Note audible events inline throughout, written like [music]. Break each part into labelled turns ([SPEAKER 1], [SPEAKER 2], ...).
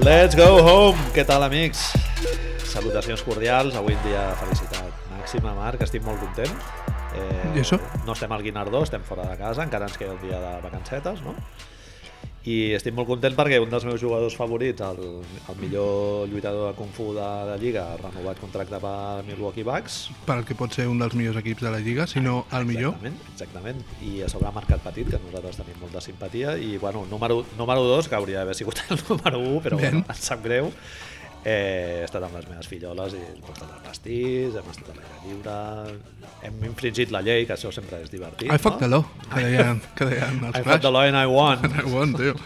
[SPEAKER 1] Let's go home! Què tal, amics? Salutacions cordials, avui en dia felicitat màxima, Marc, estic molt content. Eh,
[SPEAKER 2] I això?
[SPEAKER 1] No estem al Guinardó, estem fora de casa, encara ens queda el dia de vacancetes, no? I estic molt content perquè un dels meus jugadors favorits, el, el millor lluitador de Kung Fu de la Lliga, ha renovat contracte per Milwaukee Bucks,
[SPEAKER 2] per al que pot ser un dels millors equips de la Lliga, si no el millor.
[SPEAKER 1] Exactament, exactament. I a sobre Mercat Petit, que nosaltres tenim molta simpatia, i bueno, número, número dos, que hauria d'haver sigut el número 1, però
[SPEAKER 2] Ben.
[SPEAKER 1] bueno, em sap greu. Eh, he estat amb les meves filloles i hem portat el pastís, hem estat a l'aire lliure, hem infringit la llei, que això sempre és divertit.
[SPEAKER 2] I fucked the law, que deien, [laughs] que deien els
[SPEAKER 1] I
[SPEAKER 2] Clash.
[SPEAKER 1] fucked the law and I won.
[SPEAKER 2] [laughs] I won, tio.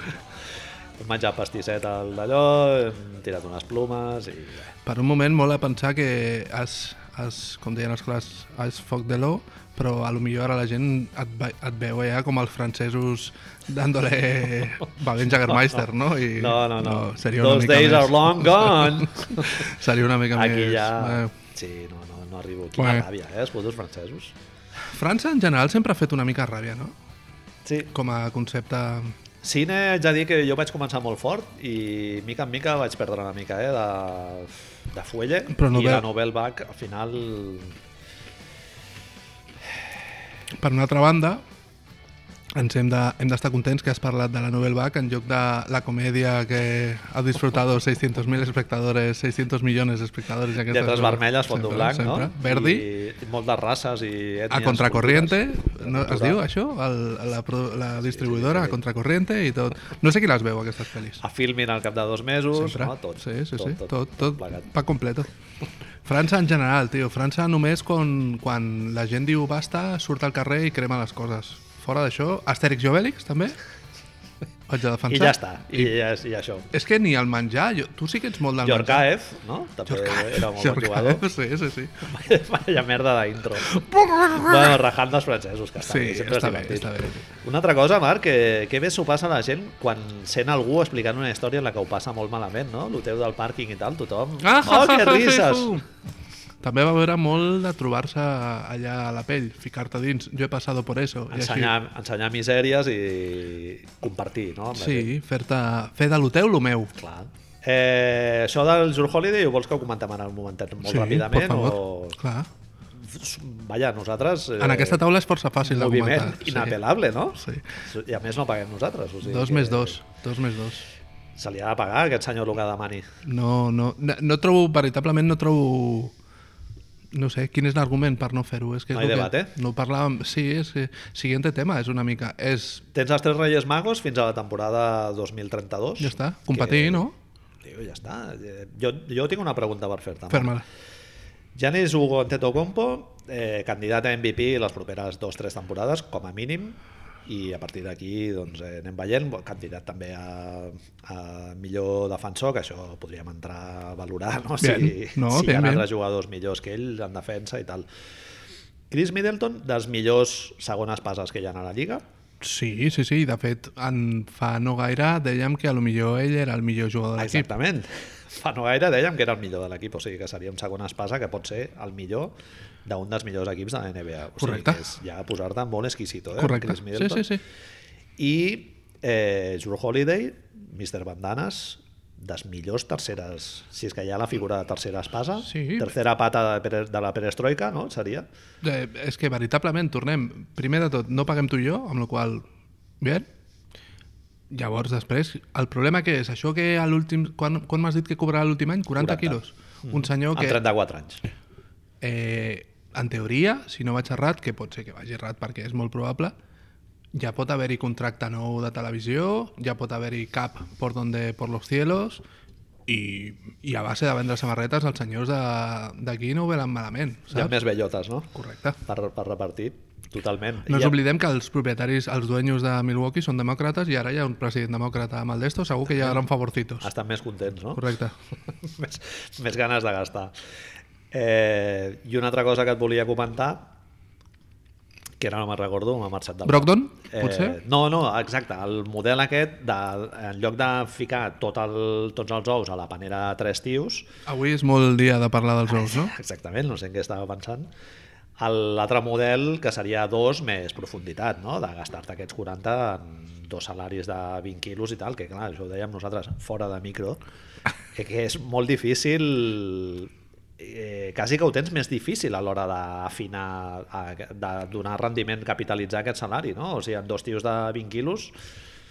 [SPEAKER 1] hem menjat pastisset al d'allò, hem tirat unes plumes i... bé,
[SPEAKER 2] Per un moment mola pensar que has, has com deien els Clash, has fucked the law, però a lo millor ara la gent et, ve- et veu ja com els francesos
[SPEAKER 1] [laughs]
[SPEAKER 2] dándole bevent Jagermeister, no? I, Oh,
[SPEAKER 1] No, no, no.
[SPEAKER 2] seria una
[SPEAKER 1] Those
[SPEAKER 2] mica
[SPEAKER 1] days
[SPEAKER 2] més,
[SPEAKER 1] are long gone.
[SPEAKER 2] [laughs] Seria una mica
[SPEAKER 1] Aquí
[SPEAKER 2] més...
[SPEAKER 1] ja...
[SPEAKER 2] eh,
[SPEAKER 1] Sí, no, no, no arribo. Quina
[SPEAKER 2] Bé.
[SPEAKER 1] ràbia, eh, els putos francesos.
[SPEAKER 2] França en general sempre ha fet una mica ràbia, no?
[SPEAKER 1] Sí.
[SPEAKER 2] Com a concepte...
[SPEAKER 1] Cine, haig de dir que jo vaig començar molt fort i mica en mica vaig perdre una mica eh, de, de fuelle
[SPEAKER 2] Però
[SPEAKER 1] i
[SPEAKER 2] novel-
[SPEAKER 1] la novel back al final...
[SPEAKER 2] Per una altra banda, ens hem de- hem d'estar contents que has parlat de la novel back en lloc de la comèdia que ha disfrutat 600.000 espectadores, 600 milions d'espectadors. i aquestes
[SPEAKER 1] Lletres
[SPEAKER 2] coses.
[SPEAKER 1] vermelles, fondo
[SPEAKER 2] Sempre,
[SPEAKER 1] blanc,
[SPEAKER 2] sempre.
[SPEAKER 1] no?
[SPEAKER 2] Verdi,
[SPEAKER 1] I moltes races i ètnies.
[SPEAKER 2] a Contracorriente,
[SPEAKER 1] cultures.
[SPEAKER 2] no, es
[SPEAKER 1] Cultura.
[SPEAKER 2] diu això? El, la, pro- la distribuïdora, a Contracorriente i tot. No sé qui les veu, aquestes pel·lis.
[SPEAKER 1] A Filmin al cap de dos mesos,
[SPEAKER 2] Sempre.
[SPEAKER 1] no? Tot,
[SPEAKER 2] sí, sí,
[SPEAKER 1] tot,
[SPEAKER 2] sí.
[SPEAKER 1] tot,
[SPEAKER 2] Tot, tot,
[SPEAKER 1] plegat.
[SPEAKER 2] va completo. França en general, tio. França només quan, quan la gent diu basta, surt al carrer i crema les coses. Fora d'això, Astèrix i Obélix, també? Haig de defensar.
[SPEAKER 1] I ja està, i, I, ja, és- i això.
[SPEAKER 2] És que ni el menjar... Jo, tu sí que ets molt del menjar.
[SPEAKER 1] Yorkaev, no? També eh, era molt bon jugador.
[SPEAKER 2] Sí, sí, sí.
[SPEAKER 1] Vaya merda d'intro. bueno, rajant dels francesos, que està
[SPEAKER 2] Sí,
[SPEAKER 1] bé, sempre
[SPEAKER 2] està
[SPEAKER 1] és
[SPEAKER 2] bé,
[SPEAKER 1] divertit.
[SPEAKER 2] està bé.
[SPEAKER 1] Una altra cosa, Marc, que, que bé s'ho passa la gent quan sent algú explicant una història en la que ho passa molt malament, no? L'hotel del pàrquing i tal, tothom...
[SPEAKER 2] Ah,
[SPEAKER 1] oh, que rises!
[SPEAKER 2] També va veure molt de trobar-se allà a la pell, ficar-te dins. Jo he passado por eso. i així.
[SPEAKER 1] Ensenyar, ensenyar misèries i compartir, no? amb la gent.
[SPEAKER 2] Sí, fer-te... Fer de l'hotel lo meu.
[SPEAKER 1] Clar. Eh, això del Your Holiday ho vols que ho comentem ara un momentet molt
[SPEAKER 2] sí, per
[SPEAKER 1] ràpidament?
[SPEAKER 2] favor.
[SPEAKER 1] O...
[SPEAKER 2] Clar.
[SPEAKER 1] Vaja, nosaltres... Eh,
[SPEAKER 2] En aquesta taula és força fàcil de
[SPEAKER 1] moviment
[SPEAKER 2] comentar.
[SPEAKER 1] inapel·lable, no?
[SPEAKER 2] Sí.
[SPEAKER 1] I a més no paguem nosaltres. O sigui
[SPEAKER 2] Dos
[SPEAKER 1] que-
[SPEAKER 2] més dos. Dos més dos.
[SPEAKER 1] Se li ha de pagar a aquest senyor el que demani.
[SPEAKER 2] No, no, no, no trobo, veritablement no trobo... No sé, quin és l'argument per no fer-ho? És que és
[SPEAKER 1] No hi
[SPEAKER 2] el
[SPEAKER 1] debat, eh?
[SPEAKER 2] No ho parlàvem... Sí, és que... Siguiente tema, és una mica... És...
[SPEAKER 1] Tens els tres Reyes Magos fins a la temporada 2032.
[SPEAKER 2] Ja està, competir, no?
[SPEAKER 1] Tio, ja està. Eh, Jo, jo tinc una pregunta per fer-te. Marc.
[SPEAKER 2] Fer-me-la.
[SPEAKER 1] Giannis Hugo Antetokounmpo, eh, candidat a MVP les properes dues o tres temporades, com a mínim, i a partir d'aquí doncs, eh, anem veient, Bo, candidat també a, a millor defensor, que això podríem entrar a valorar, no?
[SPEAKER 2] Bien.
[SPEAKER 1] si,
[SPEAKER 2] No,
[SPEAKER 1] si hi
[SPEAKER 2] bien,
[SPEAKER 1] ha
[SPEAKER 2] bien.
[SPEAKER 1] altres jugadors millors que ell en defensa i tal. Chris Middleton, dels millors segones passes que hi ha a la Lliga,
[SPEAKER 2] Sí, sí, sí, i de fet en fa no gaire dèiem que a lo millor ell era el millor jugador de l'equip.
[SPEAKER 1] Exactament. Fa no gaire dèiem que era el millor de l'equip, o sigui que seria un segon espasa que pot ser el millor d'un dels millors equips de la NBA. O
[SPEAKER 2] Correcte.
[SPEAKER 1] Sigui que és ja posar-te molt exquisito, eh?
[SPEAKER 2] Correcte.
[SPEAKER 1] Chris
[SPEAKER 2] Sí,
[SPEAKER 1] Middleton.
[SPEAKER 2] sí, sí.
[SPEAKER 1] I eh, Drew Holiday, Mr. Bandanas, dels millors terceres, si és que hi ha la figura de tercera espasa,
[SPEAKER 2] Sí.
[SPEAKER 1] tercera pata de, pere- de la perestroika, no? Seria?
[SPEAKER 2] Eh, és que veritablement, tornem, primer de tot, no paguem tu i jo, amb la qual cosa, bé, llavors després, el problema que és, això que a l'últim, quan, quan m'has dit que cobrarà l'últim any?
[SPEAKER 1] 40.
[SPEAKER 2] 40, quilos. Un senyor
[SPEAKER 1] Mm. Amb
[SPEAKER 2] que,
[SPEAKER 1] 34 anys.
[SPEAKER 2] eh, en teoria, si no vaig errat, que pot ser que vagi errat perquè és molt probable, ja pot haver-hi contracte nou de televisió, ja pot haver-hi cap por, donde, por los cielos, i, i a base de vendre samarretes els senyors de- d'aquí no ho velen malament,
[SPEAKER 1] Hi ha
[SPEAKER 2] saps?
[SPEAKER 1] més bellotes, no?
[SPEAKER 2] Correcte.
[SPEAKER 1] Per, per repartir, totalment. Hi
[SPEAKER 2] No ens
[SPEAKER 1] ha-
[SPEAKER 2] oblidem que els propietaris, els dueños de Milwaukee són demòcrates i ara hi ha un president demòcrata amb el d'esto, segur que hi hauran favorcitos.
[SPEAKER 1] Estan més contents, no?
[SPEAKER 2] Correcte.
[SPEAKER 1] [laughs] més, més ganes de gastar. Eh, I una altra cosa que et volia comentar, que ara no me'n recordo, m'ha marxat del... cap. Eh,
[SPEAKER 2] Brogdon, potser?
[SPEAKER 1] no, no, exacte. El model aquest, de, en lloc de ficar tot el, tots els ous a la panera de tres tios,
[SPEAKER 2] Avui és molt dia de parlar dels ous, no?
[SPEAKER 1] exactament, no sé en què estava pensant, El- L'altre model, que seria dos més profunditat, no? de gastar-te aquests 40 en dos salaris de 20 quilos i tal, que clar, això ho dèiem nosaltres fora de micro, que, que és molt difícil, eh, quasi que ho tens més difícil a l'hora d'afinar, a- de donar rendiment, capitalitzar aquest salari, no? O sigui, amb dos tios de 20 quilos,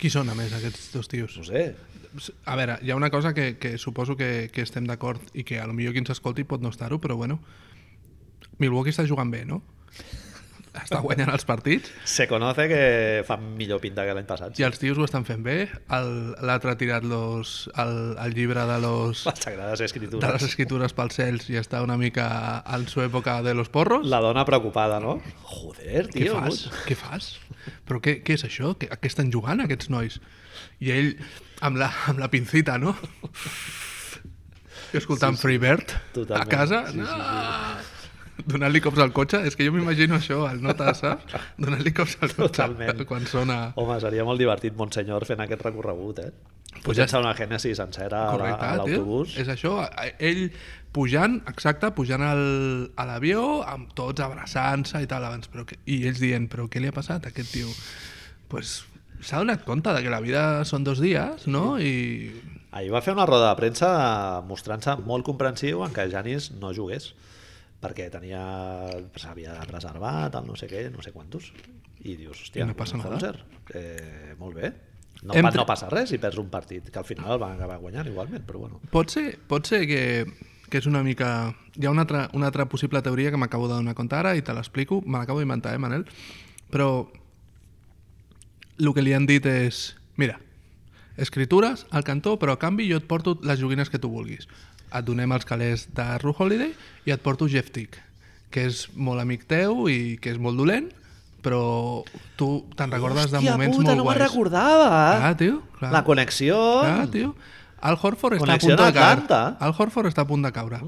[SPEAKER 2] Qui són, a més, aquests dos tios?
[SPEAKER 1] no sé,
[SPEAKER 2] A veure, hi ha una cosa que, que suposo que, que estem d'acord i que a lo millor qui ens escolti pot no estar-ho, però bueno, Milwaukee està jugant bé, no? Està guanyant els partits
[SPEAKER 1] se conoce que fan millor pinta que l'any passat.
[SPEAKER 2] i els tios ho estan fent bé. El- L'altre ha tirat los, el, el llibre de los,
[SPEAKER 1] Les sagrades
[SPEAKER 2] de les
[SPEAKER 1] escritures.
[SPEAKER 2] escritures pels cels i està una mica en su època de los porros.
[SPEAKER 1] La dona preocupada, no? Joder,
[SPEAKER 2] Què
[SPEAKER 1] tio.
[SPEAKER 2] fas? Què fas? Però què, què és això? Què, a què estan jugant aquests nois? I ell amb la, amb la pincita, no? Jo escoltant sí, sí. Freebird
[SPEAKER 1] Totalment.
[SPEAKER 2] a casa.
[SPEAKER 1] Sí,
[SPEAKER 2] Sí, sí, sí. Donant-li cops al cotxe. És que jo m'imagino això, al nota, saps? Donant-li cops al cotxe
[SPEAKER 1] Totalment.
[SPEAKER 2] quan sona...
[SPEAKER 1] Home, seria molt divertit Montsenyor fent aquest recorregut, eh?
[SPEAKER 2] Pues
[SPEAKER 1] Pues
[SPEAKER 2] ja
[SPEAKER 1] ja una Gènesi sencera a la-
[SPEAKER 2] Correcte,
[SPEAKER 1] a
[SPEAKER 2] tio.
[SPEAKER 1] l'autobús.
[SPEAKER 2] És això, a- a- ell pujant, exacte, pujant al, a l'avió, amb tots abraçant-se i tal abans, però que, i ells dient, però què li ha passat a aquest tio? Doncs pues, s'ha donat compte de que la vida són dos dies, no? I
[SPEAKER 1] Ahir va fer una roda de premsa mostrant-se molt comprensiu en què Janis no jugués perquè tenia s'havia reservat el no sé què, no sé quantos i dius, hòstia,
[SPEAKER 2] I no passa nada.
[SPEAKER 1] Holzer, eh, molt bé no,
[SPEAKER 2] Hem
[SPEAKER 1] pa,
[SPEAKER 2] tre-
[SPEAKER 1] no passa res si perds un partit que al final el van acabar guanyant igualment però bueno,
[SPEAKER 2] pot ser, pot ser que, que és una mica... Hi ha una altra, una altra possible teoria que m'acabo de donar compte ara i te l'explico, me l'acabo d'inventar, eh, Manel? Però el que li han dit és... Mira, escritures al cantó, però a canvi jo et porto les joguines que tu vulguis. Et donem els calés de Ru Holiday i et porto Jeff Tick, que és molt amic teu i que és molt dolent, però tu te'n recordes de moments molt
[SPEAKER 1] no me'n
[SPEAKER 2] guais.
[SPEAKER 1] recordava
[SPEAKER 2] Clar, tio, clar.
[SPEAKER 1] la connexió
[SPEAKER 2] Clar, Ah, tio. Al Horford està a
[SPEAKER 1] Connexió
[SPEAKER 2] punt de caure.
[SPEAKER 1] d'Atlanta.
[SPEAKER 2] Al Horford està a punt de caure.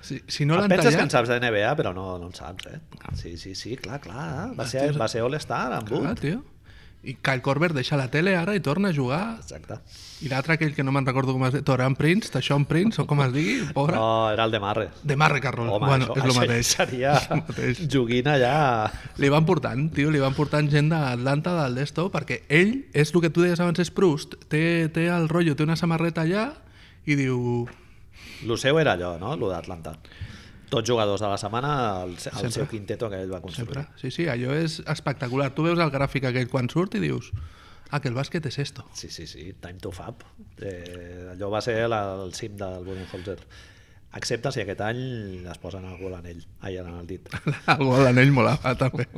[SPEAKER 2] Si, si no l'han
[SPEAKER 1] penses que en
[SPEAKER 2] tallat...
[SPEAKER 1] saps de NBA però no, no en saps eh? sí, sí, sí, clar, clar va ser, va ser All-Star amb
[SPEAKER 2] Ah, Clar,
[SPEAKER 1] Wood
[SPEAKER 2] Ah, tio. I Kyle Korver deixa la tele ara i torna a jugar.
[SPEAKER 1] exacte
[SPEAKER 2] I l'altre, aquell que no me'n recordo com es diu, Toran Prince, Tashon Prince, o com es digui, pobre.
[SPEAKER 1] no, era el de Marre
[SPEAKER 2] De Marre Carroll.
[SPEAKER 1] Oh. Home,
[SPEAKER 2] bueno,
[SPEAKER 1] això,
[SPEAKER 2] és el
[SPEAKER 1] això
[SPEAKER 2] mateix.
[SPEAKER 1] Seria
[SPEAKER 2] [laughs] És lo mateix.
[SPEAKER 1] joguina ja...
[SPEAKER 2] Li van portant, tio, li van portant gent d'Atlanta, del Desto, perquè ell, és el que tu deies abans, és Proust, té, té el rotllo, té una samarreta allà i diu,
[SPEAKER 1] Lo seu era allò, no? Lo d'Atlanta. Tots jugadors de la setmana, el, el
[SPEAKER 2] Sempre.
[SPEAKER 1] seu quinteto que ell va construir.
[SPEAKER 2] Sempre. Sí, sí, allò és espectacular. Tu veus el gràfic aquell quan surt i dius ah, que el bàsquet és esto. [laughs]
[SPEAKER 1] Sí, sí, sí, time to fab. Eh, allò va ser la, el cim del Budenholzer. Excepte si aquest any es posen algú a l'anell, ai, en el dit.
[SPEAKER 2] El gol d'anell molava, [laughs] també.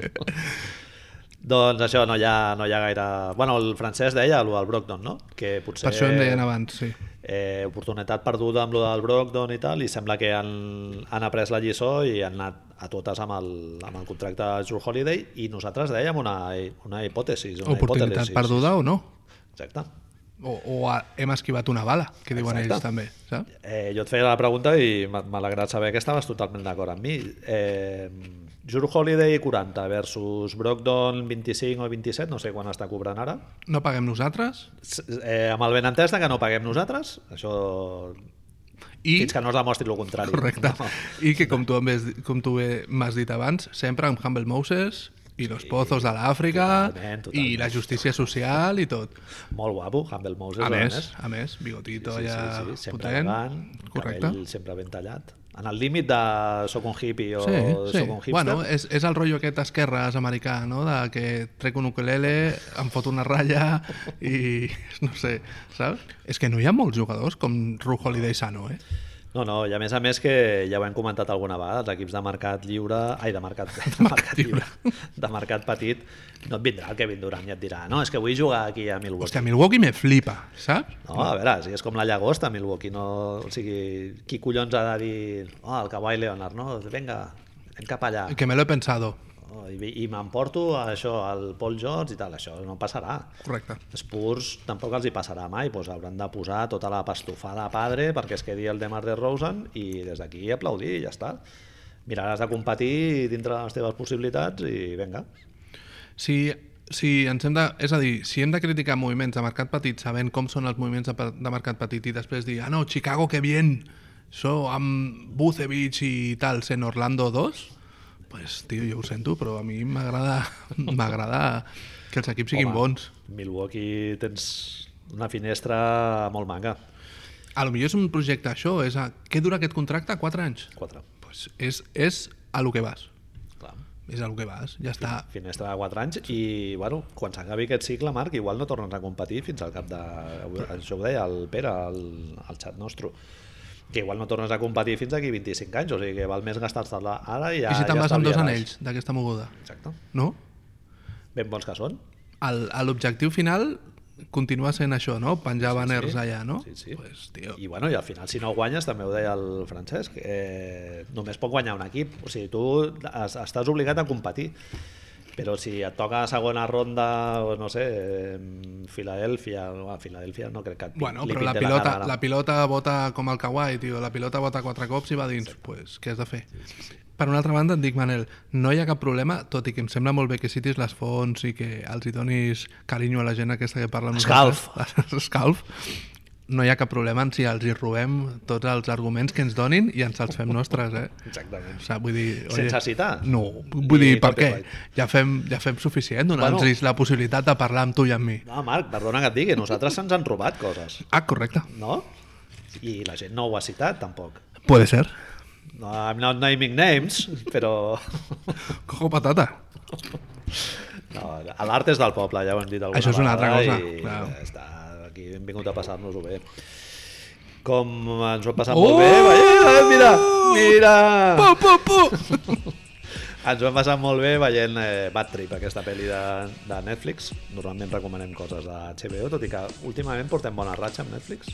[SPEAKER 1] Doncs això, no hi ha, no hi ha gaire... Bueno, el francès deia el del Brogdon, no? Que potser...
[SPEAKER 2] Per això en deien abans, sí.
[SPEAKER 1] eh, oportunitat perduda amb lo del Brogdon i tal, i sembla que han, han après la lliçó i han anat a totes amb el, amb el contracte de Drew Holiday i nosaltres dèiem una, una hipòtesi. Una
[SPEAKER 2] Oportunitat
[SPEAKER 1] hipòtesi,
[SPEAKER 2] perduda o no.
[SPEAKER 1] Sí, exacte.
[SPEAKER 2] O, o a, hem esquivat una bala, que diuen
[SPEAKER 1] Exacte.
[SPEAKER 2] ells també, saps?
[SPEAKER 1] Eh, jo et feia la pregunta i m'ha m'ha alegrat saber que estaves totalment d'acord amb mi. Eh, Drew Holiday 40 versus Brogdon 25 o 27, no sé quan està cobrant ara.
[SPEAKER 2] No paguem nosaltres
[SPEAKER 1] S- Eh, amb el benentès de que no paguem nosaltres, això...
[SPEAKER 2] i...
[SPEAKER 1] Fins que no es demostri el contrari.
[SPEAKER 2] Correcte.
[SPEAKER 1] No.
[SPEAKER 2] I que, com tu, em ves- com tu bé m'has dit abans, sempre amb Humble Moses i los pozos de l'Àfrica
[SPEAKER 1] Totalment,
[SPEAKER 2] i
[SPEAKER 1] totalment.
[SPEAKER 2] la justícia social i tot.
[SPEAKER 1] Molt guapo, Humble Moses.
[SPEAKER 2] A més, a més, bigotito
[SPEAKER 1] sí,
[SPEAKER 2] ja
[SPEAKER 1] sí, sí, sempre
[SPEAKER 2] potent.
[SPEAKER 1] elegant,
[SPEAKER 2] Correcte.
[SPEAKER 1] cabell sempre ben tallat. En el límit de soc un hippie o
[SPEAKER 2] Sí, sí.
[SPEAKER 1] soc un hipster.
[SPEAKER 2] Bueno, eh. és, és el rotllo aquest esquerres americà, no? De que trec un ukelele, em fot una ratlla i [laughs] no sé, saps? És que no hi ha molts jugadors com Ru Holiday Sano, eh?
[SPEAKER 1] No, no, i a més a més que ja ho hem comentat alguna vegada, els equips de mercat lliure, ai, de
[SPEAKER 2] [laughs]
[SPEAKER 1] mercat, de mercat lliure, de mercat petit, no et vindrà el Kevin Durant i et dirà no, és que vull jugar aquí a Milwaukee.
[SPEAKER 2] Hòstia, Milwaukee me flipa, saps?
[SPEAKER 1] No, a veure, si és com la llagosta a Milwaukee, no... O sigui, qui collons ha de dir oh, el Kawhi Leonard, no? Doncs Vinga, anem cap allà.
[SPEAKER 2] Que me lo he pensado.
[SPEAKER 1] Oh, I, i m'emporto a això, al Paul George i tal, això no passarà.
[SPEAKER 2] Correcte.
[SPEAKER 1] Spurs tampoc els hi passarà mai, doncs hauran de posar tota la pastofada a padre perquè es quedi el Demar de Rosen i des d'aquí aplaudir i ja està. Miraràs de competir dintre de les teves possibilitats i vinga.
[SPEAKER 2] Si, si ens hem de, és a dir, si hem de criticar moviments de mercat petit sabent com són els moviments de, pe- de mercat petit i després dir, ah no, Chicago, que bien, això amb Bucevic i tals en Orlando 2, pues, tio, jo ho sento, però a mi m'agrada [laughs] m'agrada que els equips siguin
[SPEAKER 1] Home,
[SPEAKER 2] bons.
[SPEAKER 1] Milwaukee tens una finestra molt manga.
[SPEAKER 2] A lo millor és un projecte això, és a, què dura aquest contracte? 4 anys?
[SPEAKER 1] Quatre.
[SPEAKER 2] Pues és, és a lo que vas.
[SPEAKER 1] Clar.
[SPEAKER 2] És a lo que vas, ja està.
[SPEAKER 1] Finestra de 4 anys i, bueno, quan s'acabi aquest cicle, Marc, igual no tornes a competir fins al cap de... Això ho deia el Pere, el, el xat nostre que igual no tornes a competir fins aquí 25 anys, o sigui que val més gastar-te-la ara i ja...
[SPEAKER 2] I si te'n
[SPEAKER 1] ja
[SPEAKER 2] vas amb dos
[SPEAKER 1] estalviaràs.
[SPEAKER 2] anells d'aquesta moguda?
[SPEAKER 1] Exacte.
[SPEAKER 2] No?
[SPEAKER 1] Ben bons que són.
[SPEAKER 2] El- a L'objectiu final continua sent això, no? Penjar banners allà, no?
[SPEAKER 1] Sí, sí.
[SPEAKER 2] Pues, tio,
[SPEAKER 1] I, bueno, I al final, si no guanyes, també ho deia el Francesc, eh, només pot guanyar un equip. O sigui, tu es, estàs obligat a competir. Però si et toca segona ronda, o no sé, eh, Filadèlfia, no, a Filadèlfia no crec que et pin-
[SPEAKER 2] Bueno,
[SPEAKER 1] li
[SPEAKER 2] però la
[SPEAKER 1] pinti cara
[SPEAKER 2] pilota,
[SPEAKER 1] ara.
[SPEAKER 2] la pilota bota com el kawaii, tio. La pilota bota quatre cops i va dins. pues, què has de fer? Per una altra banda, et dic, Manel, no hi ha cap problema, tot i que em sembla molt bé que citis les fonts i que els hi donis carinyo a la gent aquesta que parla amb
[SPEAKER 1] Escalf.
[SPEAKER 2] nosaltres. [laughs] Escalf. No hi ha cap problema en si els hi robem tots els arguments que ens donin i ens els
[SPEAKER 1] [laughs]
[SPEAKER 2] fem nostres, eh?
[SPEAKER 1] Exactament.
[SPEAKER 2] O sigui, vull dir...
[SPEAKER 1] Sense citar?
[SPEAKER 2] No, vull dir,
[SPEAKER 1] Ni
[SPEAKER 2] per què?
[SPEAKER 1] copyright.
[SPEAKER 2] Ja fem, ja fem suficient donant-los
[SPEAKER 1] Bueno.
[SPEAKER 2] la possibilitat de parlar amb tu i amb mi.
[SPEAKER 1] No, Marc, perdona que et digui, nosaltres se'ns han robat coses,
[SPEAKER 2] Ah, correcte.
[SPEAKER 1] no? I la gent no ho ha citat, tampoc.
[SPEAKER 2] Puede ser.
[SPEAKER 1] No, I'm not naming names, però...
[SPEAKER 2] Cojo patata.
[SPEAKER 1] No, l'art és del poble, ja ho hem dit alguna
[SPEAKER 2] Això és una
[SPEAKER 1] vegada,
[SPEAKER 2] altra cosa,
[SPEAKER 1] I
[SPEAKER 2] clar.
[SPEAKER 1] Està, aquí hem vingut a passar-nos-ho bé. Com ens ho hem passat
[SPEAKER 2] Oh!
[SPEAKER 1] molt bé, veient, eh, mira, mira!
[SPEAKER 2] Pau, pau, pau!
[SPEAKER 1] Ens ho hem passat molt bé veient eh, Bad Trip, aquesta pel·li de, de Netflix. Normalment recomanem coses de HBO, tot i que últimament portem bona ratxa amb Netflix.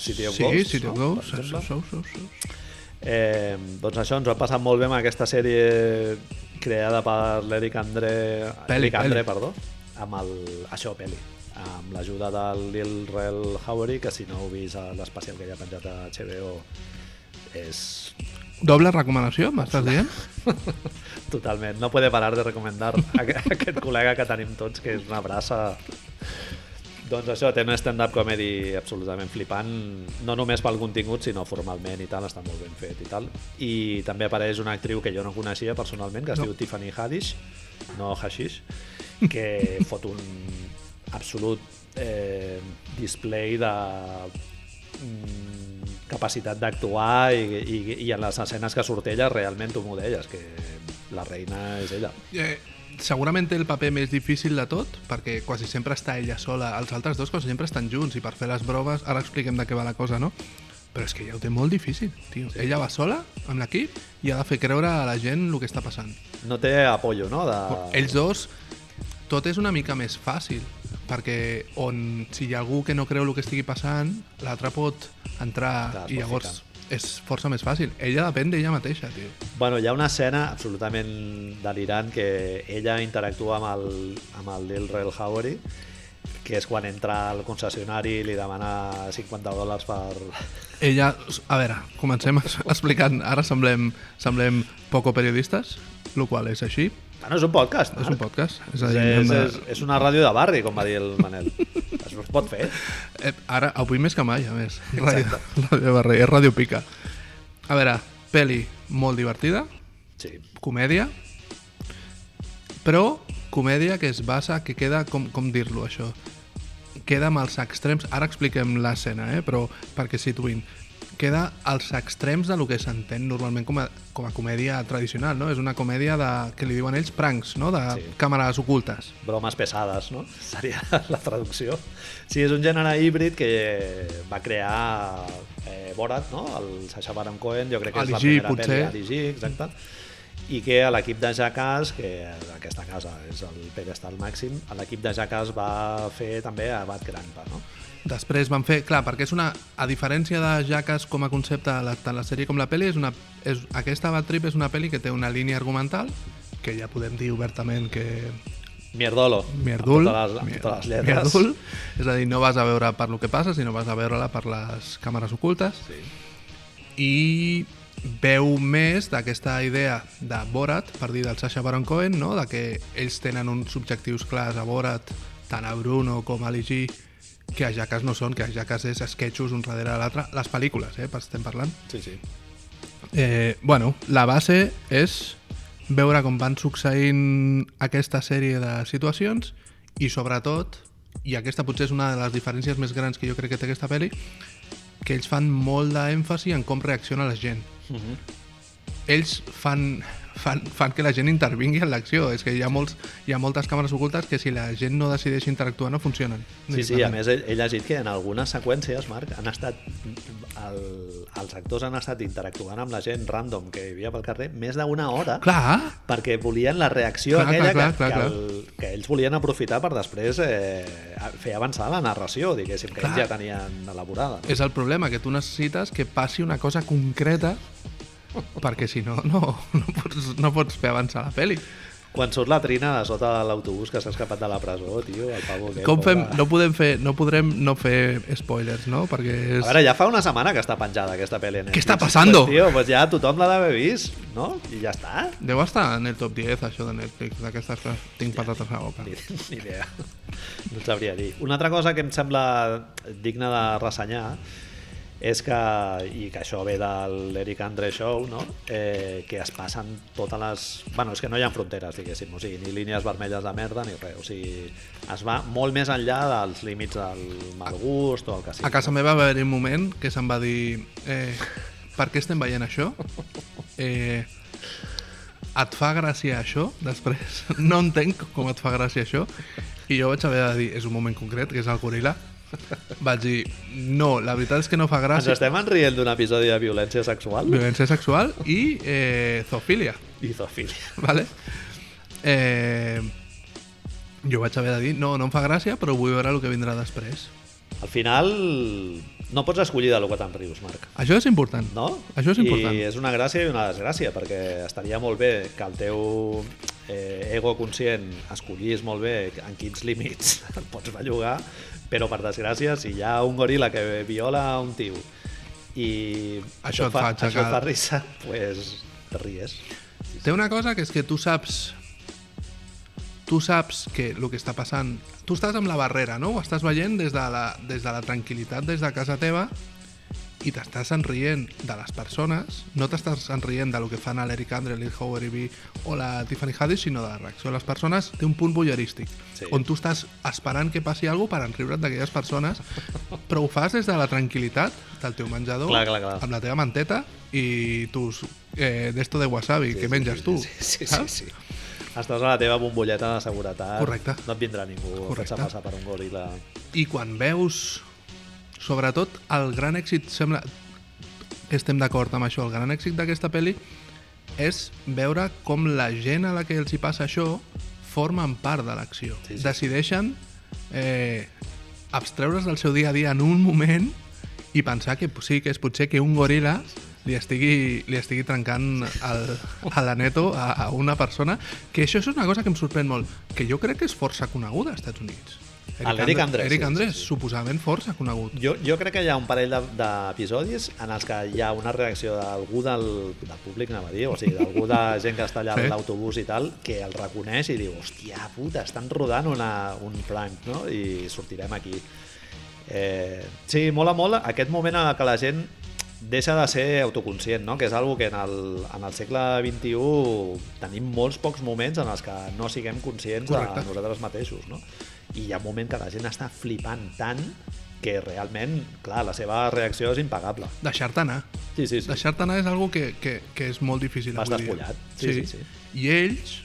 [SPEAKER 1] City of
[SPEAKER 2] Sí,
[SPEAKER 1] Ghosts,
[SPEAKER 2] sí, tio,
[SPEAKER 1] no?
[SPEAKER 2] Ghost.
[SPEAKER 1] Per exemple.
[SPEAKER 2] Sou, sou, sou, sou.
[SPEAKER 1] Eh, doncs això, ens ho ha passat molt bé amb aquesta sèrie creada per l'Eric André...
[SPEAKER 2] Peli,
[SPEAKER 1] Eric André,
[SPEAKER 2] peli.
[SPEAKER 1] perdó. Amb el... Això, peli. Amb l'ajuda del Lil Rel Howery, que si no heu vist a l'especial que ja ha penjat a HBO és
[SPEAKER 2] Doble recomanació, m'estàs dient?
[SPEAKER 1] totalment... No puede parar de recomendar [laughs] aqu- aquest col·lega que tenim tots, que és una brassa... Doncs això, té un stand-up comedy absolutament flipant, no només pel contingut, sinó formalment i tal, està molt ben fet i tal. I també apareix una actriu que jo no coneixia personalment, que es
[SPEAKER 2] No.
[SPEAKER 1] no. diu Tiffany Haddish, no Hashish, que fot un absolut eh, display de mm, capacitat d'actuar i, i, i en les escenes que surt ella realment tu m'ho deies, que la reina és ella.
[SPEAKER 2] Eh, segurament té el paper més difícil de tot, perquè quasi sempre està ella sola. Els altres dos quasi sempre estan junts i per fer les proves... Ara expliquem de què va la cosa, no? Però és que ja ho té molt difícil, tio. Ella va sola, amb l'equip, i ha de fer creure a la gent el que està passant.
[SPEAKER 1] No té apoyo, no? De...
[SPEAKER 2] Ells dos, tot és una mica més fàcil, perquè on si hi ha algú que no creu el que estigui passant, l'altre pot entrar
[SPEAKER 1] Clar, es
[SPEAKER 2] i
[SPEAKER 1] pot
[SPEAKER 2] llavors és força més fàcil. Ella depèn d'ella mateixa, tio.
[SPEAKER 1] Bueno, hi ha una escena absolutament delirant que ella interactua amb el, amb el Lil Rel Howery que és quan entra al concessionari i li demana 50 dòlars per...
[SPEAKER 2] Ella, a veure, comencem [laughs] es- explicant, ara semblem, semblem poco periodistes, el qual és així,
[SPEAKER 1] Bueno, és un podcast,
[SPEAKER 2] és
[SPEAKER 1] Marc.
[SPEAKER 2] un podcast. És a
[SPEAKER 1] És,
[SPEAKER 2] dir,
[SPEAKER 1] és,
[SPEAKER 2] anem de-
[SPEAKER 1] és, és una ràdio de barri, com va dir el
[SPEAKER 2] [laughs]
[SPEAKER 1] Manel. Es pot fer.
[SPEAKER 2] Eh, ara, avui més que mai, a més. [laughs] Ràdio, ràdio Barrer, és Ràdio Pica. A veure, peli molt divertida,
[SPEAKER 1] Sí.
[SPEAKER 2] comèdia, però comèdia que es basa, que queda, com, com dir-lo això, queda amb els extrems, ara expliquem l'escena, eh? però perquè situïn, queda als extrems de lo que s'entén normalment com a, com a comèdia tradicional, no? És una comèdia de, que li diuen ells pranks, no? De
[SPEAKER 1] Sí.
[SPEAKER 2] sí. càmeres ocultes.
[SPEAKER 1] Bromes pesades, no? Seria [laughs] la traducció. Sí, és un gènere híbrid que va crear eh, Borat, no? El Sacha Baron Cohen, jo crec que és la
[SPEAKER 2] Ali G,
[SPEAKER 1] primera
[SPEAKER 2] potser.
[SPEAKER 1] pel·li Ali G, exacte. I que a l'equip de Jackass, que aquesta casa és el pedestal màxim, a l'equip de Jackass va fer també a Bad Grandpa, no?
[SPEAKER 2] Després van fer... Clar, perquè és una... A diferència de Jackass com a concepte, la, tant la sèrie com la pel·li, és una, és, aquesta Bad Trip és una pel·li que té una línia argumental que ja podem dir obertament que
[SPEAKER 1] Mierdolo.
[SPEAKER 2] Merdul,
[SPEAKER 1] Amb totes les, amb totes les
[SPEAKER 2] Mer-
[SPEAKER 1] lletres.
[SPEAKER 2] Merdul, és a dir, no vas a veure per lo que passa, sinó vas a veure-la per les càmeres ocultes
[SPEAKER 1] Sí.
[SPEAKER 2] i veu més d'aquesta idea de Borat, per dir del Sacha Baron Cohen, no? de que ells tenen uns objectius clars a Borat, tant a Bruno com a Ali G, que Ajaques no són, que Ajaques és sketchos un darrere l'altre, les pel·lícules, eh, per estem parlant.
[SPEAKER 1] Sí, sí.
[SPEAKER 2] Eh, bueno, la base és veure com van succeint aquesta sèrie de situacions i sobretot, i aquesta potser és una de les diferències més grans que jo crec que té aquesta pel·li, que ells fan molt d'èmfasi en com reacciona la gent. Uh
[SPEAKER 1] Mhm.
[SPEAKER 2] -huh. Ells fan, fan, fan que la gent intervingui en l'acció. És que hi ha, molts, hi ha moltes càmeres ocultes que si la gent no decideix interactuar no funcionen.
[SPEAKER 1] Sí, sí, a més he, he llegit que en algunes seqüències, Marc, han estat el, els actors han estat interactuant amb la gent random que hi havia pel carrer més d'una hora
[SPEAKER 2] Clar,
[SPEAKER 1] perquè volien la reacció
[SPEAKER 2] Clar,
[SPEAKER 1] clar, aquella clar,
[SPEAKER 2] clar, clar,
[SPEAKER 1] que,
[SPEAKER 2] clar,
[SPEAKER 1] clar, que, el, que ells volien aprofitar per després eh, fer avançar la narració, diguéssim, que clar. ells
[SPEAKER 2] Clar.
[SPEAKER 1] ja tenien elaborada. No?
[SPEAKER 2] és el problema, que tu necessites que passi una cosa concreta perquè si no, no, no, pots, no pots fer avançar la pel·li.
[SPEAKER 1] Quan surt la Trina de sota de l'autobús que s'ha escapat de la presó, tio, el pavo aquest...
[SPEAKER 2] Com fem?
[SPEAKER 1] pobre.
[SPEAKER 2] No podem fer, no podrem no fer spoilers, no? Perquè és...
[SPEAKER 1] A veure, ja fa una setmana que està penjada aquesta pel·li.
[SPEAKER 2] Què està passando?
[SPEAKER 1] Pues, tio, pues ja tothom l'ha d'haver vist, no? I ja està.
[SPEAKER 2] Deu estar en el top 10, això de Netflix, d'aquestes que tinc patates a la boca.
[SPEAKER 1] Ni, ni idea. No et sabria dir. Una altra cosa que em sembla digna de ressenyar és que, i que això ve de l'Eric Andre Show, no? eh, que es passen totes les... Bueno, és que no hi ha fronteres, diguéssim, o sigui, ni línies vermelles de merda ni res, o sigui, es va molt més enllà dels límits del mal gust o el que sigui.
[SPEAKER 2] A casa meva va haver un moment que se'm va dir eh, per què estem veient això? Eh, et fa gràcia això? Després no entenc com et fa gràcia això i jo vaig haver de dir, és un moment concret, que és el goril·la vaig dir, no, la veritat és que no fa
[SPEAKER 1] Ens
[SPEAKER 2] gràcia
[SPEAKER 1] estem enrient d'un episodi de violència sexual
[SPEAKER 2] violència sexual i eh, zoofilia [laughs]
[SPEAKER 1] i zoofilia.
[SPEAKER 2] vale? Eh, jo vaig haver de dir, no, no em fa gràcia, però vull veure el que vindrà després.
[SPEAKER 1] Al final, no pots escollir de lo que te'n rius, Marc.
[SPEAKER 2] Això és important.
[SPEAKER 1] no?
[SPEAKER 2] Això és important.
[SPEAKER 1] I és una gràcia i una desgràcia, perquè estaria molt bé que el teu eh, ego conscient escollís molt bé en quins límits [laughs] et pots bellugar, però per desgràcia, si hi ha un goril·la que viola un tio i
[SPEAKER 2] Això et fa
[SPEAKER 1] això et
[SPEAKER 2] aixecar.
[SPEAKER 1] fa risa, pues te ries.
[SPEAKER 2] Té una cosa que és que tu saps tu saps que el que està passant... Tu estàs amb la barrera, no? Ho estàs veient des de la, des de la tranquil·litat, des de casa teva, i t'estàs enrient de les persones, no t'estàs enrient de lo que fan l'Eric Andre, Lee Howard i o la Tiffany Haddish, sinó de la reacció de les persones, té un punt bollerístic,
[SPEAKER 1] Sí.
[SPEAKER 2] on tu estàs esperant que passi alguna per enriure't d'aquelles persones, però ho fas des de la tranquil·litat del teu menjador,
[SPEAKER 1] Clar, clar, clar.
[SPEAKER 2] amb la teva manteta i tus eh, d'esto de wasabi sí, que menges
[SPEAKER 1] sí,
[SPEAKER 2] tu,
[SPEAKER 1] Sí, sí, sí,
[SPEAKER 2] saps?
[SPEAKER 1] sí. Estàs a la teva bombolleta de seguretat.
[SPEAKER 2] Correcte.
[SPEAKER 1] No et vindrà ningú Correcte.
[SPEAKER 2] Correcte.
[SPEAKER 1] a passar per un goril·la.
[SPEAKER 2] I quan veus, sobretot, el gran èxit, sembla que estem d'acord amb això, el gran èxit d'aquesta pel·li és veure com la gent a la que els hi passa això formen part de l'acció.
[SPEAKER 1] Sí, sí.
[SPEAKER 2] Decideixen eh, abstreure's del seu dia a dia en un moment i pensar que sí que és potser que un goril·la li estigui, li estigui trencant el, a la neto a, a una persona, que això és una cosa que em sorprèn molt, que jo crec que és força coneguda als Estats Units.
[SPEAKER 1] El Eric Andrés,
[SPEAKER 2] Eric
[SPEAKER 1] sí,
[SPEAKER 2] Andrés,
[SPEAKER 1] sí, Mm. sí.
[SPEAKER 2] suposadament força conegut.
[SPEAKER 1] Jo, jo crec que hi ha un parell de- d'episodis en els que hi ha una reacció d'algú del, del públic, anava a dir, o sigui, d'algú de gent que està allà
[SPEAKER 2] Sí.
[SPEAKER 1] a l'autobús i tal, que el reconeix i diu, hòstia puta, estan rodant una, un prank, no? I sortirem aquí. Eh, sí, mola molt aquest moment en què la gent deixa de ser autoconscient, no? que és algo que en el, en el segle XXI tenim molts pocs moments en els que no siguem conscients
[SPEAKER 2] Correcte.
[SPEAKER 1] de nosaltres mateixos. No? I hi ha un moment que la gent està flipant tant que realment, clar, la seva reacció és impagable.
[SPEAKER 2] Deixar-te anar.
[SPEAKER 1] Sí, sí, sí.
[SPEAKER 2] Deixar-te anar és algo que, que, que és molt difícil
[SPEAKER 1] Vas
[SPEAKER 2] avui dia.
[SPEAKER 1] despullat. Sí, sí, sí.
[SPEAKER 2] I ells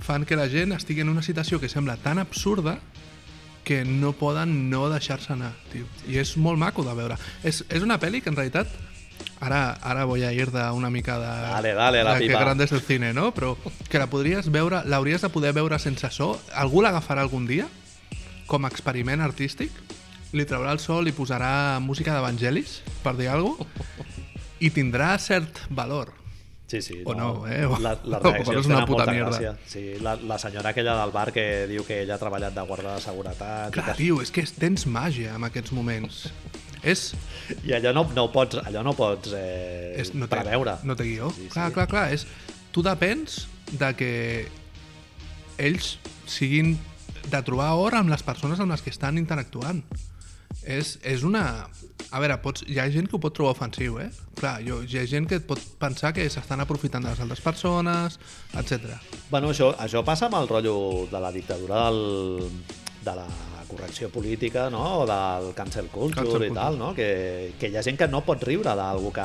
[SPEAKER 2] fan que la gent estigui en una situació que sembla tan absurda que no poden no deixar-se anar, tio. I és molt maco de veure. És, és una pel·li que en realitat Ara, ara voy a ir d'una mica de...
[SPEAKER 1] Dale, dale, la
[SPEAKER 2] de
[SPEAKER 1] pipa.
[SPEAKER 2] Que grande és el cine, no? Però que la podries veure, l'hauries de poder veure sense so. Algú l'agafarà algun dia com a experiment artístic, li traurà el sol i posarà música d'evangelis, per dir alguna cosa, i tindrà cert valor.
[SPEAKER 1] Sí, sí.
[SPEAKER 2] O no, eh? O-
[SPEAKER 1] La,
[SPEAKER 2] [laughs] o
[SPEAKER 1] la reacció
[SPEAKER 2] és
[SPEAKER 1] és
[SPEAKER 2] una
[SPEAKER 1] una
[SPEAKER 2] puta
[SPEAKER 1] puta
[SPEAKER 2] mierda.
[SPEAKER 1] gràcia. Sí, la, la senyora aquella del bar que diu que ella ha treballat de guarda de seguretat. i
[SPEAKER 2] Clar, tio, és que tens màgia en aquests moments. És,
[SPEAKER 1] I allò no, no ho pots, allò no ho pots eh,
[SPEAKER 2] és no té,
[SPEAKER 1] preveure.
[SPEAKER 2] No té guió.
[SPEAKER 1] Sí, sí.
[SPEAKER 2] clar, clar, clar. És, tu depens de que ells siguin de trobar hora amb les persones amb les que estan interactuant. És, és una... A veure, pots... hi ha gent que ho pot trobar ofensiu, eh? Clar, jo, hi ha gent que pot pensar que s'estan aprofitant de les altres persones, etc.
[SPEAKER 1] Bueno, això, això passa amb el rotllo de la dictadura del, de la correcció política no? o del cancel culture
[SPEAKER 2] Cancel
[SPEAKER 1] i
[SPEAKER 2] culture.
[SPEAKER 1] tal, no? que, que hi ha gent que no pot riure d'algú que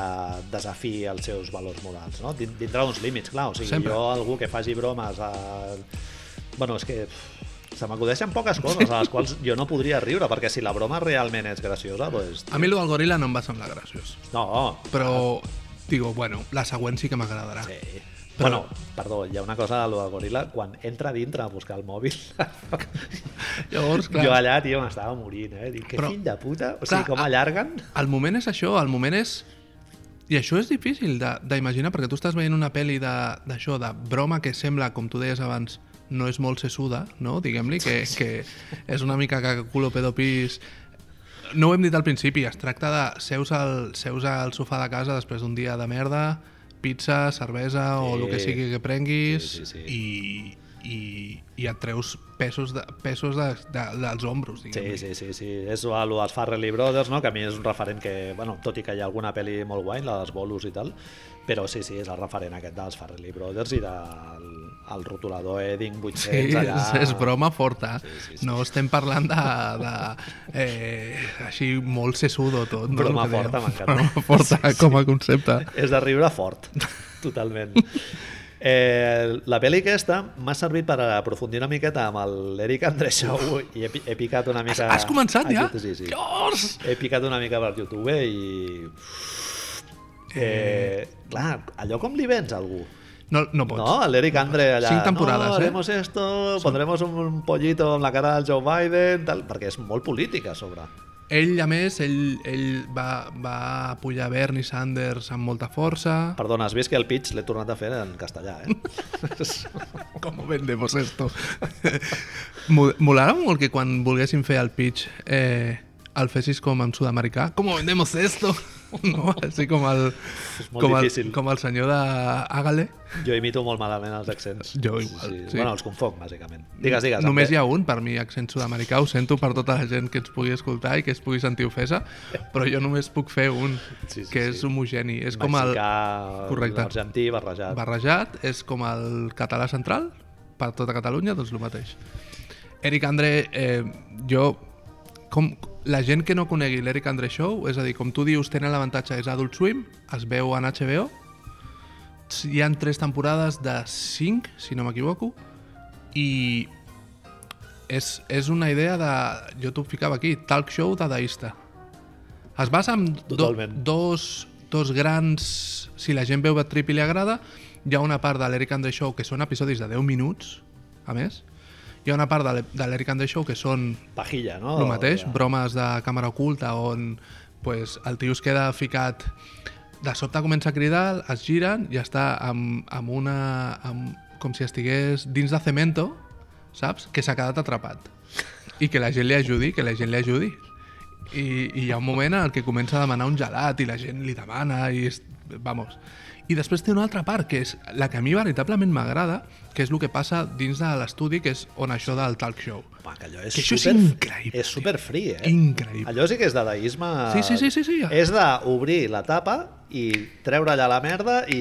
[SPEAKER 1] desafiï els seus valors morals, no? Din- dintre d'uns límits, clar. O sigui,
[SPEAKER 2] Sempre.
[SPEAKER 1] jo algú que faci bromes... A... Bueno, és que pff, se m'acudeixen poques coses a les quals jo no podria riure, perquè si la broma realment és graciosa, doncs...
[SPEAKER 2] A mi el del goril·la no em va semblar graciós.
[SPEAKER 1] No,
[SPEAKER 2] Però, digo, bueno, la següent sí que m'agradarà.
[SPEAKER 1] Sí.
[SPEAKER 2] Però-
[SPEAKER 1] Bueno, perdó, hi ha una cosa de lo del goril·la, quan entra a dintre a buscar el mòbil, [laughs]
[SPEAKER 2] Llavors, clar,
[SPEAKER 1] jo allà, tio, m'estava morint, eh? Dic, que
[SPEAKER 2] Però-
[SPEAKER 1] fill de puta, o
[SPEAKER 2] clar,
[SPEAKER 1] sigui, com
[SPEAKER 2] a-
[SPEAKER 1] allarguen...
[SPEAKER 2] El moment és això, el moment és... I això és difícil de- d'imaginar, perquè tu estàs veient una pel·li de- d'això, de, broma que sembla, com tu deies abans, no és molt sesuda, no? Diguem-li que, que és una mica cacaculo pedopis... No ho hem dit al principi, es tracta de seus al, seus al sofà de casa després d'un dia de merda, pizza, cervesa o
[SPEAKER 1] Sí.
[SPEAKER 2] el que sigui que prenguis
[SPEAKER 1] Sí, sí, sí.
[SPEAKER 2] I, i, i et treus pesos, de, pesos de, de, dels ombros, diguem-li.
[SPEAKER 1] Sí, sí, sí, sí, és el dels Farrelly Brothers, no? que a mi és un referent que, bueno, tot i que hi ha alguna pel·li molt guai, la dels bolos i tal, però sí, sí, és el referent aquest dels Farrelly Brothers i del el rotulador Edding 800
[SPEAKER 2] Sí,
[SPEAKER 1] allà.
[SPEAKER 2] és, és broma forta. Sí,
[SPEAKER 1] sí,
[SPEAKER 2] sí,
[SPEAKER 1] sí.
[SPEAKER 2] sí. No estem parlant de... de eh, així molt sesudo tot. No?
[SPEAKER 1] Broma
[SPEAKER 2] El que dèiem.
[SPEAKER 1] forta, m'encanta.
[SPEAKER 2] Broma forta sí, com a concepte.
[SPEAKER 1] És de riure fort, [laughs] totalment. Eh, la pel·li aquesta m'ha servit per aprofundir una miqueta amb el Eric Andreixou i he, pi- he picat una mica...
[SPEAKER 2] Has començat ja?
[SPEAKER 1] Aquest- Sí, sí.
[SPEAKER 2] Dios!
[SPEAKER 1] He picat una mica per YouTube i... Eh, clar, allò com li vens a algú?
[SPEAKER 2] No, no pots.
[SPEAKER 1] No, l'Eric Andre allà...
[SPEAKER 2] Cinc temporades,
[SPEAKER 1] no,
[SPEAKER 2] eh?
[SPEAKER 1] haremos esto, pondremos un pollito amb la cara del Joe Biden, tal, perquè és molt política a sobre.
[SPEAKER 2] Ell, a més, ell, ell va, va apujar Bernie Sanders amb molta força.
[SPEAKER 1] Perdona, has vist que el pitch l'he tornat a fer en castellà,
[SPEAKER 2] [laughs]
[SPEAKER 1] eh?
[SPEAKER 2] Com vendemos esto? [laughs] Mo- Molarà molt que quan volguéssim fer el pitch eh, el fessis com en sud-americà. Com vendemos esto? [laughs] No? Així com el,
[SPEAKER 1] És molt
[SPEAKER 2] com
[SPEAKER 1] difícil.
[SPEAKER 2] el, com el senyor de Àgale.
[SPEAKER 1] Jo imito molt malament els accents.
[SPEAKER 2] Jo igual, sí.
[SPEAKER 1] Bueno, els confoc, bàsicament. Digues, digues.
[SPEAKER 2] Només hi
[SPEAKER 1] Ander.
[SPEAKER 2] ha un, per mi, accent sud-americà. Ho sento per tota la gent que ens pugui escoltar i que es pugui sentir ofesa, però jo només puc fer un,
[SPEAKER 1] Sí, sí,
[SPEAKER 2] que
[SPEAKER 1] sí.
[SPEAKER 2] és homogeni. És com el
[SPEAKER 1] Mexicà,
[SPEAKER 2] Correcte.
[SPEAKER 1] argentí, barrejat.
[SPEAKER 2] barrejat, és com el català central, per tota Catalunya, doncs el mateix. Eric Andre, eh, jo... Com, la gent que no conegui l'Eric Andre Show, és a dir, com tu dius, tenen l'avantatge, és Adult Swim, es veu en HBO, hi han tres temporades de 5, si no m'equivoco, i és, és una idea de... Jo t'ho ficava aquí, talk show dadaista. Es basa en do,
[SPEAKER 1] Totalment.
[SPEAKER 2] dos, dos grans... Si la gent veu Bad Trip i li agrada, hi ha una part de l'Eric Andre Show que són episodis de 10 minuts, a més. Hi ha una part de l'E- de l'Eric Andre Show que són
[SPEAKER 1] Pajilla, no?
[SPEAKER 2] el mateix,
[SPEAKER 1] Ja.
[SPEAKER 2] bromes de càmera oculta on pues, el tio es queda ficat de sobte comença a cridar, es giren i està amb, amb una... Amb, com si estigués dins de cemento, saps? Que s'ha quedat atrapat. I que la gent li ajudi, que la gent li ajudi. I, I hi ha un moment en el que comença a demanar un gelat i la gent li demana i... És, vamos. I després té una altra part, que és la que a mi veritablement m'agrada, que és el que passa dins de l'estudi, que és on això del talk show.
[SPEAKER 1] Home, que allò és,
[SPEAKER 2] Que això és
[SPEAKER 1] super,
[SPEAKER 2] increïble,
[SPEAKER 1] És super free, eh?
[SPEAKER 2] Increïble.
[SPEAKER 1] Allò sí que és dadaisme...
[SPEAKER 2] Sí, sí, sí, sí, sí.
[SPEAKER 1] És d'obrir la tapa i treure allà la merda i,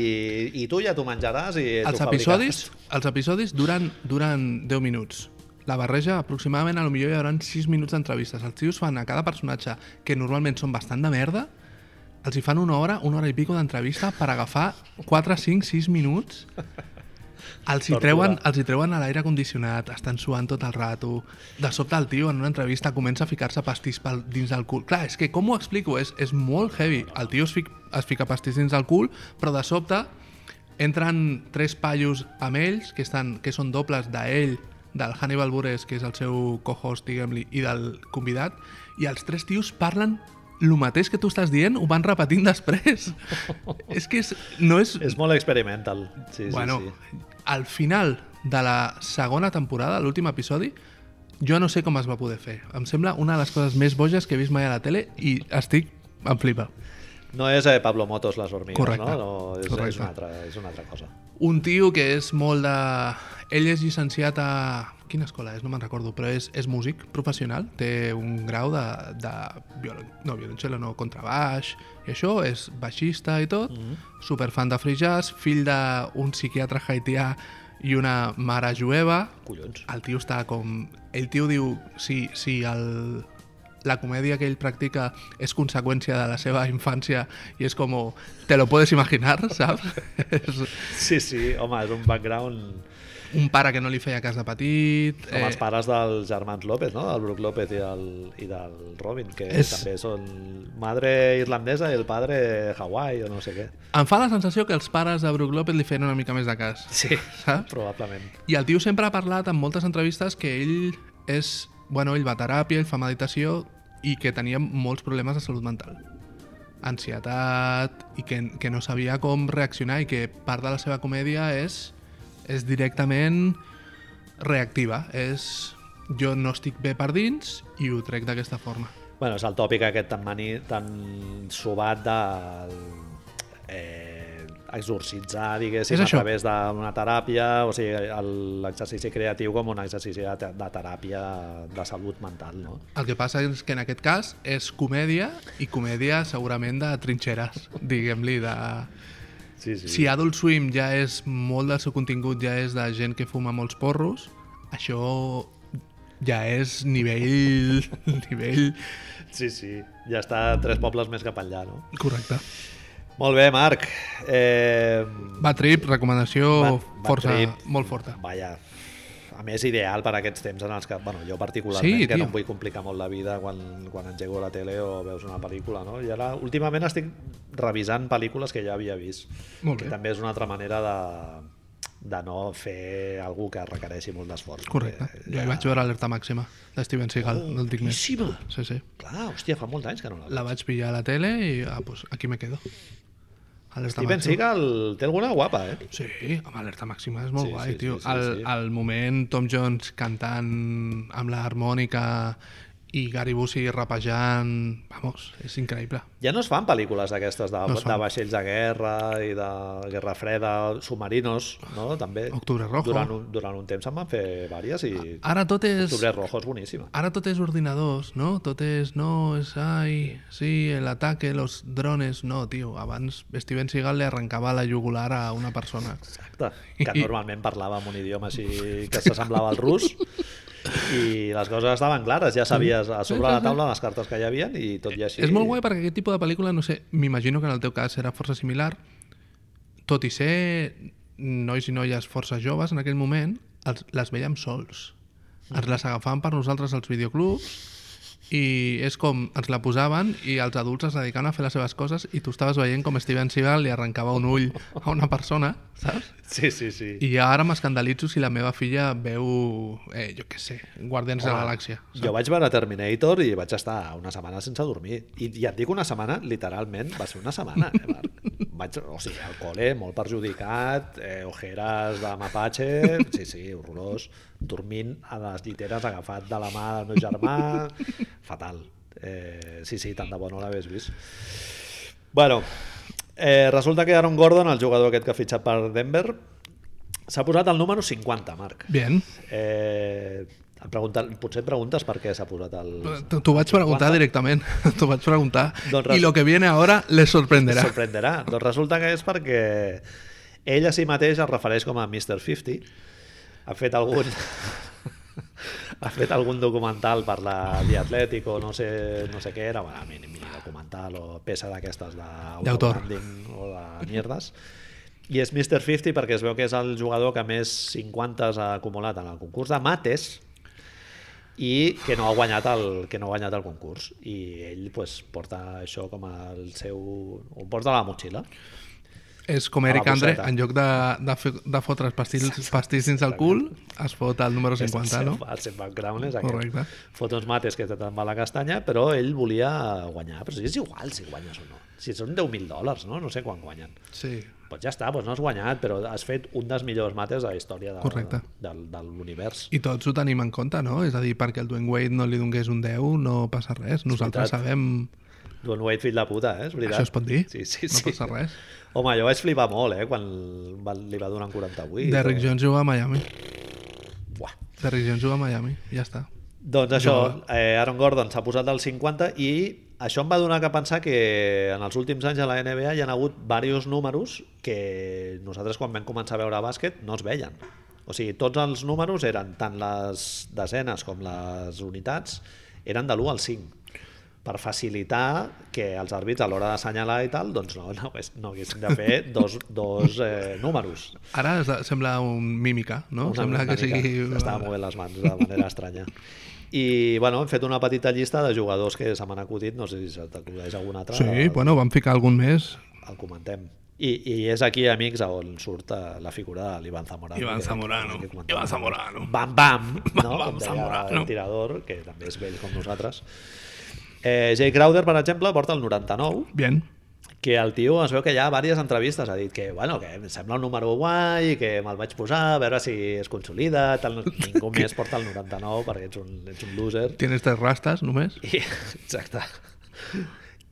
[SPEAKER 1] i tu ja t'ho menjaràs i
[SPEAKER 2] els
[SPEAKER 1] t'ho
[SPEAKER 2] episodis, els episodis duren, duren 10 minuts. La barreja, aproximadament, a lo millor hi haurà 6 minuts d'entrevistes. Els tios fan a cada personatge, que normalment són bastant de merda, els hi fan una hora, una hora i pico d'entrevista per agafar 4, 5, 6 minuts. Els hi,
[SPEAKER 1] Tortura.
[SPEAKER 2] treuen, els hi treuen a l'aire condicionat, estan suant tot el rato. De sobte el tio en una entrevista comença a ficar-se pastís pel, dins del cul. Clar, és que com ho explico? És, és molt heavy. El tio es, fic, es fica pastís dins del cul, però de sobte entren tres paios amb ells, que, estan, que són dobles d'ell, del Hannibal Buress, que és el seu co-host, diguem-li, i del convidat, i els tres tios parlen el mateix que tu estàs dient, ho van repetint [laughs] després. és que és, no és...
[SPEAKER 1] És molt experimental. Sí,
[SPEAKER 2] Sí, bueno,
[SPEAKER 1] sí, sí.
[SPEAKER 2] sí. al final de la segona temporada, l'últim episodi, jo no sé com es va poder fer. Em sembla una de les coses més boges que he vist mai a la tele i estic em flipa.
[SPEAKER 1] No és eh, Pablo Motos les hormigues,
[SPEAKER 2] Correcte.
[SPEAKER 1] no? no és, és,
[SPEAKER 2] Correcte.
[SPEAKER 1] una altra, és una altra cosa.
[SPEAKER 2] Un tio que és molt de... Ell és llicenciat a quina escola és, no me'n recordo, però és, és músic professional, té un grau de, de violon, no, violoncel·lo, no, contrabaix, i això, és baixista i tot, mm -hmm. superfan de free jazz, fill d'un psiquiatre haitià i una mare jueva.
[SPEAKER 1] Collons. [laughs]
[SPEAKER 2] El tio està com... El tio diu, si, si el, la comèdia que ell practica és conseqüència de la seva infància i és com, te lo puedes imaginar, [laughs] saps? és,
[SPEAKER 1] Sí, sí, home, és un background
[SPEAKER 2] un pare que no li feia cas de petit... Eh,
[SPEAKER 1] com els pares dels germans López, no? Del Brook López i del, i del Robin, que
[SPEAKER 2] És-
[SPEAKER 1] també són madre irlandesa i el padre Hawaii o no sé què.
[SPEAKER 2] Em fa la sensació que els pares de Brook López li feien una mica més de cas.
[SPEAKER 1] Sí,
[SPEAKER 2] Saps?
[SPEAKER 1] probablement.
[SPEAKER 2] I el tio sempre ha parlat en moltes entrevistes que ell és... Bueno, ell va a teràpia, ell fa meditació i que tenia molts problemes de salut mental. Ansietat i que, que no sabia com reaccionar i que part de la seva comèdia és, és directament reactiva. És jo no estic bé per dins i ho trec d'aquesta forma.
[SPEAKER 1] Bueno, és el tòpic aquest tan, mani, tan sobat del... Eh, exorcitzar, diguéssim,
[SPEAKER 2] És
[SPEAKER 1] a
[SPEAKER 2] això.
[SPEAKER 1] través d'una teràpia, o sigui, el- l'exercici creatiu com un exercici de, te- de teràpia de salut mental, no?
[SPEAKER 2] El que passa és que en aquest cas és comèdia i comèdia segurament de trinxeres, diguem-li, de...
[SPEAKER 1] Sí, sí.
[SPEAKER 2] Si Adult Swim ja és molt del seu contingut, ja és de gent que fuma molts porros, això ja és nivell... [laughs] nivell...
[SPEAKER 1] sí, sí. Ja està tres pobles més cap enllà, no?
[SPEAKER 2] Correcte.
[SPEAKER 1] Molt bé, Marc. Eh,
[SPEAKER 2] Va trip, recomanació
[SPEAKER 1] Bad- Bad
[SPEAKER 2] força,
[SPEAKER 1] Trip.
[SPEAKER 2] molt forta.
[SPEAKER 1] vaja, a més ideal per aquests temps en els que, bueno, jo particularment,
[SPEAKER 2] Sí,
[SPEAKER 1] que
[SPEAKER 2] tio.
[SPEAKER 1] no em vull complicar molt la vida quan, quan engego la tele o veus una pel·lícula, no? I ara, últimament estic revisant pel·lícules que ja havia vist.
[SPEAKER 2] Molt
[SPEAKER 1] Que
[SPEAKER 2] bé.
[SPEAKER 1] també és una altra manera de, de no fer algú que requereixi molt d'esforç.
[SPEAKER 2] Correcte.
[SPEAKER 1] perquè
[SPEAKER 2] Jo hi vaig veure Alerta Màxima, de Steven Seagal,
[SPEAKER 1] Eh, Oh,
[SPEAKER 2] no el dic més.
[SPEAKER 1] boníssima.
[SPEAKER 2] Sí, sí.
[SPEAKER 1] Clar, hòstia, fa molts anys que no la veig.
[SPEAKER 2] La vaig pillar a la tele i ah, pues, aquí me quedo. Alerta
[SPEAKER 1] Steven Seagal té alguna guapa, eh?
[SPEAKER 2] Sí, amb alerta màxima és molt
[SPEAKER 1] Sí,
[SPEAKER 2] sí, guai,
[SPEAKER 1] sí, sí,
[SPEAKER 2] sí, tio.
[SPEAKER 1] sí,
[SPEAKER 2] Sí, sí,
[SPEAKER 1] sí.
[SPEAKER 2] el, el moment Tom Jones cantant amb la harmònica i Gary Busey rapejant... Vamos, és increïble.
[SPEAKER 1] Ja no es fan pel·lícules d'aquestes de,
[SPEAKER 2] No
[SPEAKER 1] no
[SPEAKER 2] es fan.
[SPEAKER 1] de vaixells de guerra i de guerra freda, submarinos, no? També.
[SPEAKER 2] Octubre Rojo.
[SPEAKER 1] Durant un, durant un temps en van fer vàries i ah,
[SPEAKER 2] Ara tot és...
[SPEAKER 1] Octubre Rojo és boníssima.
[SPEAKER 2] Ara tot és ordinadors, no? Tot és, no, és, ai, sí, el ataque, los drones... No, tio, abans Steven Seagal li arrencava la jugular a una persona.
[SPEAKER 1] Exacte. Que normalment parlava en un idioma així que s'assemblava al rus i les coses estaven clares, ja sabies a sobre la taula les cartes que hi havia i tot i així...
[SPEAKER 2] És molt guai perquè aquest tipus de pel·lícula, no sé, m'imagino que en el teu cas serà força similar, tot i ser nois i noies força joves en aquell moment, els, les veiem sols. Ens les agafaven per nosaltres als videoclubs i és com ens la posaven i els adults es dedicaven a fer les seves coses i tu estaves veient com Steven Seagal li arrencava un ull a una persona, saps?
[SPEAKER 1] Sí, sí, sí.
[SPEAKER 2] I ja ara m'escandalitzo si la meva filla veu, eh, jo què sé, Guardians de la
[SPEAKER 1] Home,
[SPEAKER 2] Galàxia.
[SPEAKER 1] Jo vaig veure Terminator i vaig estar una setmana sense dormir. I ja et dic una setmana, literalment, va ser una setmana. Eh, Marc? vaig, o sigui, al col·le, molt perjudicat, eh, ojeres de mapatge, sí, sí, horrorós, dormint a les lliteres agafat de la mà del meu germà, fatal. Eh, sí, sí, tant de bo no l'hagués vist. Bueno, eh, resulta que Aaron Gordon, el jugador aquest que ha fitxat per Denver, s'ha posat al número 50, Marc.
[SPEAKER 2] Bien.
[SPEAKER 1] Eh, em pregunta, potser et preguntes per què s'ha posat el...
[SPEAKER 2] T'ho t'ho vaig preguntar directament, [laughs] t'ho vaig preguntar.
[SPEAKER 1] Doncs res.
[SPEAKER 2] I lo que viene ahora les sorprenderà.
[SPEAKER 1] Et sorprenderà. Doncs resulta que és perquè ell a si mateix es refereix com a Mr. 50. Ha fet algun... ha fet algun documental per la The Athletic o no sé, no sé què era, bueno, mini, mini documental o peça d'aquestes
[SPEAKER 2] D'autor.
[SPEAKER 1] d'autor o de mierdes. I és Mr. 50 perquè es veu que és el jugador que més 50 ha acumulat en el concurs de mates i que no ha guanyat el, que no ha guanyat el concurs i ell pues, porta això com el seu... ho porta a la motxilla
[SPEAKER 2] És com
[SPEAKER 1] A la
[SPEAKER 2] Eric Andre,
[SPEAKER 1] bosseta.
[SPEAKER 2] en lloc de, de, fer, de fotre's pastils, pastís dins el cul, es fot el número 50,
[SPEAKER 1] el, seu-
[SPEAKER 2] no?
[SPEAKER 1] el seu background és aquest
[SPEAKER 2] Correcte.
[SPEAKER 1] fot uns mates que te'n va la castanya però ell volia guanyar però si és igual si guanyes o no si són 10.000 dòlars, no? no sé quan guanyen
[SPEAKER 2] Sí.
[SPEAKER 1] doncs ja està, doncs no has guanyat però has fet un dels millors mates de la història de,
[SPEAKER 2] Correcte.
[SPEAKER 1] de, de, de l'univers
[SPEAKER 2] I tots ho tenim en compte, no? És a dir, perquè el Dwayne Wade no li donés un 10, no passa res. Nosaltres
[SPEAKER 1] veritat.
[SPEAKER 2] sabem...
[SPEAKER 1] Don Wade, fill de puta, eh? és veritat.
[SPEAKER 2] Això es pot dir?
[SPEAKER 1] Sí, [laughs] sí,
[SPEAKER 2] No
[SPEAKER 1] sí.
[SPEAKER 2] passa res.
[SPEAKER 1] Home, jo vaig flipar molt, eh? Quan va- li va donar un 48.
[SPEAKER 2] Derrick
[SPEAKER 1] eh?
[SPEAKER 2] Jones juga a Miami.
[SPEAKER 1] Buah.
[SPEAKER 2] Terry Jones juga a Miami, ja està.
[SPEAKER 1] Doncs això, eh, Aaron Gordon s'ha posat al 50 i això em va donar que pensar que en els últims anys a la NBA hi ha hagut diversos números que nosaltres quan vam començar a veure bàsquet no es veien. O sigui, tots els números eren, tant les desenes com les unitats, eren de l'1 al 5 per facilitar que els àrbits a l'hora d'assenyalar i tal, doncs no, no, hagués- no haguessin de fer dos, dos eh, números.
[SPEAKER 2] Ara es- sembla un mímica, no?
[SPEAKER 1] Una-
[SPEAKER 2] sembla
[SPEAKER 1] una
[SPEAKER 2] que
[SPEAKER 1] mica.
[SPEAKER 2] sigui...
[SPEAKER 1] Estava movent les mans de manera
[SPEAKER 2] [laughs]
[SPEAKER 1] estranya. I, bueno, hem fet una petita llista de jugadors que se m'han acudit, no sé si se t'acudeix algun altre,
[SPEAKER 2] Sí, bueno, vam ficar algun més.
[SPEAKER 1] el comentem. I, I és aquí, amics, on surt eh, la figura de l'Ivan Zamorano.
[SPEAKER 2] Ivan
[SPEAKER 1] que-
[SPEAKER 2] Zamorano,
[SPEAKER 1] que comentàvem.
[SPEAKER 2] Ivan Zamorano.
[SPEAKER 1] Bam Bam, no?
[SPEAKER 2] [laughs] Bam, bam,
[SPEAKER 1] com deia
[SPEAKER 2] Zamorano.
[SPEAKER 1] el tirador, que també és vell com nosaltres. Eh, Jay Crowder, per exemple, porta el 99,
[SPEAKER 2] Bien.
[SPEAKER 1] que el tio es veu que ja a diverses entrevistes ha dit que, bueno, que em sembla un número guai, que me'l vaig posar, a veure si es consolida,
[SPEAKER 2] [laughs]
[SPEAKER 1] tal, ningú més porta el 99 perquè ets un, ets un loser.
[SPEAKER 2] Tienes tres rastas, només.
[SPEAKER 1] I, exacte.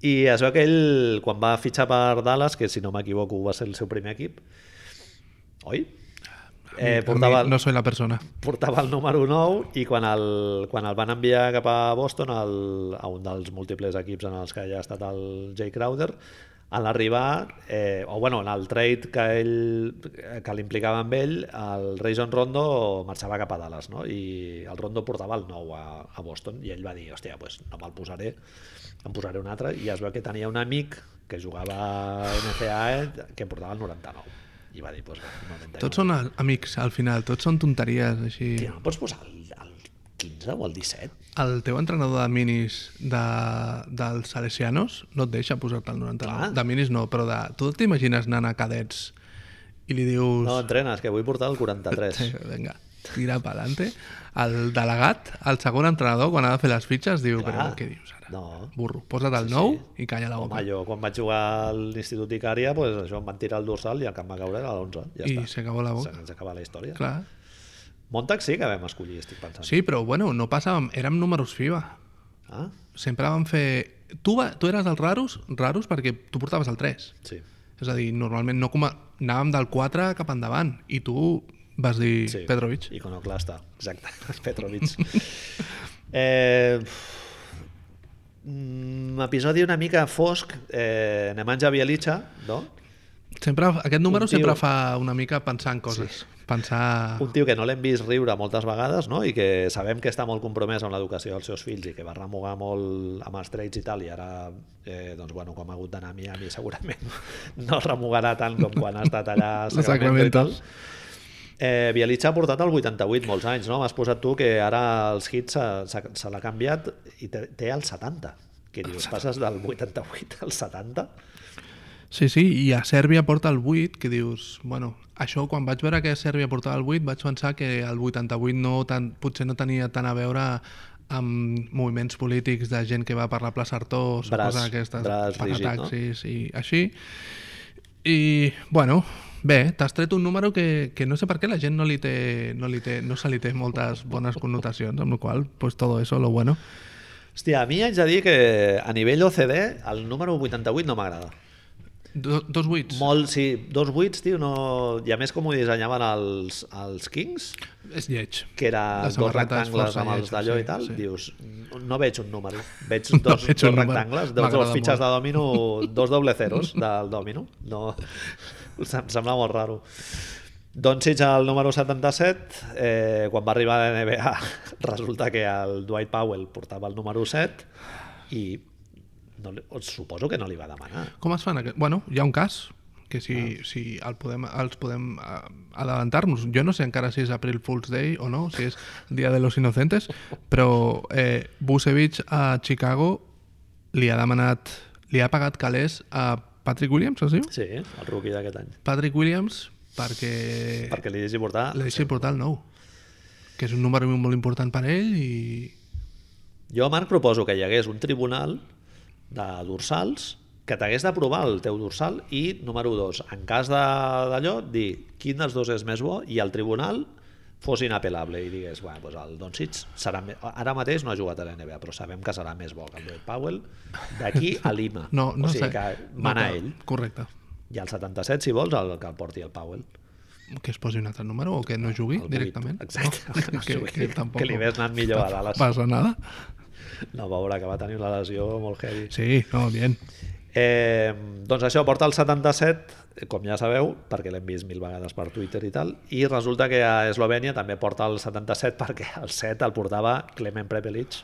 [SPEAKER 1] I es veu que ell, quan va fitxar per Dallas, que si no m'equivoco va ser el seu primer equip, oi? Eh,
[SPEAKER 2] A
[SPEAKER 1] portava,
[SPEAKER 2] mi No soy la persona.
[SPEAKER 1] portava el número 9 i quan el, quan el van enviar cap a Boston el, a un dels múltiples equips en els que ja ha estat el Jay Crowder a l'arribar, eh, o bueno, en el trade que ell que l'implicava amb ell, el Rajon Rondo marxava cap a Dallas, no? I el Rondo portava el 9 a, a Boston i ell va dir, hòstia, pues no me'l posaré, em posaré un altre, i es veu que tenia un amic que jugava a NCAA que portava el 99. I va dir, pues, 99.
[SPEAKER 2] Tots són a- amics, al final. Tots són tonteries, així.
[SPEAKER 1] Tio, no pots posar el, el 15 o el 17?
[SPEAKER 2] El teu entrenador de minis de, dels salesianos no et deixa posar-te el 99.
[SPEAKER 1] Clar.
[SPEAKER 2] De minis no, però de... Tu t'imagines anant a cadets i li dius...
[SPEAKER 1] No, entrenes, que vull portar el 43.
[SPEAKER 2] Sí, Vinga, tira per adelante. El delegat, el segon entrenador, quan ha de fer les fitxes, diu,
[SPEAKER 1] Clar.
[SPEAKER 2] però què dius ara?
[SPEAKER 1] No.
[SPEAKER 2] Burro, posa't el 9 i calla la boca.
[SPEAKER 1] Home, jo quan vaig jugar a l'Institut Icària, pues, això em van tirar el dorsal i el que em va caure era l'11. Ja
[SPEAKER 2] I
[SPEAKER 1] està.
[SPEAKER 2] s'acabó la boca.
[SPEAKER 1] S'ha- S'ha acabat la història.
[SPEAKER 2] Clar.
[SPEAKER 1] Montag sí que vam escollir, estic pensant.
[SPEAKER 2] Sí, però bueno, no passàvem, érem números FIBA.
[SPEAKER 1] Ah,
[SPEAKER 2] Sempre vam fer... Tu, va, tu eres dels raros, raros perquè tu portaves el 3.
[SPEAKER 1] sí.
[SPEAKER 2] És a dir, normalment no com a... anàvem del 4 cap endavant i tu vas dir
[SPEAKER 1] sí.
[SPEAKER 2] sí. Petrovic.
[SPEAKER 1] Iconoclasta, exacte. [laughs] Petrovic. eh, mm, episodi una mica fosc. Eh, Nemanja Bielicha, no?
[SPEAKER 2] Sempre, aquest número
[SPEAKER 1] Un tio-
[SPEAKER 2] sempre fa una mica pensar en coses. Sí. Pensar...
[SPEAKER 1] un tio que no l'hem vist riure moltes vegades no? i que sabem que està molt compromès amb l'educació dels seus fills i que va remugar molt amb els trets i tal i ara, eh, doncs, bueno, com ha hagut d'anar a Miami segurament [laughs] no remugarà tant com quan ha estat allà a
[SPEAKER 2] La
[SPEAKER 1] Sacramento i
[SPEAKER 2] Sacramento.
[SPEAKER 1] tal Eh, Bielitsa ha portat el 88 molts anys, no? M'has posat tu que ara els hits se, se, se l'ha canviat i té, té el 70. Que dius, passes del 88 al 70?
[SPEAKER 2] Sí, sí, i a Sèrbia porta el 8, que dius... Bueno, això, quan vaig veure que Sèrbia portava el 8, vaig pensar que el 88 no tan, potser no tenia tant a veure amb moviments polítics de gent que va per la plaça Artós o
[SPEAKER 1] Braç-
[SPEAKER 2] coses aquestes,
[SPEAKER 1] braç rígid, no?
[SPEAKER 2] taxis i així. I, bueno, bé, t'has tret un número que, que no sé per què la gent no, li té, no, li té, no se li té moltes bones connotacions, amb la qual cosa, pues todo eso, lo bueno.
[SPEAKER 1] Hòstia, a mi haig de dir que a nivell OCD el número 88 no m'agrada.
[SPEAKER 2] Do, dos buits.
[SPEAKER 1] Molt, sí, dos buits, tio, no... i a més com ho dissenyaven els, els Kings,
[SPEAKER 2] És lleig.
[SPEAKER 1] que era
[SPEAKER 2] La
[SPEAKER 1] dos
[SPEAKER 2] samarreta és
[SPEAKER 1] rectangles
[SPEAKER 2] força
[SPEAKER 1] amb els
[SPEAKER 2] lletja,
[SPEAKER 1] d'allò
[SPEAKER 2] sí,
[SPEAKER 1] i tal,
[SPEAKER 2] sí.
[SPEAKER 1] dius, no veig un número, veig
[SPEAKER 2] [laughs] No
[SPEAKER 1] dos,
[SPEAKER 2] veig
[SPEAKER 1] dos
[SPEAKER 2] un número.
[SPEAKER 1] rectangles, dos,
[SPEAKER 2] M'agrada
[SPEAKER 1] dos fitxes
[SPEAKER 2] molt.
[SPEAKER 1] de domino, [laughs] dos doble zeros del domino, no... [laughs] em sembla molt raro. Doncs sí, al número 77, eh, quan va arribar a [laughs] la NBA, resulta que el Dwight Powell portava el número 7 i no, li- suposo que no li va demanar.
[SPEAKER 2] Com es fan? Aquest... Bueno, hi ha un cas que si, ah. si el podem, els podem eh, adelantar-nos. Jo no sé encara si és April Fool's Day o no, si és el Dia de los
[SPEAKER 1] [laughs]
[SPEAKER 2] Inocentes, però eh, Busevich a Chicago li ha demanat, li ha pagat calés a Patrick Williams, es diu?
[SPEAKER 1] Sí, el rookie d'aquest any.
[SPEAKER 2] Patrick Williams perquè
[SPEAKER 1] perquè li deixi portar...
[SPEAKER 2] li deixi portar el nou, que és un número molt important per ell i...
[SPEAKER 1] Jo, Marc, proposo que hi hagués un tribunal de dorsals que t'hagués d'aprovar el teu dorsal i, número dos, en cas de- d'allò, dir quin dels dos és més bo i el tribunal fos inapel·lable i digués, bueno, doncs el Doncic serà me... ara mateix no ha jugat a la NBA, però sabem que serà més bo que el Dwight Powell d'aquí a Lima.
[SPEAKER 2] No, no
[SPEAKER 1] o sigui
[SPEAKER 2] sé.
[SPEAKER 1] que mana
[SPEAKER 2] cal.
[SPEAKER 1] ell.
[SPEAKER 2] Correcte.
[SPEAKER 1] I al 77, si vols, el que el porti el Powell.
[SPEAKER 2] que es posi un altre número o que no jugui
[SPEAKER 1] vuit,
[SPEAKER 2] directament.
[SPEAKER 1] exacte, [laughs] que no jugui, que li hagués anat millor a Dallas.
[SPEAKER 2] Passa nada.
[SPEAKER 1] No, va veure que va tenir una lesió molt heavy.
[SPEAKER 2] Sí, no, bien.
[SPEAKER 1] Eh, doncs això, porta el 77, com ja sabeu, perquè l'hem vist mil vegades per Twitter i tal, i resulta que a Eslovènia també porta el 77 perquè el 7 el portava Clement Prepelic,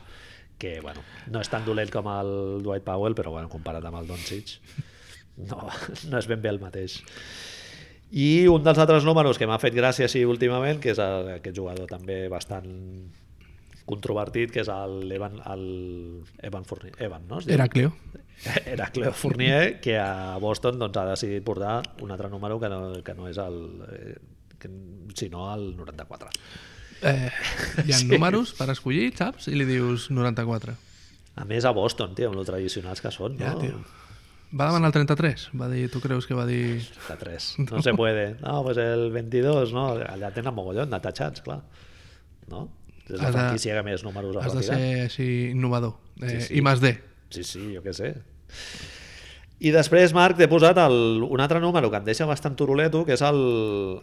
[SPEAKER 1] que bueno, no és tan dolent com el Dwight Powell, però bueno, comparat amb el Doncic, no, no és ben bé el mateix. I un dels altres números que m'ha fet gràcia sí, últimament, que és el, aquest jugador també bastant controvertit, que és el Evan, el Evan Fournier. Evan, no? Es diu?
[SPEAKER 2] Heracleo.
[SPEAKER 1] [laughs] Heracleo Fournier, que a Boston doncs, ha decidit portar un altre número que no, que no és el... eh, Que, sinó el 94.
[SPEAKER 2] Eh,
[SPEAKER 1] [laughs]
[SPEAKER 2] hi ha
[SPEAKER 1] Sí.
[SPEAKER 2] sí. números per escollir, saps? I li dius 94.
[SPEAKER 1] A més, a Boston, tio, amb lo tradicionals que són,
[SPEAKER 2] Ja,
[SPEAKER 1] no?
[SPEAKER 2] tio. Va demanar el 33. Va dir, tu creus que va dir...
[SPEAKER 1] De
[SPEAKER 2] [laughs]
[SPEAKER 1] 3. No, se puede. No, pues el 22, no? Allà tenen mogollon de tatxats, clar. No? És la
[SPEAKER 2] Has de-
[SPEAKER 1] franquícia que més números ha
[SPEAKER 2] Has de
[SPEAKER 1] retirat.
[SPEAKER 2] ser així innovador. Eh,
[SPEAKER 1] sí.
[SPEAKER 2] I més D.
[SPEAKER 1] Sí, sí, jo què sé. I després, Marc, t'he posat el, un altre número que em deixa bastant turuleto, que és el,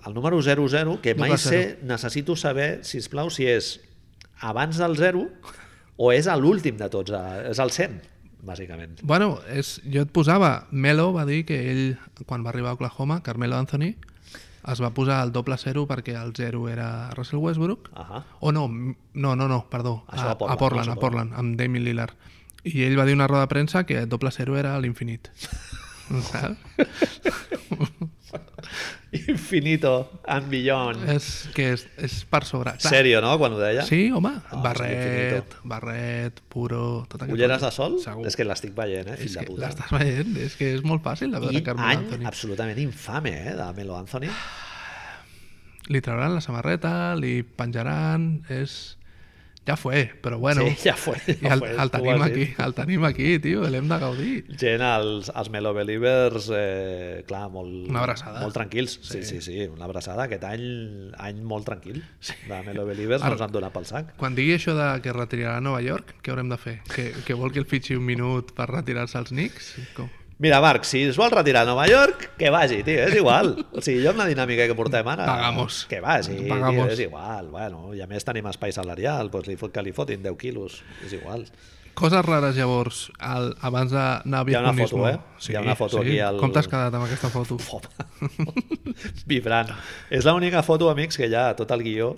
[SPEAKER 1] el número 00, que
[SPEAKER 2] No
[SPEAKER 1] mai
[SPEAKER 2] cal
[SPEAKER 1] sé, necessito saber, si us plau, si és abans del 0 o és a l'últim de tots, a- és el 100, bàsicament.
[SPEAKER 2] Bueno, és, jo et posava, Melo va dir que ell, quan va arribar a Oklahoma, Carmelo Anthony, es va posar el doble zero perquè el zero era Russell Westbrook,
[SPEAKER 1] Ahà.
[SPEAKER 2] O Oh, no, m- no, no, no, perdó.
[SPEAKER 1] Això
[SPEAKER 2] A,
[SPEAKER 1] a Portland,
[SPEAKER 2] a Portland,
[SPEAKER 1] no?
[SPEAKER 2] a Portland, amb Damien Lillard. I ell va dir una roda de premsa que el doble zero era
[SPEAKER 1] [laughs]
[SPEAKER 2] l'infinit. Saps?
[SPEAKER 1] Infinito, and beyond.
[SPEAKER 2] és que és, és per sobre. Clar,
[SPEAKER 1] Sèrio, no?, quan ho deia?
[SPEAKER 2] Eh, Sí, home.
[SPEAKER 1] Ah, és
[SPEAKER 2] barret,
[SPEAKER 1] infinito.
[SPEAKER 2] barret, puro... Tot aquest
[SPEAKER 1] Ulleres
[SPEAKER 2] rotllo.
[SPEAKER 1] de sol?
[SPEAKER 2] Segur.
[SPEAKER 1] És que l'estic veient, eh, fill
[SPEAKER 2] És
[SPEAKER 1] de
[SPEAKER 2] que
[SPEAKER 1] puta.
[SPEAKER 2] l'estàs veient, és que és molt fàcil de veure
[SPEAKER 1] I
[SPEAKER 2] Carmelo
[SPEAKER 1] any
[SPEAKER 2] Anthony.
[SPEAKER 1] absolutament infame, eh, de Melo Anthony.
[SPEAKER 2] Li trauran la samarreta, li penjaran, és... Ja fue, però bueno.
[SPEAKER 1] Sí, ja fue, ja
[SPEAKER 2] I el,
[SPEAKER 1] fue,
[SPEAKER 2] el
[SPEAKER 1] tu ho
[SPEAKER 2] tenim
[SPEAKER 1] has dit.
[SPEAKER 2] aquí, el tenim aquí, tio, l'hem de gaudir.
[SPEAKER 1] gent, els, els Melo Believers, eh, clar, molt,
[SPEAKER 2] Una abraçada.
[SPEAKER 1] molt tranquils. Sí. sí, sí, sí, una abraçada. Aquest any, any molt tranquil. Sí. De Melo Believers
[SPEAKER 2] Ara-
[SPEAKER 1] no ens han donat pel sac.
[SPEAKER 2] Quan digui això de que es retirarà a Nova York, què haurem de fer? Que, que vol que el fitxi un minut per retirar-se als Knicks? Com?
[SPEAKER 1] Mira, Marc, si es vol retirar a Nova York, que vagi, tio, és igual.
[SPEAKER 2] [laughs]
[SPEAKER 1] O sigui, jo amb la dinàmica que portem ara...
[SPEAKER 2] Pagamos.
[SPEAKER 1] Que vagi, tio,
[SPEAKER 2] Pagamos.
[SPEAKER 1] és igual. Bueno, I a més tenim espai salarial, doncs li fot, que li fotin 10 quilos, és igual.
[SPEAKER 2] Coses rares, llavors, el, abans d'anar a
[SPEAKER 1] Hi ha una
[SPEAKER 2] Bitcoinismo.
[SPEAKER 1] foto, eh? Hi ha una foto aquí al-
[SPEAKER 2] Com t'has quedat amb aquesta foto?
[SPEAKER 1] Vibrant. És l'única foto, amics, que hi ha a tot el guió.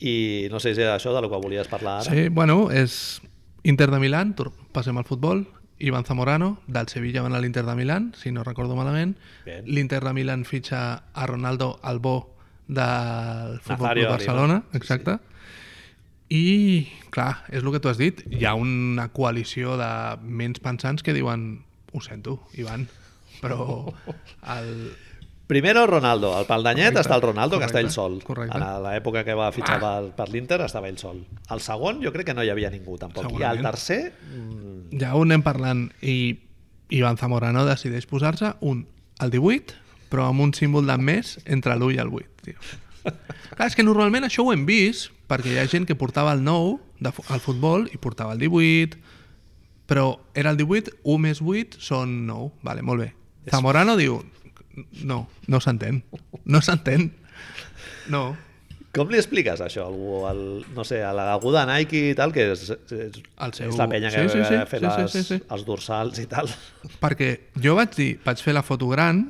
[SPEAKER 1] I no sé si era això de lo que volies parlar ara.
[SPEAKER 2] Sí, bueno, és Inter de Milán, tor- passem al futbol, Ivan Zamorano, del Sevilla van a l'Inter de Milán, si no recordo malament.
[SPEAKER 1] Bien.
[SPEAKER 2] L'Inter de Milán fitxa a Ronaldo Albó del Futbol
[SPEAKER 1] Nazario
[SPEAKER 2] Club
[SPEAKER 1] Oliva.
[SPEAKER 2] Barcelona, exacte. I, clar, és el que tu has dit, hi ha una coalició de ments pensants que diuen ho sento, Ivan,
[SPEAKER 1] [laughs]
[SPEAKER 2] però el,
[SPEAKER 1] Primero Ronaldo, al Paldanyet
[SPEAKER 2] Correcte,
[SPEAKER 1] està el Ronaldo, que
[SPEAKER 2] correcte,
[SPEAKER 1] està ell sol.
[SPEAKER 2] correcte. Ah.
[SPEAKER 1] A l'època que va fitxar pel- per l'Inter estava ell sol. El segon jo crec que no hi havia ningú tampoc. I el
[SPEAKER 2] Segurament.
[SPEAKER 1] tercer... mm,
[SPEAKER 2] ja ho anem parlant i Ivan Zamorano decideix posar-se un al 18 però amb un símbol de més entre l'1 i el 8 tio. Clar, és que normalment això ho hem vist perquè hi ha gent que portava el 9 de, fu- al futbol i portava el 18 però era el 18 1 més 8 són 9 vale, molt bé Zamorano diu no, no s'entén no s'entén no,
[SPEAKER 1] Com li expliques això a algú? Al, no sé, a l'algú de Nike i tal, que és, és,
[SPEAKER 2] El seu-
[SPEAKER 1] és la penya que
[SPEAKER 2] Sí, sí, sí,
[SPEAKER 1] va fer
[SPEAKER 2] sí, sí,
[SPEAKER 1] les,
[SPEAKER 2] sí, sí.
[SPEAKER 1] els dorsals i tal. [laughs]
[SPEAKER 2] perquè jo vaig dir vaig fer la foto gran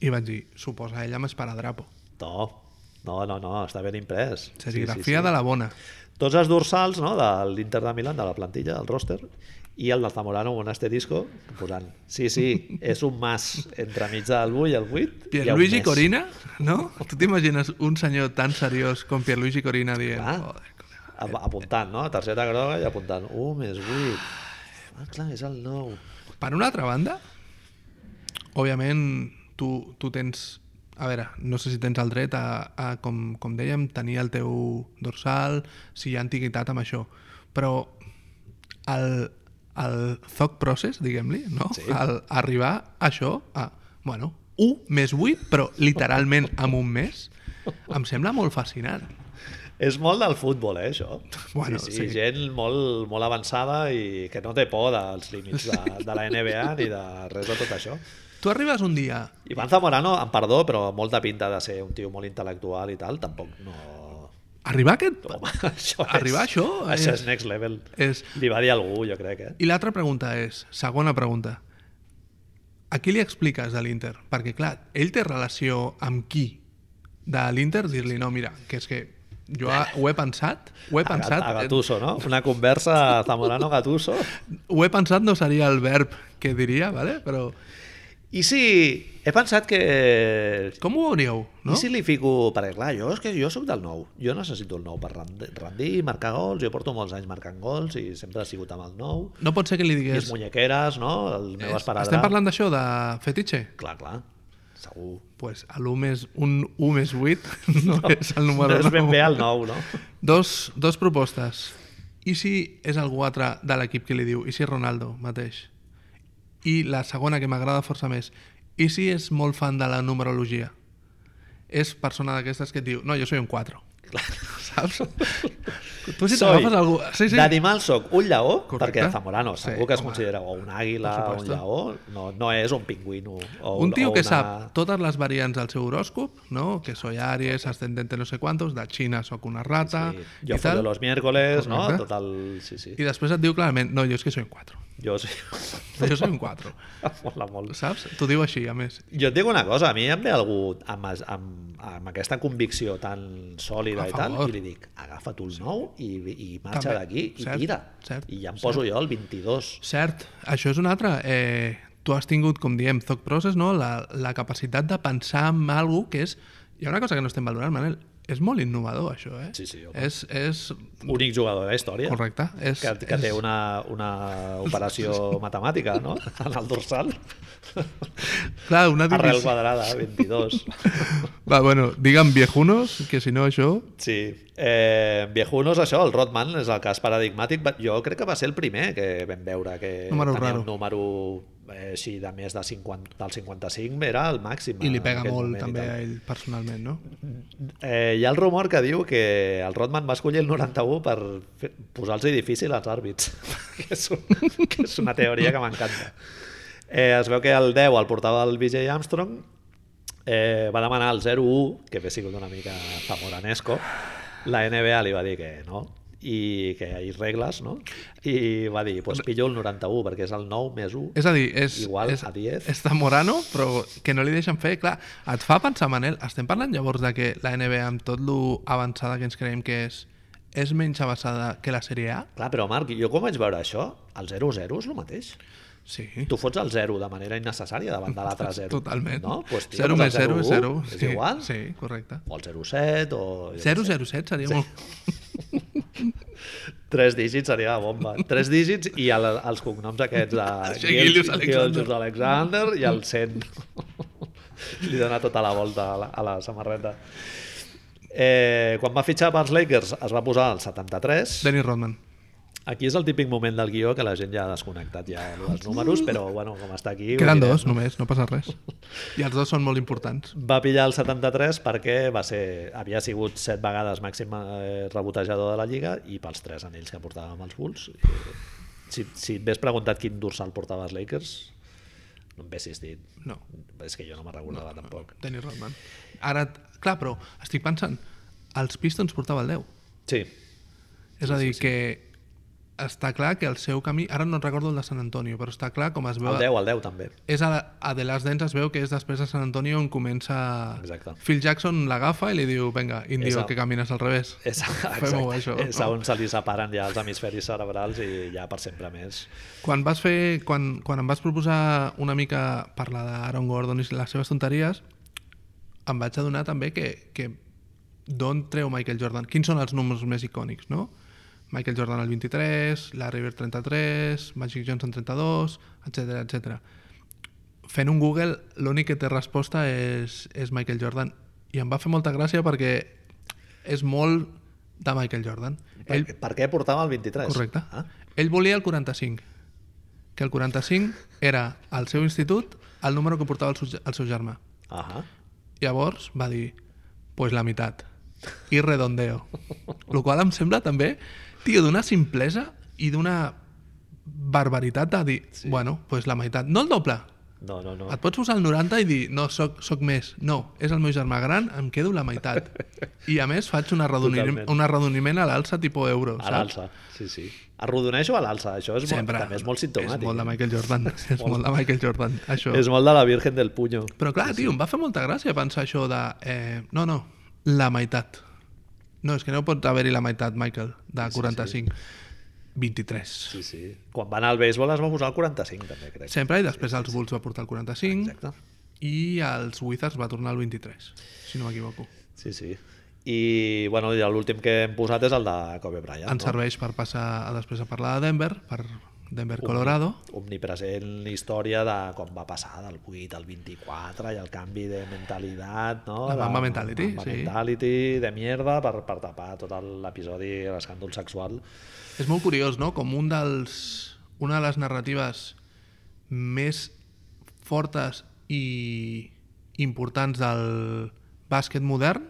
[SPEAKER 2] i vaig dir suposa ella m'esparadrapo
[SPEAKER 1] No, no, no, no està ben imprès.
[SPEAKER 2] Serigrafia sí, sí, sí. de la bona.
[SPEAKER 1] Tots els dorsals no, de l'Inter de Milán, de la plantilla, del roster, i el del Zamorano amb un asterisco, posant, sí, sí, és un mas entre mig del 8 i el 8. hi ha un
[SPEAKER 2] Pierluigi
[SPEAKER 1] mes.
[SPEAKER 2] Corina, no? Tu t'imagines un senyor tan seriós com Pierluigi Corina dient...
[SPEAKER 1] Clar,
[SPEAKER 2] "Joder, col·lega".
[SPEAKER 1] Ah, ap- apuntant, no? Tercera groga i apuntant, 1 més 8. Ah, clar, és el 9.
[SPEAKER 2] Per una altra banda, òbviament, tu, tu tens... A veure, no sé si tens el dret a, a com, com dèiem, tenir el teu dorsal, si hi ha antiguitat amb això. Però el, el thought process, diguem-li, no?
[SPEAKER 1] Sí.
[SPEAKER 2] El arribar a això, a, bueno, 1 més 8, però literalment amb un mes, em sembla molt fascinant.
[SPEAKER 1] És molt del futbol, eh, això.
[SPEAKER 2] Bueno,
[SPEAKER 1] sí, sí,
[SPEAKER 2] sí.
[SPEAKER 1] Gent molt, molt avançada i que no té por dels límits de, de la NBA ni de res de tot això.
[SPEAKER 2] Tu arribes un dia...
[SPEAKER 1] Ivan Zamorano, amb perdó, però molta pinta de ser un tio molt intel·lectual i tal, tampoc no...
[SPEAKER 2] Arribar a aquest...
[SPEAKER 1] Home, [laughs] això
[SPEAKER 2] Arribar a
[SPEAKER 1] és,
[SPEAKER 2] això
[SPEAKER 1] Això és
[SPEAKER 2] és-
[SPEAKER 1] next level.
[SPEAKER 2] És...
[SPEAKER 1] Li va dir algú, jo crec, eh?
[SPEAKER 2] I l'altra pregunta és, segona pregunta. A qui li expliques de l'Inter? Perquè, clar, ell té relació amb qui de l'Inter? Dir-li, no, mira, que és que jo ha- ho he pensat, ho
[SPEAKER 1] A
[SPEAKER 2] he
[SPEAKER 1] Gat-
[SPEAKER 2] pensat,
[SPEAKER 1] A Gattuso, no? Una conversa
[SPEAKER 2] [laughs]
[SPEAKER 1] Zamorano-Gattuso.
[SPEAKER 2] eh, ho he pensat no seria el verb que diria, ¿vale? però
[SPEAKER 1] I si... He pensat que...
[SPEAKER 2] com ho veuríeu?
[SPEAKER 1] No?
[SPEAKER 2] No?
[SPEAKER 1] I si li fico... Perquè clar, jo, és que jo sóc del nou. Jo necessito el nou per rend- rendir, marcar gols. Jo porto molts anys marcant gols i sempre he sigut amb el nou.
[SPEAKER 2] No pot ser que
[SPEAKER 1] I
[SPEAKER 2] li
[SPEAKER 1] les
[SPEAKER 2] digués...
[SPEAKER 1] muñequeres, no? El meu esperadra.
[SPEAKER 2] Estem parlant d'això, de fetitxe?
[SPEAKER 1] Clar, clar. Segur.
[SPEAKER 2] Pues l'1 més, un 1 més 8 [laughs] no, és el
[SPEAKER 1] no
[SPEAKER 2] número
[SPEAKER 1] és ben
[SPEAKER 2] nou.
[SPEAKER 1] bé el nou, no?
[SPEAKER 2] Dos, dos propostes. I si és algú altre de l'equip que li diu? I si és Ronaldo mateix? I la segona, que m'agrada força més. I si és molt fan de la numerologia? És persona d'aquestes que et diu, no, jo soy un 4. [laughs] Saps? tu si
[SPEAKER 1] Soy.
[SPEAKER 2] t'agafes algú... Sí, sí.
[SPEAKER 1] D'animal sóc un lleó,
[SPEAKER 2] Correcte.
[SPEAKER 1] perquè Zamorano
[SPEAKER 2] Sí,
[SPEAKER 1] segur que es
[SPEAKER 2] home.
[SPEAKER 1] considera o un àguila
[SPEAKER 2] Per
[SPEAKER 1] o un
[SPEAKER 2] supuesto.
[SPEAKER 1] lleó, no, no és un pingüino. O,
[SPEAKER 2] Un tio
[SPEAKER 1] o
[SPEAKER 2] que
[SPEAKER 1] una...
[SPEAKER 2] sap totes les variants del seu horòscop, no? que soy Aries, ascendente no sé quantos, de Xina sóc una rata...
[SPEAKER 1] Sí.
[SPEAKER 2] i
[SPEAKER 1] Jo
[SPEAKER 2] tal.
[SPEAKER 1] follo los miércoles, no?
[SPEAKER 2] Correcte.
[SPEAKER 1] Tot el... Sí, sí.
[SPEAKER 2] I després et diu clarament, no, jo és que soy un 4.
[SPEAKER 1] Jo sí. [laughs]
[SPEAKER 2] Jo soy un 4.
[SPEAKER 1] Mola molt.
[SPEAKER 2] Saps? T'ho diu així, a més.
[SPEAKER 1] Jo et dic una cosa, a mi em ve algú amb, es- amb, amb aquesta convicció tan sòlida
[SPEAKER 2] A
[SPEAKER 1] i tal,
[SPEAKER 2] favor.
[SPEAKER 1] i li dic, agafa tu el nou i, i marxa
[SPEAKER 2] També.
[SPEAKER 1] d'aquí i
[SPEAKER 2] Cert,
[SPEAKER 1] tira.
[SPEAKER 2] cert,
[SPEAKER 1] I ja em poso jo el 22.
[SPEAKER 2] Cert, això és un altre. Eh, tu has tingut, com diem, thought process, no? la, la capacitat de pensar en alguna que és... Hi ha una cosa que no estem valorant, Manel. És molt innovador, això, eh?
[SPEAKER 1] Sí, sí, home.
[SPEAKER 2] És, és...
[SPEAKER 1] Únic jugador de la història.
[SPEAKER 2] Correcte. És,
[SPEAKER 1] Que, que
[SPEAKER 2] és...
[SPEAKER 1] té una, una operació matemàtica, no? [laughs] En el dorsal.
[SPEAKER 2] Clar, [laughs] una
[SPEAKER 1] Arrel
[SPEAKER 2] divisió...
[SPEAKER 1] quadrada, 22.
[SPEAKER 2] Va, bueno, digue'm viejunos, que si no això...
[SPEAKER 1] Sí. Eh, Viejunos, això, el Rodman és el cas paradigmàtic. Va- Jo crec que va ser el primer que vam veure que
[SPEAKER 2] Número
[SPEAKER 1] tenia
[SPEAKER 2] raro.
[SPEAKER 1] un número eh, així de més de 50, del 55 era el màxim.
[SPEAKER 2] I li
[SPEAKER 1] en
[SPEAKER 2] pega
[SPEAKER 1] aquell
[SPEAKER 2] molt
[SPEAKER 1] moment i
[SPEAKER 2] també
[SPEAKER 1] tal.
[SPEAKER 2] a ell personalment, no?
[SPEAKER 1] Eh, hi ha el rumor que diu que el Rodman va escollir el 91 per fer- posar-los difícil als àrbits, [laughs] que és, un, que és una teoria que m'encanta. Eh, es veu que el 10 el portava el BJ Armstrong, eh, va demanar el 0-1, que ve sigut una mica zamoranesco, la NBA li va dir que no, i que hi ha regles, no? I va dir, doncs pues pillo el 91, perquè és el 9 més 1.
[SPEAKER 2] És a dir, és,
[SPEAKER 1] Igual
[SPEAKER 2] és,
[SPEAKER 1] a 10.
[SPEAKER 2] és de Morano, però que no li deixen fer. Clar, et fa pensar, Manel, estem parlant llavors de que la NBA, amb tot lo avançada que ens creiem que és, és menys avançada que la Sèrie A?
[SPEAKER 1] Clar, però Marc, jo quan vaig veure això, el 0-0 és el mateix.
[SPEAKER 2] Sí.
[SPEAKER 1] tu fots el 0 de manera innecessària davant de l'altre 0.
[SPEAKER 2] Totalment.
[SPEAKER 1] No? Pues, tio,
[SPEAKER 2] 0
[SPEAKER 1] pues el
[SPEAKER 2] més 0 és 0.
[SPEAKER 1] 0-1 És igual?
[SPEAKER 2] Sí, correcte.
[SPEAKER 1] O el 0-7 o...
[SPEAKER 2] 007 seria molt...
[SPEAKER 1] 3 dígits seria la
[SPEAKER 2] [laughs]
[SPEAKER 1] bomba. 3 dígits i el, els cognoms aquests de...
[SPEAKER 2] Gilius
[SPEAKER 1] Gil-
[SPEAKER 2] Alexander.
[SPEAKER 1] Gilius Alexander i el 100. [laughs] Li dona tota la volta a la, a la samarreta. Eh, quan va fitxar pels Lakers es va posar al 73.
[SPEAKER 2] Dennis Rodman.
[SPEAKER 1] Aquí és el típic moment del guió que la gent ja ha desconnectat ja els números, però bueno, com està aquí... ho
[SPEAKER 2] Uh! Queden
[SPEAKER 1] direm,
[SPEAKER 2] dos,
[SPEAKER 1] no?
[SPEAKER 2] només, no passa res. I els dos són molt importants.
[SPEAKER 1] va pillar el 73 perquè va ser, havia sigut set vegades màxim eh, rebotejador de la Lliga i pels tres anells que portàvem els Bulls. Eh, Si, si m'hagués preguntat quin dorsal portava els Lakers, no em haguessis dit.
[SPEAKER 2] No,
[SPEAKER 1] És que jo no me'n recordava no, tampoc.
[SPEAKER 2] Dennis Rodman. Ara, clar, però estic pensant, els Pistons portava el 10.
[SPEAKER 1] Sí,
[SPEAKER 2] És a dir, que està clar que el seu camí... Ara no recordo el de Sant Antonio, però està clar com es veu...
[SPEAKER 1] el 10, el 10 també.
[SPEAKER 2] És a, a The Last Dance es veu que és després de Sant Antonio on comença...
[SPEAKER 1] Exacte.
[SPEAKER 2] Phil Jackson l'agafa i li diu venga,
[SPEAKER 1] És
[SPEAKER 2] indio,
[SPEAKER 1] el-
[SPEAKER 2] que camines al revés.
[SPEAKER 1] És,
[SPEAKER 2] Fem-ho, això.
[SPEAKER 1] exacte, [laughs] és a on se li separen ja els hemisferis cerebrals i ja per sempre més.
[SPEAKER 2] Quan vas fer... Quan, quan em vas proposar una mica parlar d'Aaron Gordon i les seves tonteries, em vaig adonar també que, que d'on treu Michael Jordan? Quins són els números més icònics, no? Michael Jordan el 23, la River 33, Magic Johnson 32, etc etc. Fent un Google, l'únic que té resposta és, és Michael Jordan. I em va fer molta gràcia perquè és molt de Michael Jordan.
[SPEAKER 1] Per,
[SPEAKER 2] Ell,
[SPEAKER 1] Eh, per què portava el 23?
[SPEAKER 2] Correcte.
[SPEAKER 1] Ah,
[SPEAKER 2] Ell volia el 45. Que el 45 era, al seu institut, el número que portava el seu, el seu germà.
[SPEAKER 1] ahà.
[SPEAKER 2] Llavors va dir, pues la meitat. I redondeo. Lo qual em sembla també, tio, d'una simplesa i d'una barbaritat de dir, sí. bueno, pues la meitat. No el doble,
[SPEAKER 1] No, no, no.
[SPEAKER 2] Et pots posar el 90 i dir, no, soc, soc més. No, és el meu germà gran, em quedo la
[SPEAKER 1] [laughs]
[SPEAKER 2] meitat. I a més faig un arredoniment,
[SPEAKER 1] Totalment.
[SPEAKER 2] un arredoniment a l'alça tipus euro,
[SPEAKER 1] A
[SPEAKER 2] saps?
[SPEAKER 1] l'alça, sí, sí. Arrodoneixo a l'alça, això és molt, també és molt
[SPEAKER 2] És
[SPEAKER 1] simptomàtic. eh?
[SPEAKER 2] molt de Michael Jordan,
[SPEAKER 1] [laughs]
[SPEAKER 2] és molt de Michael Jordan, això.
[SPEAKER 1] És molt de la Virgen del Puño.
[SPEAKER 2] Però clar, tio, em va fer molta gràcia pensar això de... Eh, no, no, la meitat. No, és que no pot haver-hi la meitat, Michael, de 45. 23.
[SPEAKER 1] Sí, sí. Quan va anar al béisbol es va posar el 45, també, crec.
[SPEAKER 2] Sempre, i després els Bulls va portar el 45
[SPEAKER 1] Exacte.
[SPEAKER 2] i els Wizards va tornar el 23, si no m'equivoco.
[SPEAKER 1] Sí, sí. I, bueno, ja l'últim que hem posat és el de Kobe Bryant.
[SPEAKER 2] Ens serveix per passar a després a parlar de Denver, per Denver, Colorado.
[SPEAKER 1] omnipresent història de com va passar del 8 al 24 i el canvi de mentalitat, no?
[SPEAKER 2] La
[SPEAKER 1] De-
[SPEAKER 2] Mamba Mentality,
[SPEAKER 1] Mamba
[SPEAKER 2] sí.
[SPEAKER 1] Mentality de mierda per, per tapar tot el- l'episodi, l'escàndol sexual.
[SPEAKER 2] És molt curiós, no?, com un dels, una de les narratives més fortes i importants del bàsquet modern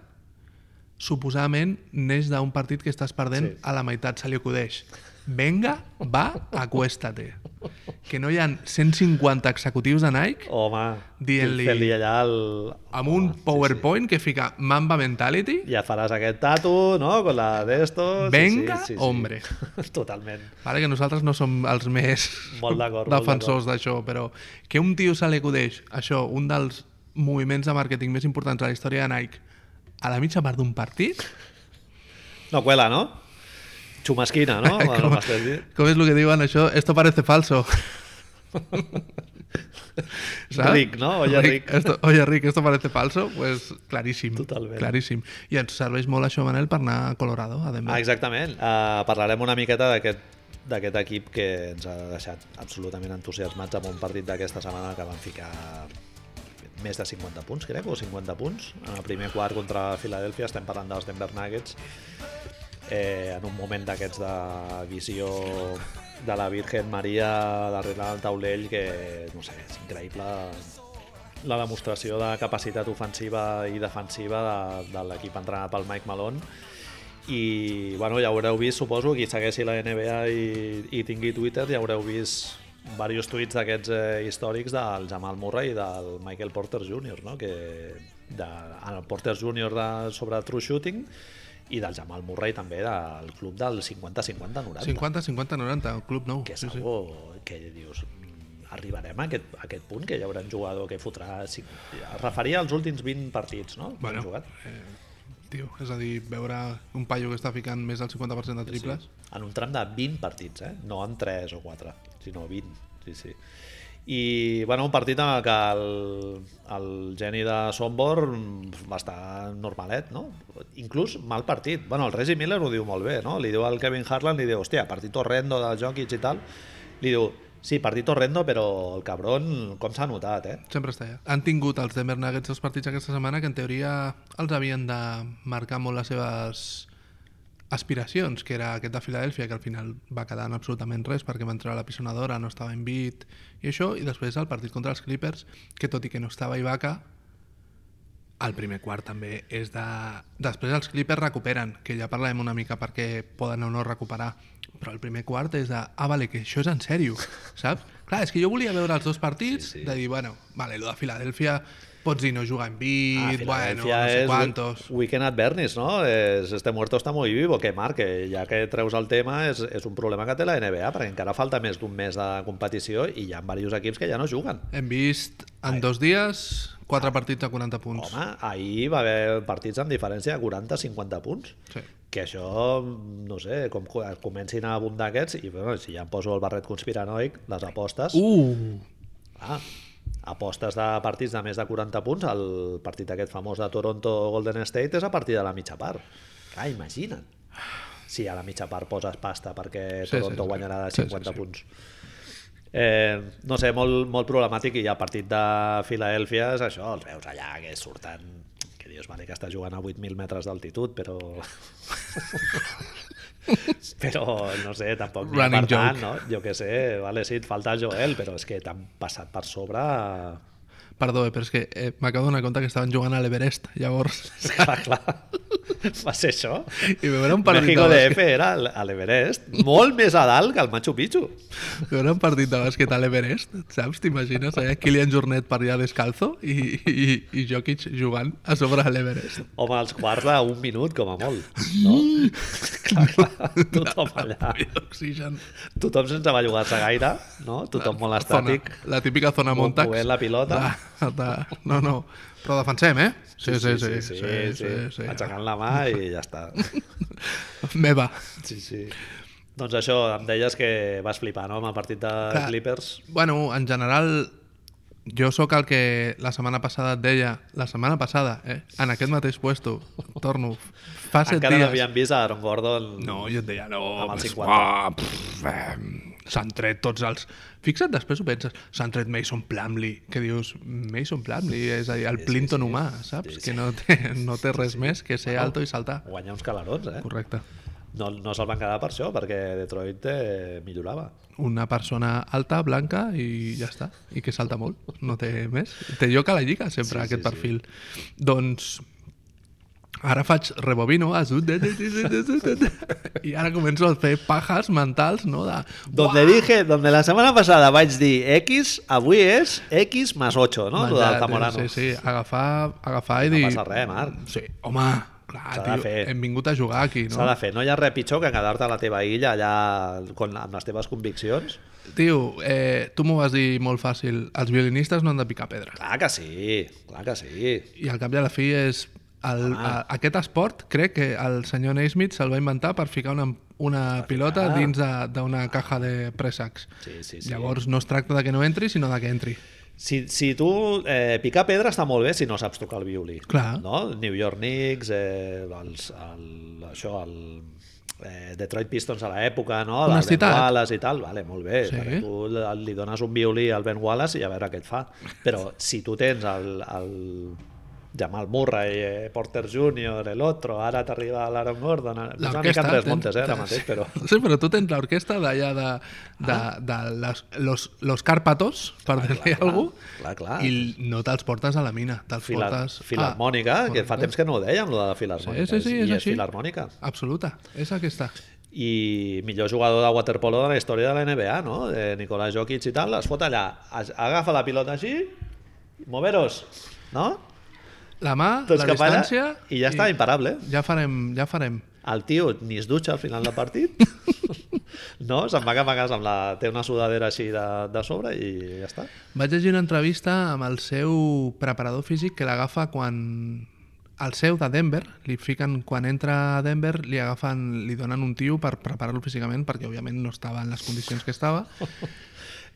[SPEAKER 2] suposadament neix d'un partit que estàs perdent sí.
[SPEAKER 1] Sí.
[SPEAKER 2] a la meitat se li acudeix venga, va, acuéstate que no hi ha 150 executius de Nike
[SPEAKER 1] Home,
[SPEAKER 2] Dient-li-
[SPEAKER 1] fent-li allà el...
[SPEAKER 2] amb un PowerPoint que fica Mamba Mentality
[SPEAKER 1] Ja faràs aquest tatu, no?, con la d'esto...
[SPEAKER 2] Venga, hombre.
[SPEAKER 1] [laughs] Totalment.
[SPEAKER 2] Vale, que nosaltres no som els més
[SPEAKER 1] Molt d'acord, molt
[SPEAKER 2] defensors d'això, però que un tio se li acudeix, això, un dels moviments de màrqueting més importants de la història de Nike, a la mitja part d'un partit,
[SPEAKER 1] No cuela, no? Xumasquina,
[SPEAKER 2] [laughs]
[SPEAKER 1] no? Bueno, m'estàs dient.
[SPEAKER 2] com és el que diuen això? Esto parece
[SPEAKER 1] [laughs]
[SPEAKER 2] falso. Saps?
[SPEAKER 1] Ric, no? Oye, Ric.
[SPEAKER 2] Esto, oye, Rick, esto parece falso? Pues claríssim.
[SPEAKER 1] Totalment.
[SPEAKER 2] Claríssim. I ens serveix molt això, Manel, per anar a Colorado, a Denver.
[SPEAKER 1] Ah, exactament. Uh, parlarem una miqueta d'aquest d'aquest equip que ens ha deixat absolutament entusiasmats amb un partit d'aquesta setmana que van ficar més de 50 punts, crec, o 50 punts en el primer quart contra Filadèlfia estem parlant dels Denver Nuggets eh, en un moment d'aquests de visió de la Virgen Maria darrere del taulell que, no sé, és increïble la demostració de capacitat ofensiva i defensiva de, de l'equip entrenat pel Mike Malone i bueno, ja haureu vist, suposo, qui segueixi la NBA i, i tingui Twitter, ja haureu vist diversos tuits d'aquests eh, històrics del Jamal Murray i del Michael Porter Jr., no? que de, en el Porter Jr. De, sobre True Shooting i del Jamal Murray també del club del 50-50-90
[SPEAKER 2] 50, 50, 90, el club nou.
[SPEAKER 1] que és sí, algo que dius "Mm, arribarem a aquest, a aquest punt que hi haurà un jugador que fotrà cinc... es referia als últims 20 partits no? que
[SPEAKER 2] Bueno,
[SPEAKER 1] han jugat
[SPEAKER 2] Tio, és a dir, veure un paio que està ficant més del 50% de triples... Sí.
[SPEAKER 1] en un tram de 20 partits eh? no en 3 o 4 sinó 20 sí, sí. i bueno, un partit en el que el, el geni de Sombor mm, va estar normalet no? inclús mal partit bueno, el Reggie Miller ho diu molt bé no? li diu al Kevin Harlan li diu, hòstia, partit horrendo dels Jokic i tal li diu, sí, partit horrendo però el cabron com s'ha notat eh?
[SPEAKER 2] Sempre està allà. Han tingut els Denver Nuggets dos partits aquesta setmana que en teoria els havien de marcar molt les seves aspiracions, que era aquest de Filadèlfia, que al final va quedar en absolutament res perquè va entrar a la pisonadora, no estava en bit i això, i després el partit contra els Clippers, que tot i que no estava Ibaka, el primer quart també és de... Després els Clippers recuperen, que ja parlarem una mica perquè poden o no recuperar, però el primer quart és de, ah, vale, que això és en [laughs] sèrio, saps? Clar, és que jo volia veure els dos partits, sí, sí. de dir, bueno, vale, lo de Filadèlfia, pots dir no jugar en bit, ah, bueno, no sé
[SPEAKER 1] és
[SPEAKER 2] quantos...
[SPEAKER 1] Weekend at Bernie's, no? És, este muerto está muy vivo, que Marc, que ja que treus el tema és, és un problema que té la NBA, perquè encara falta més d'un mes de competició i hi ha diversos equips que ja no juguen.
[SPEAKER 2] Hem vist en dos dies quatre partits a 40 punts.
[SPEAKER 1] Home, ahir va haver partits amb diferència de 40-50 punts.
[SPEAKER 2] Sí.
[SPEAKER 1] Que això, no sé, com co- comencin a abundar aquests, i bueno, si ja em poso el barret conspiranoic, les apostes...
[SPEAKER 2] Uh!
[SPEAKER 1] Ah, apostes de partits de més de 40 punts, el partit aquest famós de Toronto-Golden State és a partir de la mitja part. Clar, imagina't. Si a la mitja part poses pasta perquè
[SPEAKER 2] Sí, sí,
[SPEAKER 1] Toronto
[SPEAKER 2] sí.
[SPEAKER 1] guanyarà de
[SPEAKER 2] Sí, sí,
[SPEAKER 1] 50
[SPEAKER 2] sí.
[SPEAKER 1] punts. Eh, no sé, molt, molt problemàtic i a partit de Filadèlfia és això, els veus allà que surten que dius, vale, que està jugant a 8.000 metres d'altitud,
[SPEAKER 2] [laughs]
[SPEAKER 1] però... però, no sé, tampoc n'hi ha
[SPEAKER 2] Running
[SPEAKER 1] per tant,
[SPEAKER 2] joke.
[SPEAKER 1] no? Jo que sé, vale, sí, et falta Joel, però és que t'han passat per sobre... [laughs]
[SPEAKER 2] Perdó, eh, però és que eh, m'acabo d'adonar compte que estaven jugant a l'Everest, llavors... [laughs]
[SPEAKER 1] Clar, clar. Va ser això?
[SPEAKER 2] I veure un partit
[SPEAKER 1] México
[SPEAKER 2] de bàsquet.
[SPEAKER 1] DF era al- a l'Everest, molt més a dalt que el Machu Picchu.
[SPEAKER 2] Veure un partit de bàsquet a l'Everest, saps? T'imagines allà Kilian Jornet per allà descalzo i, i, i Jokic jugant a sobre a l'Everest.
[SPEAKER 1] Home, els quarts d'un minut, com a molt.
[SPEAKER 2] [laughs]
[SPEAKER 1] No? clar, clar, tothom allà.
[SPEAKER 2] Oxigen.
[SPEAKER 1] Tothom sense bellugar-se gaire, no? Tothom molt estàtic.
[SPEAKER 2] Zona, la típica zona
[SPEAKER 1] Mo-
[SPEAKER 2] Montax.
[SPEAKER 1] movent la pilota.
[SPEAKER 2] Va, ta- no, no. Però defensem, eh? Sí, sí, sí.
[SPEAKER 1] sí, sí, sí. Aixecant la mà i ja està.
[SPEAKER 2] Meva.
[SPEAKER 1] Sí, sí. Doncs això, em deies que vas flipar, no?, amb el partit de
[SPEAKER 2] Clar.
[SPEAKER 1] Clippers.
[SPEAKER 2] Bueno, en general, jo sóc el que la setmana passada et deia, la setmana passada, eh? en aquest mateix puesto, torno, fa set
[SPEAKER 1] Encara no
[SPEAKER 2] dies...
[SPEAKER 1] havíem vist a Aaron Gordon.
[SPEAKER 2] No, jo et deia, no...
[SPEAKER 1] Amb el
[SPEAKER 2] pues,
[SPEAKER 1] 50.
[SPEAKER 2] ah, pff, eh, S'han tret tots els... Fixa't, després ho penses, s'han tret Mason Plumlee, que dius, Mason Plumlee, és a dir, el Plinton humà, saps?
[SPEAKER 1] Sí, sí.
[SPEAKER 2] Que no té, no té res més que ser alto i saltar.
[SPEAKER 1] Guanyar uns calarons, eh?
[SPEAKER 2] Correcte.
[SPEAKER 1] No, no se'l van quedar per això, perquè Detroit eh, millorava.
[SPEAKER 2] Una persona alta, blanca i ja està. I que salta molt, no té més. Té lloc a la lliga
[SPEAKER 1] Sí, sí,
[SPEAKER 2] sempre, sí, aquest sí, perfil. Sí. Doncs ara faig rebobino ah, a sud, i ara començo a fer pajas mentals, no? De,
[SPEAKER 1] Donde dije, donde la setmana passada vaig dir X, avui és X más 8, no? Lo del
[SPEAKER 2] Menjar,
[SPEAKER 1] Zamorano.
[SPEAKER 2] Sí, sí, agafar, agafar i dir...
[SPEAKER 1] passa res, Marc.
[SPEAKER 2] Sí, home, clar,
[SPEAKER 1] S'ha de
[SPEAKER 2] tio,
[SPEAKER 1] fer.
[SPEAKER 2] hem vingut a jugar aquí,
[SPEAKER 1] S'ha
[SPEAKER 2] no?
[SPEAKER 1] de fer, no hi ha res pitjor que quedar-te a la teva illa allà con, amb les teves conviccions.
[SPEAKER 2] Tio, eh, tu m'ho vas dir molt fàcil, els violinistes no han de picar pedra.
[SPEAKER 1] Clar que sí, clar que sí.
[SPEAKER 2] I al cap i a la fi és... El, a,
[SPEAKER 1] Ah.
[SPEAKER 2] aquest esport crec que el senyor Naismith se'l va inventar per ficar una, una pilota
[SPEAKER 1] ficar.
[SPEAKER 2] dins de- d'una caja de préssecs.
[SPEAKER 1] Sí, sí, sí.
[SPEAKER 2] Llavors no es tracta de que no entri, sinó de que entri.
[SPEAKER 1] Si, si tu... Eh, picar pedra està molt bé si no saps tocar el violí.
[SPEAKER 2] Clar.
[SPEAKER 1] No? El New York Knicks, eh, els, el, això, el eh, Detroit Pistons a l'època, no? Del Ben
[SPEAKER 2] Honestitat.
[SPEAKER 1] Wallace i tal, vale, molt bé.
[SPEAKER 2] Sí.
[SPEAKER 1] Perquè tu li li dones un violí al Ben Wallace i a veure què et fa. Però si tu tens el, el Jamal Murray, eh, Porter Jr., el otro, ara t'arriba l'Aaron Gordon... ara- És una mica
[SPEAKER 2] L'orquestra...
[SPEAKER 1] Andrés
[SPEAKER 2] tens-
[SPEAKER 1] Montes, eh, ara mateix, però...
[SPEAKER 2] [laughs]
[SPEAKER 1] Ah.
[SPEAKER 2] Sí, però tu tens l'orquestra d'allà de, de, de les, los, los Cárpatos, per dir-li
[SPEAKER 1] clar,
[SPEAKER 2] alguna
[SPEAKER 1] clar, clar.
[SPEAKER 2] i no te'ls portes a la mina, te'ls
[SPEAKER 1] Fila,
[SPEAKER 2] portes... a-
[SPEAKER 1] Filarmònica, ah, que fa temps que no ho dèiem, lo de la Filarmònica.
[SPEAKER 2] Sí, sí, sí,
[SPEAKER 1] I
[SPEAKER 2] és així.
[SPEAKER 1] Filarmònica.
[SPEAKER 2] Absoluta, és aquesta.
[SPEAKER 1] i millor jugador de waterpolo de la història de la NBA, no? De Nicolás Jokic i tal, es fot allà, es- agafa la pilota així, moveros, no?
[SPEAKER 2] La mà,
[SPEAKER 1] Tots
[SPEAKER 2] la
[SPEAKER 1] cap allà,
[SPEAKER 2] distància...
[SPEAKER 1] i ja està, imparable.
[SPEAKER 2] Ja farem, ja farem.
[SPEAKER 1] El tio ni es dutxa al final del partit,
[SPEAKER 2] [laughs]
[SPEAKER 1] no? Se'n va cap a casa amb la... té una sudadera així de, de sobre i ja està.
[SPEAKER 2] Vaig llegir una entrevista amb el seu preparador físic que l'agafa quan... El seu de Denver, li fiquen, quan entra a Denver, li agafen, li donen un tio per preparar-lo físicament, perquè òbviament no estava en les condicions que estava,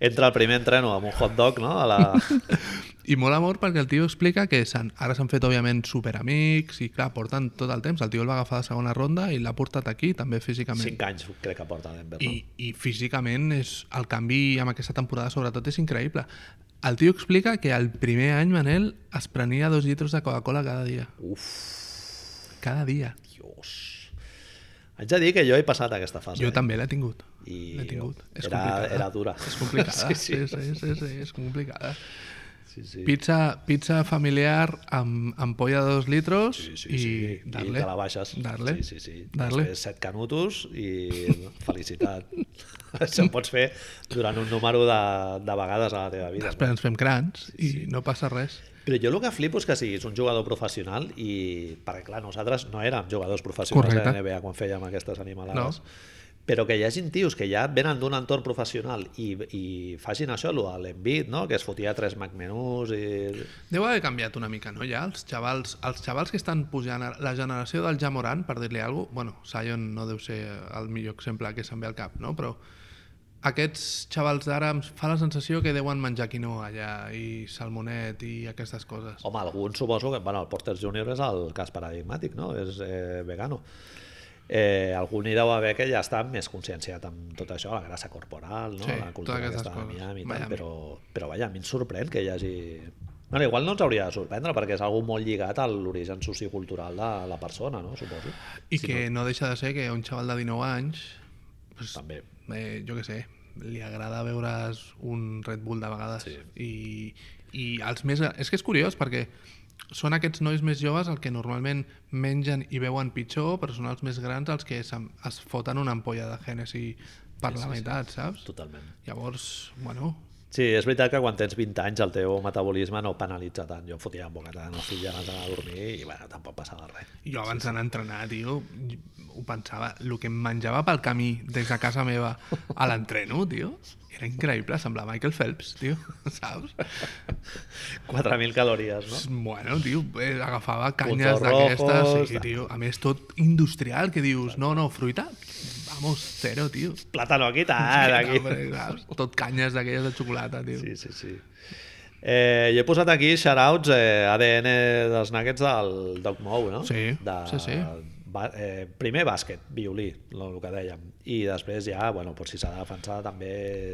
[SPEAKER 1] Entra al primer entreno amb un hot dog, no? A
[SPEAKER 2] [laughs]
[SPEAKER 1] la...
[SPEAKER 2] I molt amor perquè el tio explica que s'han- ara s'han fet, òbviament, superamics i, clar, porten tot el temps. El tio el va agafar de segona ronda i l'ha portat aquí, també físicament.
[SPEAKER 1] 5 anys crec que porta Denver, no?
[SPEAKER 2] I, I físicament és el canvi amb aquesta temporada, sobretot, és increïble. El tio explica que el primer any, Manel, es prenia dos litros de Coca-Cola cada dia.
[SPEAKER 1] Uf,
[SPEAKER 2] Cada dia.
[SPEAKER 1] Dios. Haig de dir que jo he passat aquesta fase.
[SPEAKER 2] Jo
[SPEAKER 1] eh?
[SPEAKER 2] també l'he tingut.
[SPEAKER 1] I
[SPEAKER 2] L'he tingut. És
[SPEAKER 1] era,
[SPEAKER 2] complicada.
[SPEAKER 1] era dura.
[SPEAKER 2] És complicada.
[SPEAKER 1] [laughs] Sí, sí.
[SPEAKER 2] sí, sí, sí, sí, és complicada.
[SPEAKER 1] sí, sí.
[SPEAKER 2] Pizza, pizza familiar amb ampolla de dos litros
[SPEAKER 1] Sí, sí,
[SPEAKER 2] i
[SPEAKER 1] sí. I
[SPEAKER 2] darle.
[SPEAKER 1] te la baixes.
[SPEAKER 2] Darle.
[SPEAKER 1] Sí, sí, sí.
[SPEAKER 2] Darle.
[SPEAKER 1] Després set canutos i
[SPEAKER 2] [laughs]
[SPEAKER 1] felicitat. Això ho pots fer durant un número de, de vegades a la teva vida.
[SPEAKER 2] Després ens fem grans i no passa res.
[SPEAKER 1] Però jo el que flipo és que siguis un jugador professional i, perquè clar, nosaltres no érem jugadors professionals
[SPEAKER 2] Correcte.
[SPEAKER 1] a la NBA quan fèiem aquestes animalades. No. Però que hi hagin tios que ja venen d'un entorn professional i, i facin això, lo de l'envit, no? que es fotia tres McMenús i...
[SPEAKER 2] Deu haver canviat una mica, no, ja? Els xavals, els xavals que estan pujant, ara- la generació del Jamoran, per dir-li alguna cosa, bueno, Sion no deu ser el millor exemple que se'n ve al cap, no? Però aquests xavals d'ara em fa la sensació que deuen menjar quinoa allà i salmonet i aquestes coses.
[SPEAKER 1] Home, algun suposo que... Bueno, el Porter Junior és el cas paradigmàtic, no? És eh, vegano. Eh, algun hi deu haver que ja està més conscienciat amb tot això, la grassa corporal, no?
[SPEAKER 2] Sí,
[SPEAKER 1] la cultura
[SPEAKER 2] totes aquestes
[SPEAKER 1] aquesta de
[SPEAKER 2] coses.
[SPEAKER 1] Miami, i tal,
[SPEAKER 2] Miami.
[SPEAKER 1] però, però vaja, a mi em sorprèn que hi hagi... Bueno, igual no ens hauria de sorprendre perquè és algo molt lligat a l'origen sociocultural de la persona, no? Suposo.
[SPEAKER 2] I que no deixa de ser que un xaval de 19 anys, pues,
[SPEAKER 1] També.
[SPEAKER 2] eh, jo que sé, li agrada veure's un Red Bull de vegades. Sí. I, I els més... És que és curiós perquè són aquests nois més joves el que normalment mengen i veuen pitjor, però són els més grans els que se'n- es foten una ampolla de Hennessy per la meitat, saps?
[SPEAKER 1] Totalment.
[SPEAKER 2] Llavors, bueno,
[SPEAKER 1] Sí, és veritat que quan tens 20 anys el teu metabolisme no penalitza tant. Jo em fotia en bocata de nostres ja abans d'anar a dormir i bueno, tampoc passava res.
[SPEAKER 2] jo abans d'anar a entrenar, tio, ho pensava, el que em menjava pel camí des de casa meva a l'entreno, tio, era increïble, semblava Michael Phelps, tio, [laughs] saps?
[SPEAKER 1] 4.000 calories, no?
[SPEAKER 2] Bueno, tio, eh, agafava canyes
[SPEAKER 1] rojos,
[SPEAKER 2] d'aquestes, sí,
[SPEAKER 1] tal.
[SPEAKER 2] tio. A més, tot industrial, que dius, no, no, fruita, vamos, zero, tio.
[SPEAKER 1] Plátano aquí, tant,
[SPEAKER 2] Sí,
[SPEAKER 1] aquí.
[SPEAKER 2] hombre, saps? Tot canyes d'aquelles de xocolata, tio.
[SPEAKER 1] Ah, Sí, sí, sí. Eh, jo he posat aquí shoutouts eh, ADN dels Nuggets del Doc Mou, no?
[SPEAKER 2] Sí,
[SPEAKER 1] de,
[SPEAKER 2] sí, sí.
[SPEAKER 1] Ba eh, primer bàsquet, violí, el que dèiem. I després ja, bueno, doncs si s'ha de defensar, també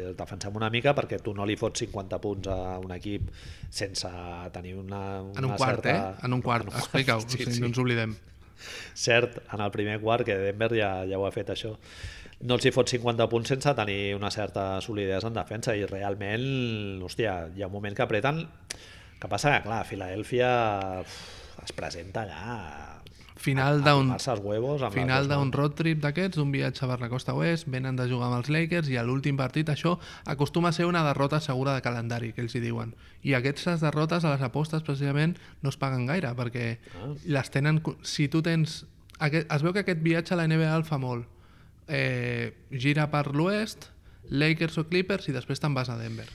[SPEAKER 1] el defensem una mica perquè tu no li fots 50 punts a un equip sense tenir una, una
[SPEAKER 2] En un quart,
[SPEAKER 1] certa...
[SPEAKER 2] eh? En un quart, explica-ho,
[SPEAKER 1] [laughs] Sí,
[SPEAKER 2] sí,
[SPEAKER 1] sí.
[SPEAKER 2] no ens oblidem.
[SPEAKER 1] Cert, en el primer quart, que Denver ja, ja ho ha fet això, no els hi fot 50 punts sense tenir una certa solidesa en defensa i realment, hòstia, hi ha un moment que apreten que passa que, clar, Filadèlfia uf, es presenta allà
[SPEAKER 2] Final d'un
[SPEAKER 1] a els huevos amb les
[SPEAKER 2] final
[SPEAKER 1] dues mans.
[SPEAKER 2] d'un road trip d'aquests, d'un viatge per la costa oest, venen de jugar amb els Lakers i a l'últim partit això acostuma a ser una derrota segura de calendari, que ells hi diuen. I aquestes derrotes a les apostes precisament no es paguen gaire perquè
[SPEAKER 1] Ah.
[SPEAKER 2] les tenen... co- Si tu tens... Aquest, es veu que aquest viatge a la NBA el fa molt. Eh, gira per l'oest, Lakers o Clippers i després te'n vas a Denver.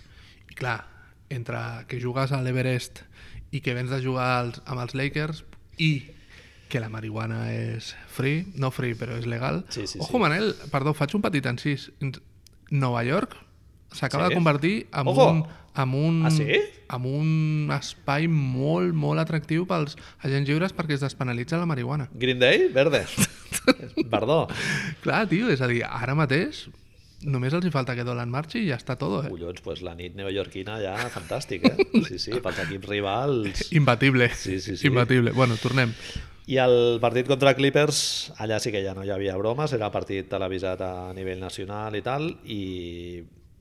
[SPEAKER 2] I clar, entre que jugues a l'Everest i que vens de jugar als, amb els Lakers i que la marihuana és free, no free, però és legal.
[SPEAKER 1] Sí, sí,
[SPEAKER 2] Ojo,
[SPEAKER 1] sí.
[SPEAKER 2] Manel, perdó, faig un petit encís. Ens- Nova York
[SPEAKER 1] Sí?
[SPEAKER 2] s'acaba de convertir en
[SPEAKER 1] Ojo!
[SPEAKER 2] un, en, un,
[SPEAKER 1] Ah, sí?
[SPEAKER 2] en un espai molt, molt atractiu pels agents lliures perquè es despenalitza la marihuana.
[SPEAKER 1] Green Day, verde. [laughs] Perdó.
[SPEAKER 2] Clar, tio, és a dir, ara mateix només els hi falta que Dolan marxi i ja està tot, eh?
[SPEAKER 1] Collons, pues la nit neoyorquina ja fantàstica. Eh? Sí, sí, pels equips rivals.
[SPEAKER 2] Imbatible.
[SPEAKER 1] Sí, sí, sí.
[SPEAKER 2] Imbatible. Bueno, tornem.
[SPEAKER 1] I el partit contra Clippers, allà sí que ja no hi havia bromes, era partit televisat a nivell nacional i tal, i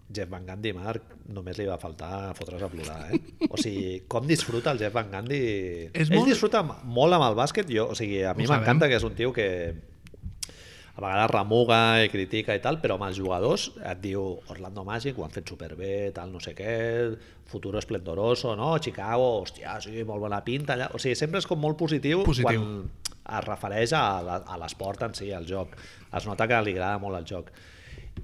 [SPEAKER 1] Jeff Van Gundy, Marc, només li va faltar fotre's a plorar, eh? O sigui, com disfruta el Jeff Van Gundy...
[SPEAKER 2] És
[SPEAKER 1] Ell
[SPEAKER 2] molt-
[SPEAKER 1] disfruta molt amb el bàsquet, jo, o sigui, a mi
[SPEAKER 2] Ho sabem.
[SPEAKER 1] m'encanta que és un tio que a vegades remuga i critica i tal, però amb els jugadors et diu Orlando Magic, ho han fet superbé, tal, no sé què, futuro esplendoroso, no? Chicago, hòstia, sí, molt bona pinta allà. O sigui, sempre és com molt positiu,
[SPEAKER 2] Positiu.
[SPEAKER 1] quan es refereix a la- a l'esport en si, al joc. Es nota que li agrada molt el joc.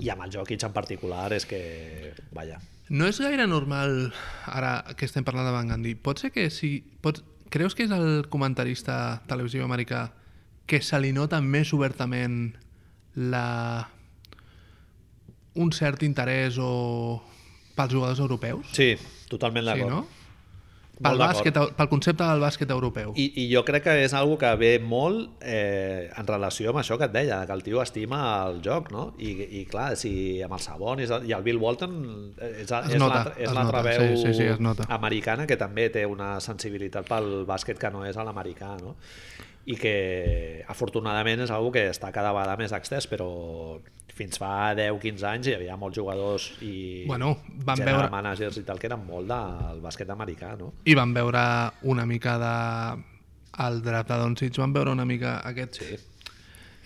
[SPEAKER 1] I amb el Jokic en particular és que... Vaja.
[SPEAKER 2] No és gaire normal, ara que estem parlant de Van Gandhi, pot ser que si... Pot, creus que és el comentarista televisiu americà que se li nota més obertament la... un cert interès o pels jugadors europeus?
[SPEAKER 1] Sí, totalment
[SPEAKER 2] Sí,
[SPEAKER 1] d'acord.
[SPEAKER 2] no?
[SPEAKER 1] Molt
[SPEAKER 2] Pel,
[SPEAKER 1] d'acord.
[SPEAKER 2] bàsquet, pel concepte del bàsquet europeu.
[SPEAKER 1] I, I jo crec que és algo que ve molt eh, en relació amb això que et deia, que el tio estima el joc, no? I, i clar, si amb el Sabonis i el Bill Walton eh, és,
[SPEAKER 2] Es
[SPEAKER 1] és
[SPEAKER 2] nota,
[SPEAKER 1] l'altra- és
[SPEAKER 2] es
[SPEAKER 1] l'altra
[SPEAKER 2] nota,
[SPEAKER 1] veu
[SPEAKER 2] sí, sí, sí, es nota.
[SPEAKER 1] americana que també té una sensibilitat pel bàsquet que no és a l'americà, no? I que afortunadament és algo que està cada vegada més extès, però fins fa 10-15 anys hi havia molts jugadors i
[SPEAKER 2] Bueno, van
[SPEAKER 1] general
[SPEAKER 2] veure-
[SPEAKER 1] managers i tal que eren molt del bàsquet americà, no?
[SPEAKER 2] I van veure una mica de... al draft de Doncic, van veure una mica aquest...
[SPEAKER 1] Sí.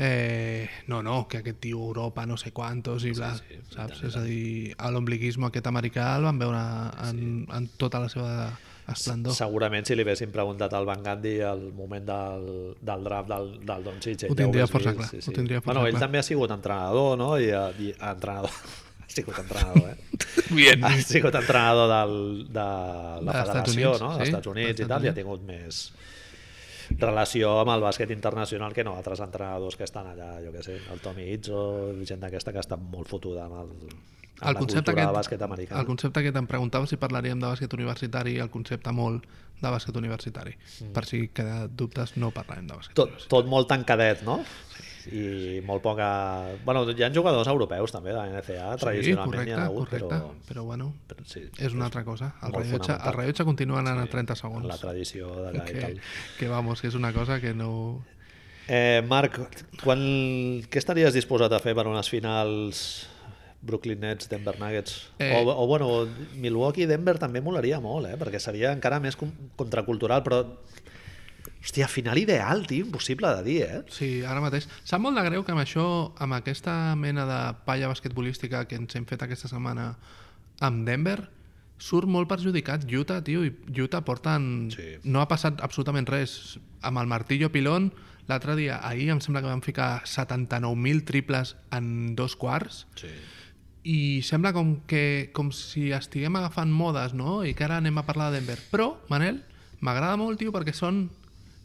[SPEAKER 2] Eh, no, no, que aquest tio Europa no sé quantos i bla, sí, sí, saps? És a dir, a l'ombliguisme aquest americà el van veure en, en tota la seva esplendor.
[SPEAKER 1] Segurament si li haguessin preguntat al Van Gandhi al moment del, del draft del, del Don Sitch,
[SPEAKER 2] Ho tindria força clar, ho tindria força
[SPEAKER 1] bueno, ell
[SPEAKER 2] clar.
[SPEAKER 1] també ha sigut entrenador, no? I, eh, i entrenador. [laughs] ha sigut entrenador,
[SPEAKER 2] [laughs]
[SPEAKER 1] eh?
[SPEAKER 2] Bien.
[SPEAKER 1] Ha sigut entrenador del, de la
[SPEAKER 2] Dels Estats
[SPEAKER 1] Federació,
[SPEAKER 2] Units,
[SPEAKER 1] no?
[SPEAKER 2] sí,
[SPEAKER 1] Dels Estats Units
[SPEAKER 2] dels
[SPEAKER 1] i tal, i
[SPEAKER 2] Estats
[SPEAKER 1] ha tingut més relació amb el bàsquet internacional que no altres entrenadors que estan allà, jo què sé, el Tommy Izzo, gent d'aquesta que està molt fotuda amb, el, amb
[SPEAKER 2] El
[SPEAKER 1] la
[SPEAKER 2] concepte,
[SPEAKER 1] cultura de
[SPEAKER 2] aquest,
[SPEAKER 1] bàsquet americà.
[SPEAKER 2] el concepte aquest em preguntava si parlaríem de bàsquet universitari el concepte molt de bàsquet universitari. Per si queda dubtes, no parlarem de bàsquet
[SPEAKER 1] Mm. tot, tot molt tancadet, no? I molt poca... bueno, hi ha jugadors europeus també de la NCA,
[SPEAKER 2] Sí,
[SPEAKER 1] tradicionalment n'hi
[SPEAKER 2] correcte,
[SPEAKER 1] ha hagut,
[SPEAKER 2] correcte,
[SPEAKER 1] però...
[SPEAKER 2] però bueno,
[SPEAKER 1] però sí,
[SPEAKER 2] és una altra cosa. El
[SPEAKER 1] molt
[SPEAKER 2] rellotge,
[SPEAKER 1] fonamental.
[SPEAKER 2] el rellotge continua anant a 30
[SPEAKER 1] en la
[SPEAKER 2] segons.
[SPEAKER 1] tradició d'allà i
[SPEAKER 2] Que,
[SPEAKER 1] tal.
[SPEAKER 2] que vamos, que és una cosa que no...
[SPEAKER 1] Eh, Marc, quan, què estaries disposat a fer per unes finals Brooklyn Nets, Denver Nuggets
[SPEAKER 2] Eh.
[SPEAKER 1] o, o bueno, Milwaukee Denver també molaria molt, eh? perquè seria encara més com- contracultural, però hòstia, final ideal, tio, impossible de dir, eh?
[SPEAKER 2] Sí, ara mateix. Sap molt de greu que amb això, amb aquesta mena de palla basquetbolística que ens hem fet aquesta setmana amb Denver, surt molt perjudicat Utah, tio, i Utah porten...
[SPEAKER 1] Sí.
[SPEAKER 2] No ha passat absolutament res. Amb el martillo pilón, l'altre dia, ahir em sembla que van ficar 79.000 triples en dos quarts,
[SPEAKER 1] Sí.
[SPEAKER 2] i sembla com que com si estiguem agafant modes, no? I que ara anem a parlar de Denver. Però, Manel, m'agrada molt, tio, perquè són...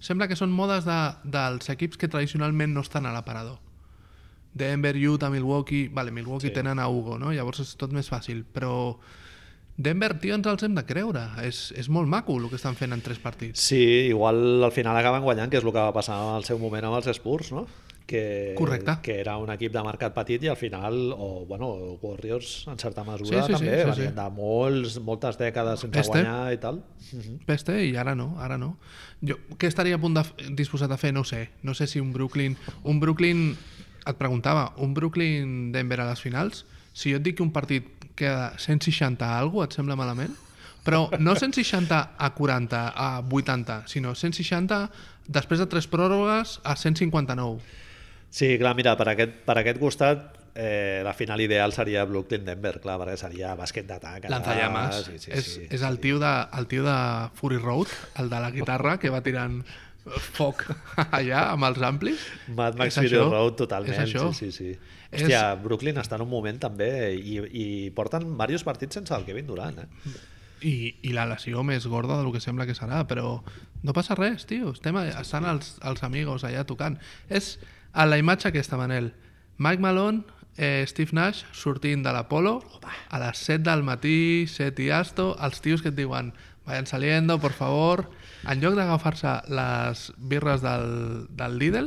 [SPEAKER 2] Sembla que són modes de, dels equips que tradicionalment no estan a l'aparador. Denver, Utah, Milwaukee... Vale,
[SPEAKER 1] Sí.
[SPEAKER 2] Milwaukee sí. tenen a Hugo, no? Llavors és tot més fàcil, però... Denver, tio, ens els hem de creure. És, és molt maco el que estan fent en tres partits.
[SPEAKER 1] Sí, igual al final acaben guanyant, que és el que va passar en el seu moment amb els Spurs, no? Que,
[SPEAKER 2] Correcte.
[SPEAKER 1] que era un equip de mercat petit i al final, o bueno, Warriors en certa mesura
[SPEAKER 2] Sí, sí, sí,
[SPEAKER 1] també,
[SPEAKER 2] sí,
[SPEAKER 1] venien
[SPEAKER 2] sí.
[SPEAKER 1] de molts, moltes dècades sense
[SPEAKER 2] Este.
[SPEAKER 1] guanyar i tal. Mhm.
[SPEAKER 2] Peste i ara no, ara no. Jo, què estaria a punt de, f- disposat a fer? No ho sé. No sé si un Brooklyn... Un Brooklyn... Et preguntava, un Brooklyn-Denver a les finals? Si jo et dic que un partit queda 160 a algo, et sembla malament? Però no 160 a 40, a 80, sinó 160 després de tres pròrrogues a 159.
[SPEAKER 1] Sí, clar, mira, per aquest, per aquest costat eh, la final ideal seria Brooklyn-Denver, clar, perquè seria bàsquet d'atac. allà,
[SPEAKER 2] Lanzallames.
[SPEAKER 1] Sí, sí,
[SPEAKER 2] és,
[SPEAKER 1] sí.
[SPEAKER 2] és el tio, de, el tio de Fury Road, el de la guitarra, que va tirant foc [laughs] allà amb els amplis.
[SPEAKER 1] Mad Max
[SPEAKER 2] És
[SPEAKER 1] Fury
[SPEAKER 2] això,
[SPEAKER 1] Road, totalment.
[SPEAKER 2] és això.
[SPEAKER 1] Sí, sí, sí.
[SPEAKER 2] És-
[SPEAKER 1] Hòstia, Brooklyn està en un moment també i, i porten diversos partits sense el Kevin Durant, eh?
[SPEAKER 2] I, i la lesió més gorda del que sembla que serà, però no passa res, tio. Estem, a- estan els, els amigos allà tocant. És a la imatge aquesta, Manel. Mike Malone, eh, Steve Nash, sortint de l'Apolo, a les 7 del matí, 7 i asto, els tios que et diuen vayan saliendo, por favor, en lloc d'agafar-se les birres del, del Lidl,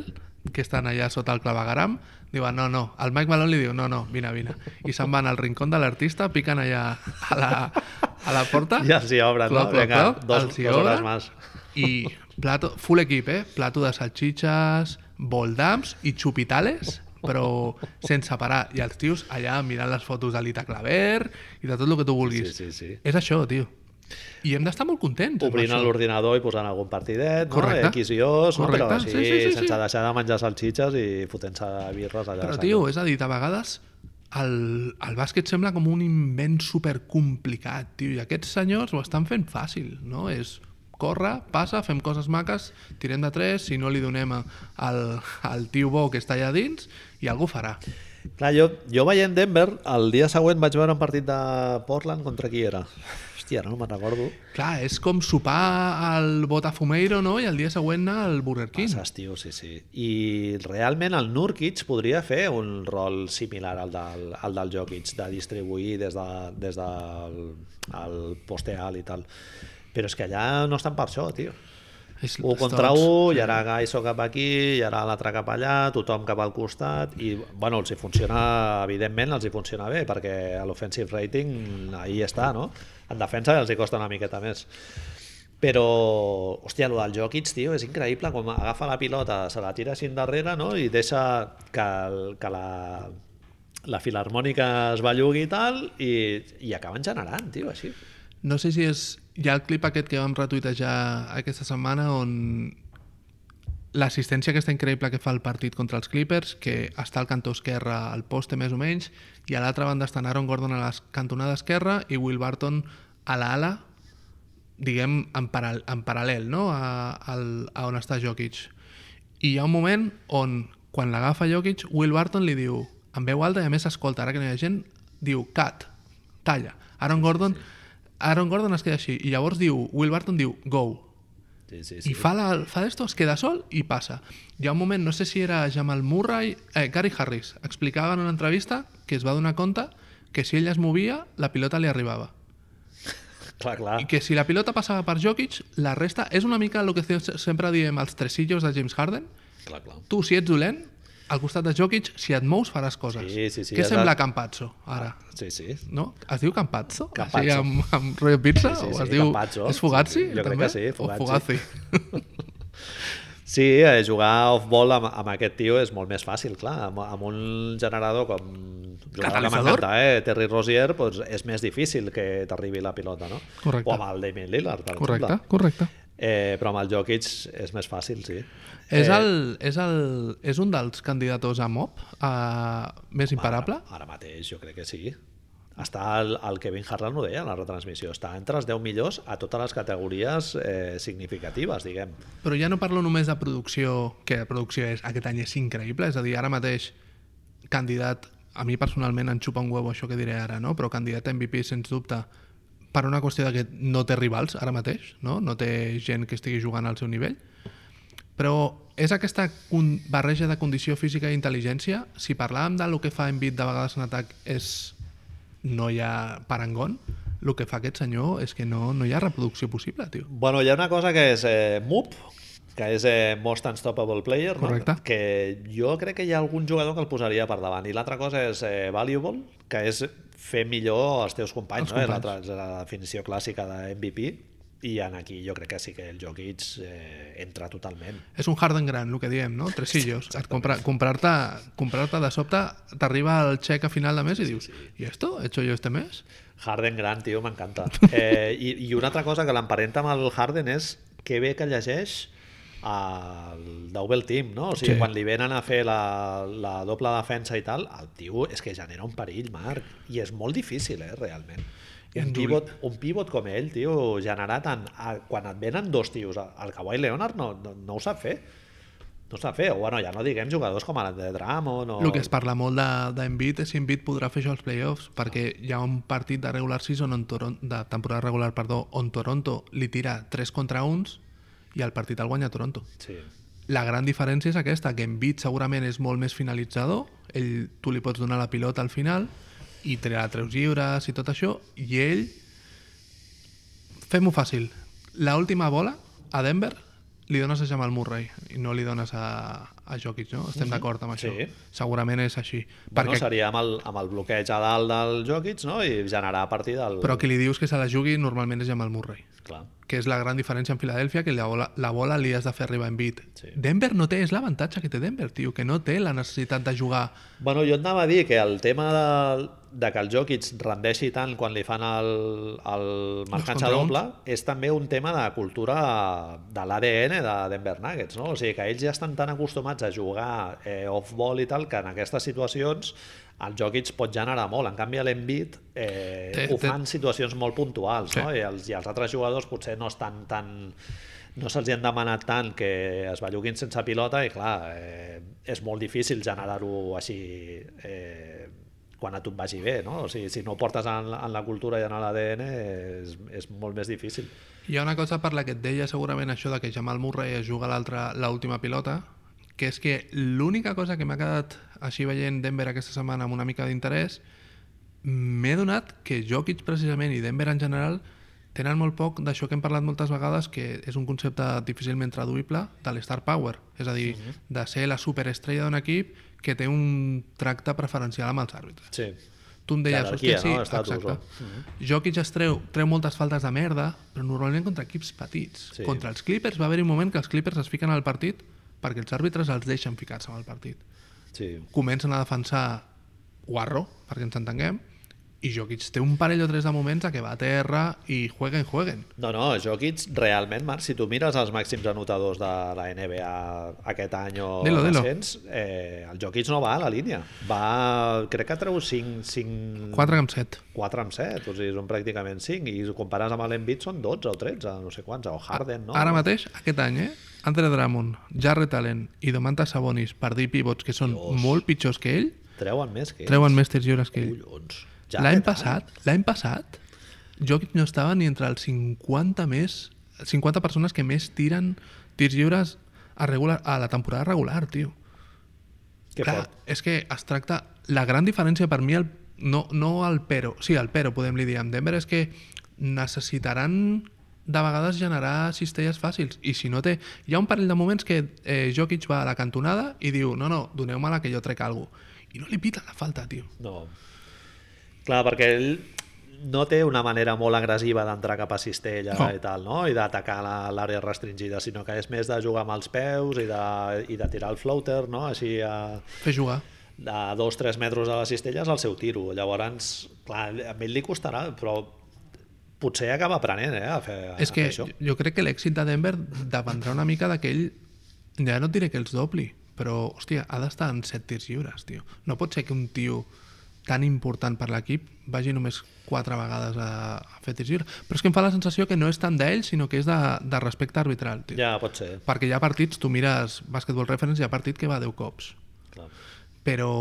[SPEAKER 2] que estan allà sota el clavegaram, diuen, no, no, el Mike Malone li diu, no, no, vine, vine. I se'n van al rincón de l'artista, piquen allà a la, a la porta.
[SPEAKER 1] Ja els hi obren, no?
[SPEAKER 2] Cloc, cloc,
[SPEAKER 1] Vinga,
[SPEAKER 2] cloc,
[SPEAKER 1] dos,
[SPEAKER 2] els hi
[SPEAKER 1] dos hores
[SPEAKER 2] obren.
[SPEAKER 1] més.
[SPEAKER 2] I plato, full equip, eh? Plato de salchichas, voldams i xupitales, però sense parar. I els tios allà mirant les fotos de l'Ita Claver i de tot el que tu vulguis.
[SPEAKER 1] Sí, sí, sí.
[SPEAKER 2] És això, tio. I hem d'estar molt contents. amb
[SPEAKER 1] Obrint
[SPEAKER 2] Doncs això.
[SPEAKER 1] l'ordinador i posant algun partidet,
[SPEAKER 2] Correcte.
[SPEAKER 1] no? X i Os, no? però
[SPEAKER 2] Correcte.
[SPEAKER 1] així,
[SPEAKER 2] Sí, sí, sí, sí.
[SPEAKER 1] sense deixar de menjar salxitxes i fotent-se birres allà.
[SPEAKER 2] Però,
[SPEAKER 1] a
[SPEAKER 2] tio,
[SPEAKER 1] saco.
[SPEAKER 2] és a dir, de vegades el, el bàsquet sembla com un invent supercomplicat, tio, i aquests senyors ho estan fent fàcil, no? És córrer, passa, fem coses maques, tirem de tres, si no li donem a- al, al tio bo que està allà dins, i algú farà.
[SPEAKER 1] Clar, jo, jo veient Denver, el dia següent vaig veure un partit de Portland contra qui era. Hòstia, ara no me'n recordo.
[SPEAKER 2] Clar, és com sopar al Botafumeiro, no?, i el dia següent anar al Burger King.
[SPEAKER 1] Passes, tio, sí, sí. I realment el Nurkic podria fer un rol similar al del, al del Jokic, de distribuir des, de, des del el poste alt i tal. Però és que allà no estan per això, tio.
[SPEAKER 2] És,
[SPEAKER 1] Un
[SPEAKER 2] és
[SPEAKER 1] contra
[SPEAKER 2] tots.
[SPEAKER 1] un, hi haurà Gaiso cap aquí, hi haurà l'altre cap allà, tothom cap al costat, i bueno, els hi funciona, evidentment, els hi funciona bé, perquè a l'offensive rating ahí està, no? En defensa els hi costa una miqueta més. Però, hòstia, el del Jokic, tio, és increïble com agafa la pilota, se la tira així endarrere, no?, i deixa que, el- que la, la filarmònica es bellugui i tal, i, i acaben generant, tio, així.
[SPEAKER 2] No sé si és... Hi ha el clip aquest que vam retuitejar aquesta setmana on l'assistència aquesta increïble que fa el partit contra els Clippers, que està al cantó esquerre al poste més o menys, i a l'altra banda estan Aaron Gordon a la cantonada esquerra i Will Barton a l'ala, diguem, en, paral en paral·lel, no?, a, al, a on està Jokic. I hi ha un moment on, quan l'agafa Jokic, Will Barton li diu, en veu alta i a més s'escolta, ara que no hi ha gent, diu, cut, talla. Aaron Gordon, Aaron Gordon es queda així, i llavors diu, Will Barton diu, go,
[SPEAKER 1] Sí, sí,
[SPEAKER 2] i fa, la, fa d'esto, es queda sol i passa. Hi ha un moment, no sé si era Jamal Murray... Eh, Gary Harris explicava en una entrevista que es va donar compte que si ell es movia, la pilota li arribava.
[SPEAKER 1] Clar, clar.
[SPEAKER 2] I que si la pilota passava per Jokic, la resta... És una mica el que se- sempre diem els tresillos de James Harden.
[SPEAKER 1] clar, clar.
[SPEAKER 2] Tu, si ets dolent, al costat de Jokic, si et mous, faràs coses.
[SPEAKER 1] Sí, sí, sí,
[SPEAKER 2] Què
[SPEAKER 1] has
[SPEAKER 2] sembla
[SPEAKER 1] de-
[SPEAKER 2] Campazzo, ara?
[SPEAKER 1] Sí, sí,
[SPEAKER 2] No? Es diu Campazzo?
[SPEAKER 1] Campazzo.
[SPEAKER 2] Així amb, amb rotllo pizza?
[SPEAKER 1] Sí, sí,
[SPEAKER 2] o
[SPEAKER 1] sí,
[SPEAKER 2] es diu...
[SPEAKER 1] Campazzo.
[SPEAKER 2] És Fugazi?
[SPEAKER 1] [laughs] Sí, sí. Jo crec
[SPEAKER 2] també?
[SPEAKER 1] que sí,
[SPEAKER 2] O
[SPEAKER 1] Fugazi.
[SPEAKER 2] Fugazi.
[SPEAKER 1] Sí, eh, jugar off-ball amb, amb aquest tio és molt més fàcil, clar. Amb, amb un generador com... jugar amb la
[SPEAKER 2] Catalitzador?
[SPEAKER 1] Mangata, eh? Terry Rozier doncs és més difícil que t'arribi la pilota, no?
[SPEAKER 2] Correcte.
[SPEAKER 1] O amb el Damien Lillard, per
[SPEAKER 2] Correcte,
[SPEAKER 1] exemple.
[SPEAKER 2] correcte.
[SPEAKER 1] Eh, però amb el Jokic és més fàcil, sí. Eh,
[SPEAKER 2] És, el, és, el, és un dels candidatos a MOP a, eh, més imparable?
[SPEAKER 1] Ara, ara mateix jo crec que sí. Està el, el Kevin Harlan ho deia en la retransmissió, està entre els 10 millors a totes les categories eh, significatives, diguem.
[SPEAKER 2] Però ja no parlo només de producció, que la producció és, aquest any és increïble, és a dir, ara mateix candidat, a mi personalment em xupa un huevo això que diré ara, no? però candidat a MVP, sens dubte, per una qüestió de que no té rivals ara mateix, no, no té gent que estigui jugant al seu nivell, però és aquesta con- barreja de condició física i intel·ligència, si parlàvem de lo que fa Embiid de vegades en atac és no hi ha parangón, el que fa aquest senyor és que no, no hi ha reproducció possible, tio.
[SPEAKER 1] Bueno, hi ha una cosa que és eh, MUP, que és eh, Most Unstoppable Player,
[SPEAKER 2] Correcte.
[SPEAKER 1] no? que jo crec que hi ha algun jugador que el posaria per davant. I l'altra cosa és eh, Valuable, que és fer millor els teus companys,
[SPEAKER 2] Els
[SPEAKER 1] no? És
[SPEAKER 2] companys.
[SPEAKER 1] l'altra- és la definició clàssica de MVP, i en aquí jo crec que sí que el Jokic eh, entra totalment.
[SPEAKER 2] És un Harden gran, el que diem, no? Tresillos. Et compra, comprar-te comprar de sobte, t'arriba el xec a final de mes i dius, i esto? He hecho yo este mes?
[SPEAKER 1] Harden gran, tio, m'encanta. Eh, i, I una altra cosa que l'emparenta amb el Harden és que bé que llegeix el Double Team, no? O sigui,
[SPEAKER 2] Sí.
[SPEAKER 1] sí. quan li venen a fer la, la doble defensa i tal, el tio és que genera un perill, Marc, i és molt difícil, eh, realment. I un
[SPEAKER 2] Ens
[SPEAKER 1] pivot, un pivot com ell, tio, generar tant... A, quan et venen dos tios, el Kawhi Leonard no, no, no ho sap fer. No ho sap fer. O, bueno, ja no diguem jugadors com el de Drummond o...
[SPEAKER 2] El que es parla molt de- d'Embiid és si Embiid podrà fer això als playoffs, perquè hi ha un partit de regular season on Toron, de temporada regular, perdó, on Toronto li tira 3 contra 1 i el partit el guanya Toronto.
[SPEAKER 1] Sí.
[SPEAKER 2] La gran diferència és aquesta, que Embiid segurament és molt més finalitzador, ell, tu li pots donar la pilota al final i treure treus lliures i tot això, i ell... Fem-ho fàcil. La última bola, a Denver, li dones a Jamal Murray i no li dones a, a Jokic, no? Estem d'acord amb això.
[SPEAKER 1] Sí.
[SPEAKER 2] Segurament és així.
[SPEAKER 1] Bueno,
[SPEAKER 2] perquè,
[SPEAKER 1] seria amb el, amb el bloqueig a dalt del Jokic no? i generar a partir del...
[SPEAKER 2] però qui li dius que se la jugui normalment és Jamal Murray.
[SPEAKER 1] Clar.
[SPEAKER 2] que és la gran diferència en Filadèlfia, que la bola, la bola li has de fer arribar en bit.
[SPEAKER 1] Sí.
[SPEAKER 2] Denver no té, és l'avantatge que té Denver, tio, que no té la necessitat de jugar
[SPEAKER 1] Bueno, jo et anava a dir que el tema de, de que el Jokic rendeixi tant quan li fan el, el marcança
[SPEAKER 2] contrapunts.
[SPEAKER 1] doble és també un tema de cultura de l'ADN de Denver Nuggets, no? O sigui que ells ja estan tan acostumats a jugar eh, off-ball i tal que en aquestes situacions el Jokic pot generar molt. En canvi, l'Embiid eh,
[SPEAKER 2] Té-
[SPEAKER 1] ho
[SPEAKER 2] té-
[SPEAKER 1] fa en situacions molt puntuals,
[SPEAKER 2] Sí.
[SPEAKER 1] no? I els, I els altres jugadors potser no estan tan no se'ls hi han demanat tant que es belluguin sense pilota i clar, eh, és molt difícil generar-ho així eh, quan a tu et vagi bé, no? O sigui, si no ho portes en, la- en la cultura i en l'ADN és, és molt més difícil.
[SPEAKER 2] Hi ha una cosa per la que et deia segurament això de que Jamal Murray es juga l'altra- l'última pilota, que és que l'única cosa que m'ha quedat així veient Denver aquesta setmana amb una mica d'interès, m'he donat que Jokic precisament i Denver en general tenen molt poc d'això que hem parlat moltes vegades, que és un concepte difícilment traduïble, de l'star power, és a dir, de ser la superestrella d'un equip que té un tracte preferencial amb els àrbitres.
[SPEAKER 1] Sí.
[SPEAKER 2] Tu em deies,
[SPEAKER 1] Jerarquia,
[SPEAKER 2] hòstia, sí,
[SPEAKER 1] no? Estatus,
[SPEAKER 2] exacte. Mm-hmm.
[SPEAKER 1] no?
[SPEAKER 2] Jokic es treu, treu moltes faltes de merda, però normalment contra equips petits.
[SPEAKER 1] Sí.
[SPEAKER 2] Contra els Clippers va haver-hi un moment que els Clippers es fiquen al partit perquè els àrbitres els deixen ficar-se en el partit.
[SPEAKER 1] sí.
[SPEAKER 2] Comencen a defensar guarro, perquè ens entenguem, i Jokic té un parell o tres de moments a que va a terra i jueguen, jueguen.
[SPEAKER 1] No, no, Jokic, realment, Marc, si tu mires els màxims anotadors de la NBA aquest any o
[SPEAKER 2] Dilo, dilo.
[SPEAKER 1] recents, eh, el Jokic no va a la línia. Va, crec que treu 5, 5...
[SPEAKER 2] 4 amb 7.
[SPEAKER 1] 4 amb 7, o sigui, són pràcticament 5 i ho compares amb l'Embiid són 12 o 13 no sé quants, o Harden, no?
[SPEAKER 2] Ara mateix, aquest any, eh? Andre Drummond, Jarret Allen i Domantas Sabonis, per dir pivots que són
[SPEAKER 1] Dios.
[SPEAKER 2] molt pitjors que ell,
[SPEAKER 1] treuen més que
[SPEAKER 2] treuen més tirs lliures que ell.
[SPEAKER 1] collons
[SPEAKER 2] Ja l'any
[SPEAKER 1] que tal.
[SPEAKER 2] passat, l'any passat, Jokic no estava ni entre els 50 més, 50 persones que més tiren tirs lliures a, regular, a la temporada regular, tio.
[SPEAKER 1] que
[SPEAKER 2] Clar,
[SPEAKER 1] fort.
[SPEAKER 2] és que es tracta... La gran diferència per mi, el, no, no el però, sí, el però podem li dir amb Denver, és que necessitaran de vegades generar cistelles fàcils i si no té... Hi ha un parell de moments que eh, Jokic va a la cantonada i diu no, no, doneu-me la que jo trec alguna i no li pita la falta, tio.
[SPEAKER 1] no clar, perquè ell no té una manera molt agressiva d'entrar cap a cistella
[SPEAKER 2] No.
[SPEAKER 1] i tal, no? I d'atacar la- l'àrea restringida, sinó que és més de jugar amb els peus i de, i de tirar el floater, no? Així a,
[SPEAKER 2] Fer jugar.
[SPEAKER 1] de 2-3 metres a les cistelles al seu tiro. Llavors, clar, a ell li costarà, però potser acaba aprenent eh, a fer,
[SPEAKER 2] És
[SPEAKER 1] a
[SPEAKER 2] que
[SPEAKER 1] fer això.
[SPEAKER 2] jo, jo crec que l'èxit de Denver dependrà una mica d'aquell... Ja no et diré que els dobli, però, hòstia, ha d'estar en set tirs lliures, tio. No pot ser que un tio tan important per l'equip vagi només quatre vegades a, a fer tirs lliures. Però és que em fa la sensació que no és tant d'ell, sinó que és de, de respecte arbitral, tio.
[SPEAKER 1] Ja, pot ser.
[SPEAKER 2] Perquè hi ha partits, tu mires Basketball Reference, hi ha partit que va 10 cops.
[SPEAKER 1] Clar.
[SPEAKER 2] Però,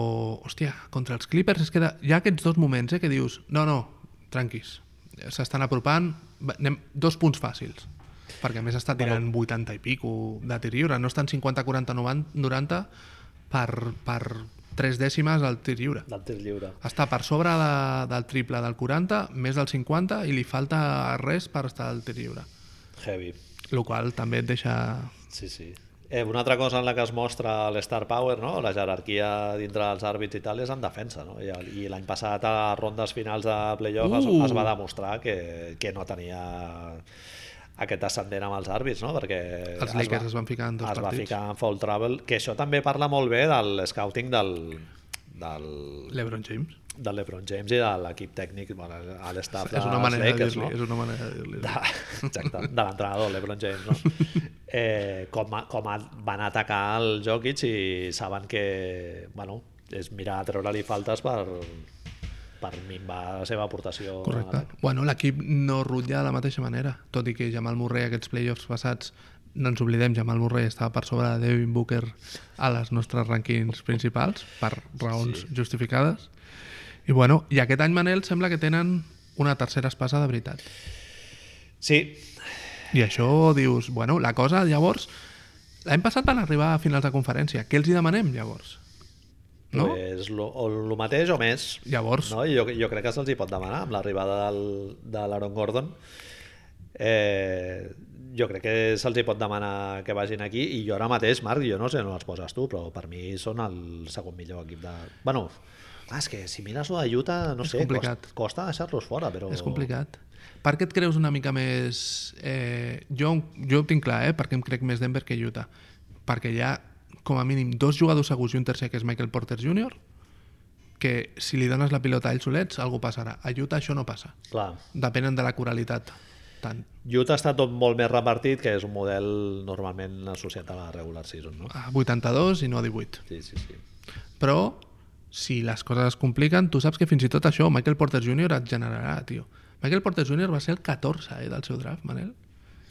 [SPEAKER 2] hòstia, contra els Clippers es queda... Hi ha aquests dos moments eh, que dius, no, no, tranquis, s'estan apropant, va, anem dos punts fàcils. Perquè a més està tirant 80 i pico de tir lliure, no estan 50, 40, 90, 90 per, per tres dècimes al tir lliure.
[SPEAKER 1] Del tir lliure.
[SPEAKER 2] Està per sobre de, del triple del 40, més del 50 i li falta res per estar al tir lliure.
[SPEAKER 1] Heavy.
[SPEAKER 2] El qual també et deixa...
[SPEAKER 1] Sí, sí. Eh, una altra cosa en la que es mostra l'Star Power, no? la jerarquia dintre dels àrbits i tal, és en defensa. No? I, el- i l'any passat a rondes finals de playoff uh. es,
[SPEAKER 2] Uh.
[SPEAKER 1] es, va demostrar que, que no tenia aquest ascendent amb els àrbits, no? perquè
[SPEAKER 2] Els Lakers es van ficar en dos
[SPEAKER 1] es va
[SPEAKER 2] partits.
[SPEAKER 1] ficar en foul trouble, que això també parla molt bé del scouting del, del,
[SPEAKER 2] L'Ebron James.
[SPEAKER 1] del LeBron James i de l'equip tècnic, bueno, a l'estaf
[SPEAKER 2] és
[SPEAKER 1] dels
[SPEAKER 2] una manera de
[SPEAKER 1] Lakers,
[SPEAKER 2] dir-li,
[SPEAKER 1] no?
[SPEAKER 2] és una manera de dir-li.
[SPEAKER 1] de, exacte, de l'entrenador, l'Ebron James, no? Eh, com, a, com a, van atacar el Jokic i saben que, bueno, és mirar a treure-li faltes per, per minvar la seva aportació.
[SPEAKER 2] Correcte. Bueno, l'equip no rutlla de la mateixa manera, tot i que Jamal Murray aquests playoffs passats no ens oblidem, Jamal Murray estava per sobre de Devin Booker a les nostres rànquings principals, per raons sí. justificades. I bueno, i aquest any, Manel, sembla que tenen una tercera espasa de veritat.
[SPEAKER 1] Sí,
[SPEAKER 2] I això dius, bueno, la cosa, llavors, l'any passat van arribar a finals de conferència. Què els hi demanem, llavors?
[SPEAKER 1] no?
[SPEAKER 2] No?
[SPEAKER 1] pues, lo, o el mateix o més.
[SPEAKER 2] Llavors,
[SPEAKER 1] No? I jo, jo crec que se'ls hi pot demanar amb l'arribada del- de l'Aaron Gordon. Eh, jo crec que se'ls hi pot demanar que vagin aquí i jo ara mateix, Marc, jo no sé on els poses tu, però per mi són el segon millor equip de... Bueno, clar, és que si mires lo de Utah, no
[SPEAKER 2] És
[SPEAKER 1] sé,
[SPEAKER 2] complicat.
[SPEAKER 1] costa, costa deixar-los fora, però...
[SPEAKER 2] És complicat. Per què et creus una mica més... Eh, jo, jo ho tinc clar, eh? Perquè em crec més Denver que Utah. Perquè hi ha, com a mínim, dos jugadors segurs i un tercer, que és Michael Porter Jr., que si li dones la pilota a ells solets, alguna passarà. A Utah això no passa.
[SPEAKER 1] Clar,
[SPEAKER 2] Depenen de la coralitat. Tant.
[SPEAKER 1] Utah està tot molt més repartit, que és un model normalment associat a la regular season, no?
[SPEAKER 2] A 82 i no a 18.
[SPEAKER 1] Sí, sí, sí.
[SPEAKER 2] Però, si les coses es compliquen, tu saps que fins i tot això Michael Porter Jr. et generarà, tio. Michael Porter Jr. va ser el 14 eh, del seu draft, Manel.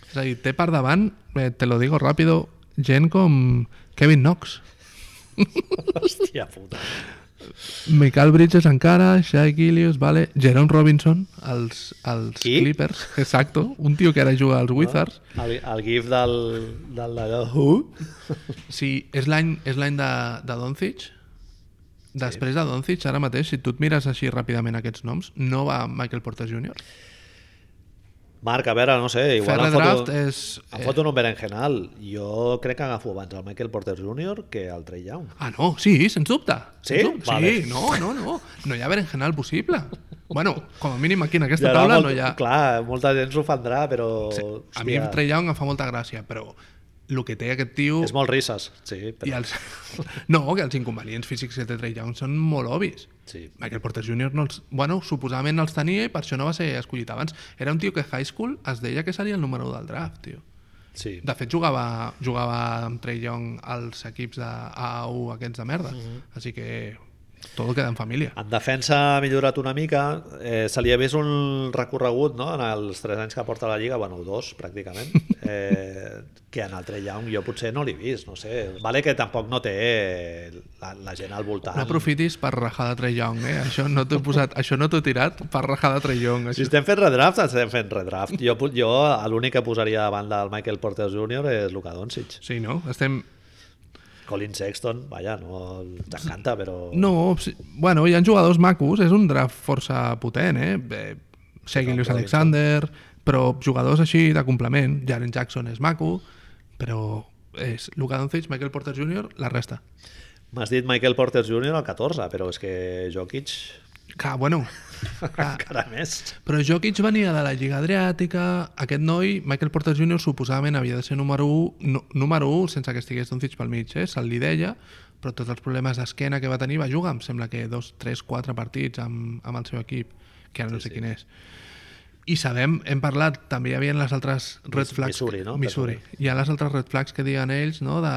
[SPEAKER 2] És a dir, té per davant, eh, te lo digo rápido, gent com Kevin Knox.
[SPEAKER 1] Hòstia puta.
[SPEAKER 2] Michael Bridges encara, Shai Gilius, vale, Jerome Robinson, els, els
[SPEAKER 1] Qui?
[SPEAKER 2] Clippers, [laughs] exacto, un tio que ara juga als Wizards.
[SPEAKER 1] El, el gif del... del, del Who?
[SPEAKER 2] Sí, és l'any és l'any de, de Doncic. Després de Doncic, ara mateix, si tu et mires així ràpidament aquests noms, no va Michael Porter Jr.
[SPEAKER 1] Marc, a veure, no sé, igual
[SPEAKER 2] Fer
[SPEAKER 1] em foto,
[SPEAKER 2] redraft és...
[SPEAKER 1] em foto un berenjenal. Jo crec que agafo abans el Michael Porter Jr. que el Trey Young.
[SPEAKER 2] Ah, no, sí, sens dubte.
[SPEAKER 1] Sí?
[SPEAKER 2] Sens dubte.
[SPEAKER 1] Vale.
[SPEAKER 2] Sí, no, no, no. No hi ha berenjenal possible. Bueno, com a mínim aquí en aquesta
[SPEAKER 1] Ja,
[SPEAKER 2] taula
[SPEAKER 1] molt,
[SPEAKER 2] no hi ha...
[SPEAKER 1] Clar, molta gent s'ofendrà, però... Sí,
[SPEAKER 2] a mi el Trey Young em fa molta gràcia, però el que té aquest tio...
[SPEAKER 1] És molt risses, sí,
[SPEAKER 2] I
[SPEAKER 1] però...
[SPEAKER 2] els... [laughs] No, que els inconvenients físics que té Trey Young són molt obvis.
[SPEAKER 1] Sí.
[SPEAKER 2] Michael Porter Jr. no els... Bueno, suposadament els tenia i per això no va ser escollit abans. Era un tio que a high school es deia que seria el número 1 del draft, tio.
[SPEAKER 1] sí.
[SPEAKER 2] De fet, jugava, jugava amb Trey Young als equips de AU aquests de merda. Així que tot queda en família.
[SPEAKER 1] En defensa ha millorat una mica, eh, se li ha vist un recorregut no? en els 3 anys que porta a la Lliga, bueno, dos pràcticament,
[SPEAKER 2] [laughs]
[SPEAKER 1] eh, que en el Trey Young jo potser no l'he vist, no sé. Vale que tampoc no té la, la gent al voltant.
[SPEAKER 2] No aprofitis per rajar de Trey Young, eh? Això no t'ho he posat, això no t'ho he tirat per rajar de Trey Young.
[SPEAKER 1] Si
[SPEAKER 2] Això...
[SPEAKER 1] estem fent redraft, estem fent redraft. Jo, pu- jo l'únic que posaria davant del Michael Porter Jr. és Luka Doncic.
[SPEAKER 2] Sí, no? Estem...
[SPEAKER 1] Colin Sexton, vaja, no t'encanta, però...
[SPEAKER 2] No, sí, bueno, hi ha jugadors macos, és un draft força potent, eh? Bé, Shaggy Lewis Alexander, però jugadors així de complement, Jaren Jackson és maco, però és Luka Doncic, Michael Porter Jr., la resta.
[SPEAKER 1] M'has dit Michael Porter Jr. al 14, però és que Jokic...
[SPEAKER 2] Clar, bueno, clar.
[SPEAKER 1] encara més.
[SPEAKER 2] Però Jokic venia de la Lliga Adriàtica, aquest noi, Michael Porter Jr., suposadament havia de ser número 1, no, número 1 sense que estigués Doncic pel mig, eh? se'l li deia, però tots els problemes d'esquena que va tenir va jugar, em sembla que dos, tres, quatre partits amb, amb el seu equip, que ara no sé quin és. I sabem, hem parlat, també hi havia les altres red
[SPEAKER 1] Mis-
[SPEAKER 2] flags...
[SPEAKER 1] Missouri, no?
[SPEAKER 2] Missouri. Hi ha les altres red flags que diuen ells, no?, de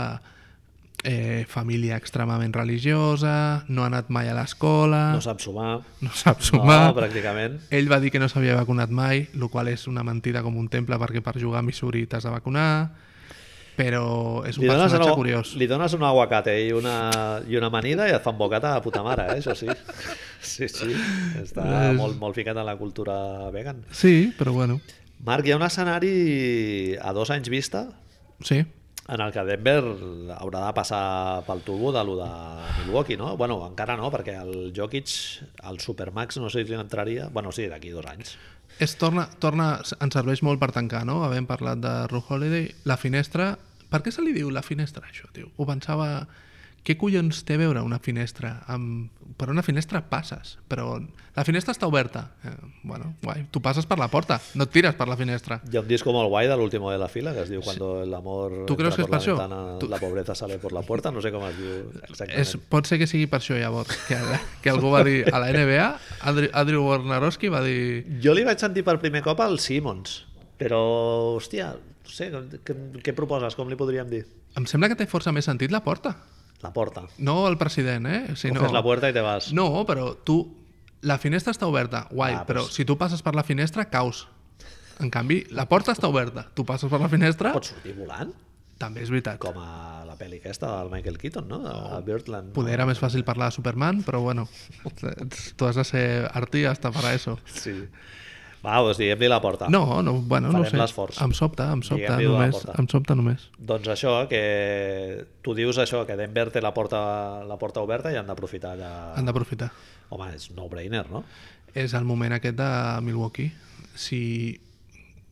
[SPEAKER 2] eh, família extremament religiosa, no ha anat mai a l'escola...
[SPEAKER 1] No sap sumar.
[SPEAKER 2] no sap Ah. sumar...
[SPEAKER 1] No, pràcticament.
[SPEAKER 2] Ell va dir que no s'havia vacunat mai, el qual és una mentida com un temple perquè per jugar a Missouri t'has de vacunar, però és un personatge
[SPEAKER 1] una,
[SPEAKER 2] curiós.
[SPEAKER 1] li dones un aguacate i una, i una amanida i et fan bocata a puta mare, eh? això sí. [laughs] Sí, sí, està
[SPEAKER 2] És-
[SPEAKER 1] molt, molt ficat en la cultura vegan.
[SPEAKER 2] Sí, però bueno,
[SPEAKER 1] Marc, hi ha un escenari a dos anys vista
[SPEAKER 2] sí.
[SPEAKER 1] en el que Denver haurà de passar pel tubo de lo de Milwaukee, no? Bueno, encara no, perquè el Jokic, el Supermax, no sé si li entraria... Bueno, sí, d'aquí dos anys.
[SPEAKER 2] Es torna, torna, ens serveix molt per tancar, no? Havent parlat de Ru Holiday, la finestra... Per què se li diu la finestra, això, tio? Ho pensava... Què collons té a veure una finestra? Amb... Per una finestra passes, però la finestra està oberta. Eh, bueno, guai, tu passes per la porta, no et tires per la finestra.
[SPEAKER 1] Hi ha un disco molt guai de l'último de la fila que es diu Cuando el amor
[SPEAKER 2] Tu creus
[SPEAKER 1] entra
[SPEAKER 2] que
[SPEAKER 1] por la
[SPEAKER 2] és per això?
[SPEAKER 1] ventana,
[SPEAKER 2] Tu-
[SPEAKER 1] la pobreza sale por la puerta, no sé com es diu exactament.
[SPEAKER 2] És, pot ser que sigui per això, llavors, que, que algú va dir a la NBA, Andrew, Andrew Warnarowski va dir...
[SPEAKER 1] Jo li vaig sentir per primer cop al Simons, però, hòstia, no sé, què, què proposes? Com li podríem dir?
[SPEAKER 2] Em sembla que té força més sentit la porta.
[SPEAKER 1] La porta.
[SPEAKER 2] No el president, eh?
[SPEAKER 1] Si
[SPEAKER 2] Sinó...
[SPEAKER 1] Coges la puerta i te vas.
[SPEAKER 2] No, però tu... La finestra està oberta, guai,
[SPEAKER 1] Ah,
[SPEAKER 2] però
[SPEAKER 1] pues.
[SPEAKER 2] si tu passes per la finestra, caus. En canvi, la porta està oberta. Tu passes per la finestra,
[SPEAKER 1] Pots sortir volant,
[SPEAKER 2] també és veritat.
[SPEAKER 1] com a la pel·li aquesta del Michael Keaton, no? A Birdland.
[SPEAKER 2] Poder era més fàcil parlar de Superman, però bueno, tu has de ser artí hasta para eso.
[SPEAKER 1] Sí. Va, doncs diguem-li la porta.
[SPEAKER 2] No, no, bueno, no ho
[SPEAKER 1] Farem
[SPEAKER 2] sé.
[SPEAKER 1] l'esforç.
[SPEAKER 2] Em sobta, em sobta,
[SPEAKER 1] Diguem-li de la
[SPEAKER 2] només,
[SPEAKER 1] porta.
[SPEAKER 2] em sobta només.
[SPEAKER 1] Doncs això, que tu dius això, que Denver té la porta, la porta oberta i han d'aprofitar allà...
[SPEAKER 2] Han d'aprofitar.
[SPEAKER 1] Home, és no-brainer, no?
[SPEAKER 2] És el moment aquest de Milwaukee. Si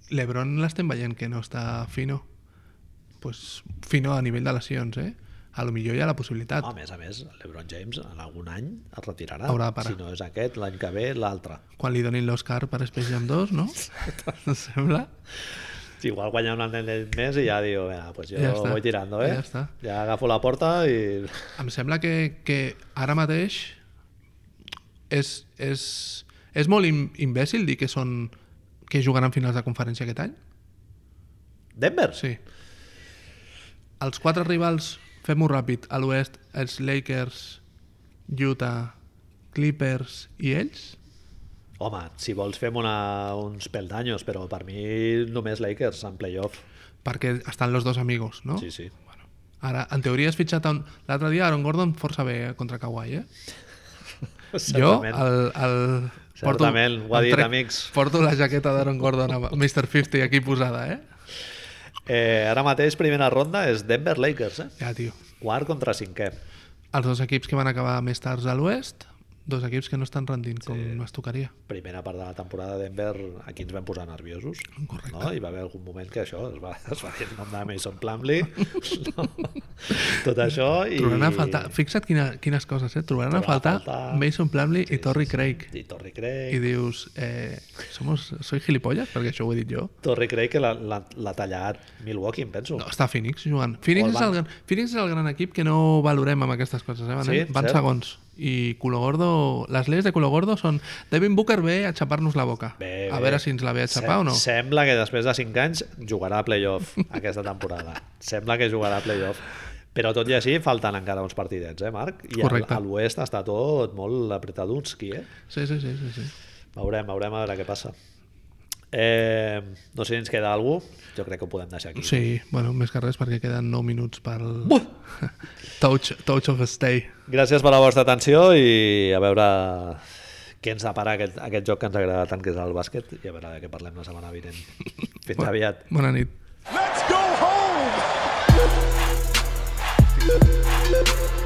[SPEAKER 2] l'Ebron l'estem veient que no està fino, pues fino a nivell de lesions, eh? A lo millor hi ha la possibilitat.
[SPEAKER 1] A més a més, l'Ebron James en algun any es retirarà.
[SPEAKER 2] Haurà de parar.
[SPEAKER 1] Si no és aquest, l'any que ve, l'altre.
[SPEAKER 2] Quan li donin l'Oscar per Space Jam 2, no? Em sembla?
[SPEAKER 1] Igual guanyar un anell més i ja diu, venga, pues yo
[SPEAKER 2] Ja està.
[SPEAKER 1] voy tirando, eh?
[SPEAKER 2] Ja està.
[SPEAKER 1] Ja agafo la porta i...
[SPEAKER 2] Em sembla que, que ara mateix és, és, és molt im- imbècil dir que són que jugaran finals de conferència aquest any.
[SPEAKER 1] Denver?
[SPEAKER 2] Sí. Els quatre rivals, fem-ho ràpid, a l'oest, els Lakers, Utah, Clippers i ells?
[SPEAKER 1] Home, si vols fem una, uns peldaños, però per mi només Lakers en playoff.
[SPEAKER 2] Perquè estan los dos amigos, no?
[SPEAKER 1] Sí, sí.
[SPEAKER 2] Ara, en teoria has fitxat... a Un... L'altre dia Aaron Gordon força bé eh, contra Kawhi, eh? Jo,
[SPEAKER 1] Certament.
[SPEAKER 2] el, el...
[SPEAKER 1] Certament, ho ha
[SPEAKER 2] em
[SPEAKER 1] dit,
[SPEAKER 2] trec-
[SPEAKER 1] amics.
[SPEAKER 2] Porto la jaqueta d'Aaron Gordon amb Mr. 50 aquí posada, eh?
[SPEAKER 1] Eh, ara mateix, primera ronda és Denver-Lakers, eh?
[SPEAKER 2] Ja, tio.
[SPEAKER 1] Quart contra cinquè.
[SPEAKER 2] Els dos equips que van acabar més tard a l'oest, dos equips que no estan rendint com es tocaria.
[SPEAKER 1] Primera part de la temporada Denver, aquí ens vam posar nerviosos.
[SPEAKER 2] Correcte.
[SPEAKER 1] No? Hi va haver algun moment que això es va, [laughs] es va dir el nom de Mason Plumlee. [laughs] No? Tot això i...
[SPEAKER 2] Trobaran a faltar... Fixa't quina, quines coses, eh? Trobaran a
[SPEAKER 1] Trobarà a
[SPEAKER 2] faltar,
[SPEAKER 1] faltar-
[SPEAKER 2] Mason Plumlee i Torrey Craig.
[SPEAKER 1] I Torrey Craig.
[SPEAKER 2] I dius, eh, somos, soy gilipollas? Perquè això ho he dit jo.
[SPEAKER 1] Torrey Craig que l'ha- l'ha l'ha tallat Milwaukee, em penso.
[SPEAKER 2] No, està Phoenix jugant. Phoenix
[SPEAKER 1] Molt
[SPEAKER 2] és, el gran, Phoenix és el gran equip que no valorem amb aquestes coses, eh? Van,
[SPEAKER 1] Sí,
[SPEAKER 2] van
[SPEAKER 1] cert.
[SPEAKER 2] segons. I Culo Gordo, les lleis de Culo Gordo són Devin Booker ve a xapar-nos la boca.
[SPEAKER 1] Bé,
[SPEAKER 2] a
[SPEAKER 1] bé.
[SPEAKER 2] veure si ens la ve a xapar
[SPEAKER 1] Sem-
[SPEAKER 2] o no.
[SPEAKER 1] Sembla que després de 5 anys jugarà a playoff
[SPEAKER 2] [laughs]
[SPEAKER 1] aquesta temporada. Sembla que jugarà a playoff. Però tot i així falten encara uns partidets, eh, Marc? I al-
[SPEAKER 2] Correcte.
[SPEAKER 1] a l'oest està tot molt apretadunski, eh?
[SPEAKER 2] Sí, sí, sí, sí, sí.
[SPEAKER 1] Veurem, veurem a veure què passa. Eh, no sé si ens queda algú. Jo crec que ho podem deixar aquí.
[SPEAKER 2] Sí, bueno, més que res perquè queden 9 minuts pel... [laughs] touch, touch of stay.
[SPEAKER 1] Gràcies per la vostra atenció i a veure què ens depara aquest, aquest joc que ens agrada tant, que és el bàsquet, i a veure de què parlem la setmana
[SPEAKER 2] [laughs]
[SPEAKER 1] vinent. Fins aviat.
[SPEAKER 2] Bona nit.
[SPEAKER 3] Let's go home!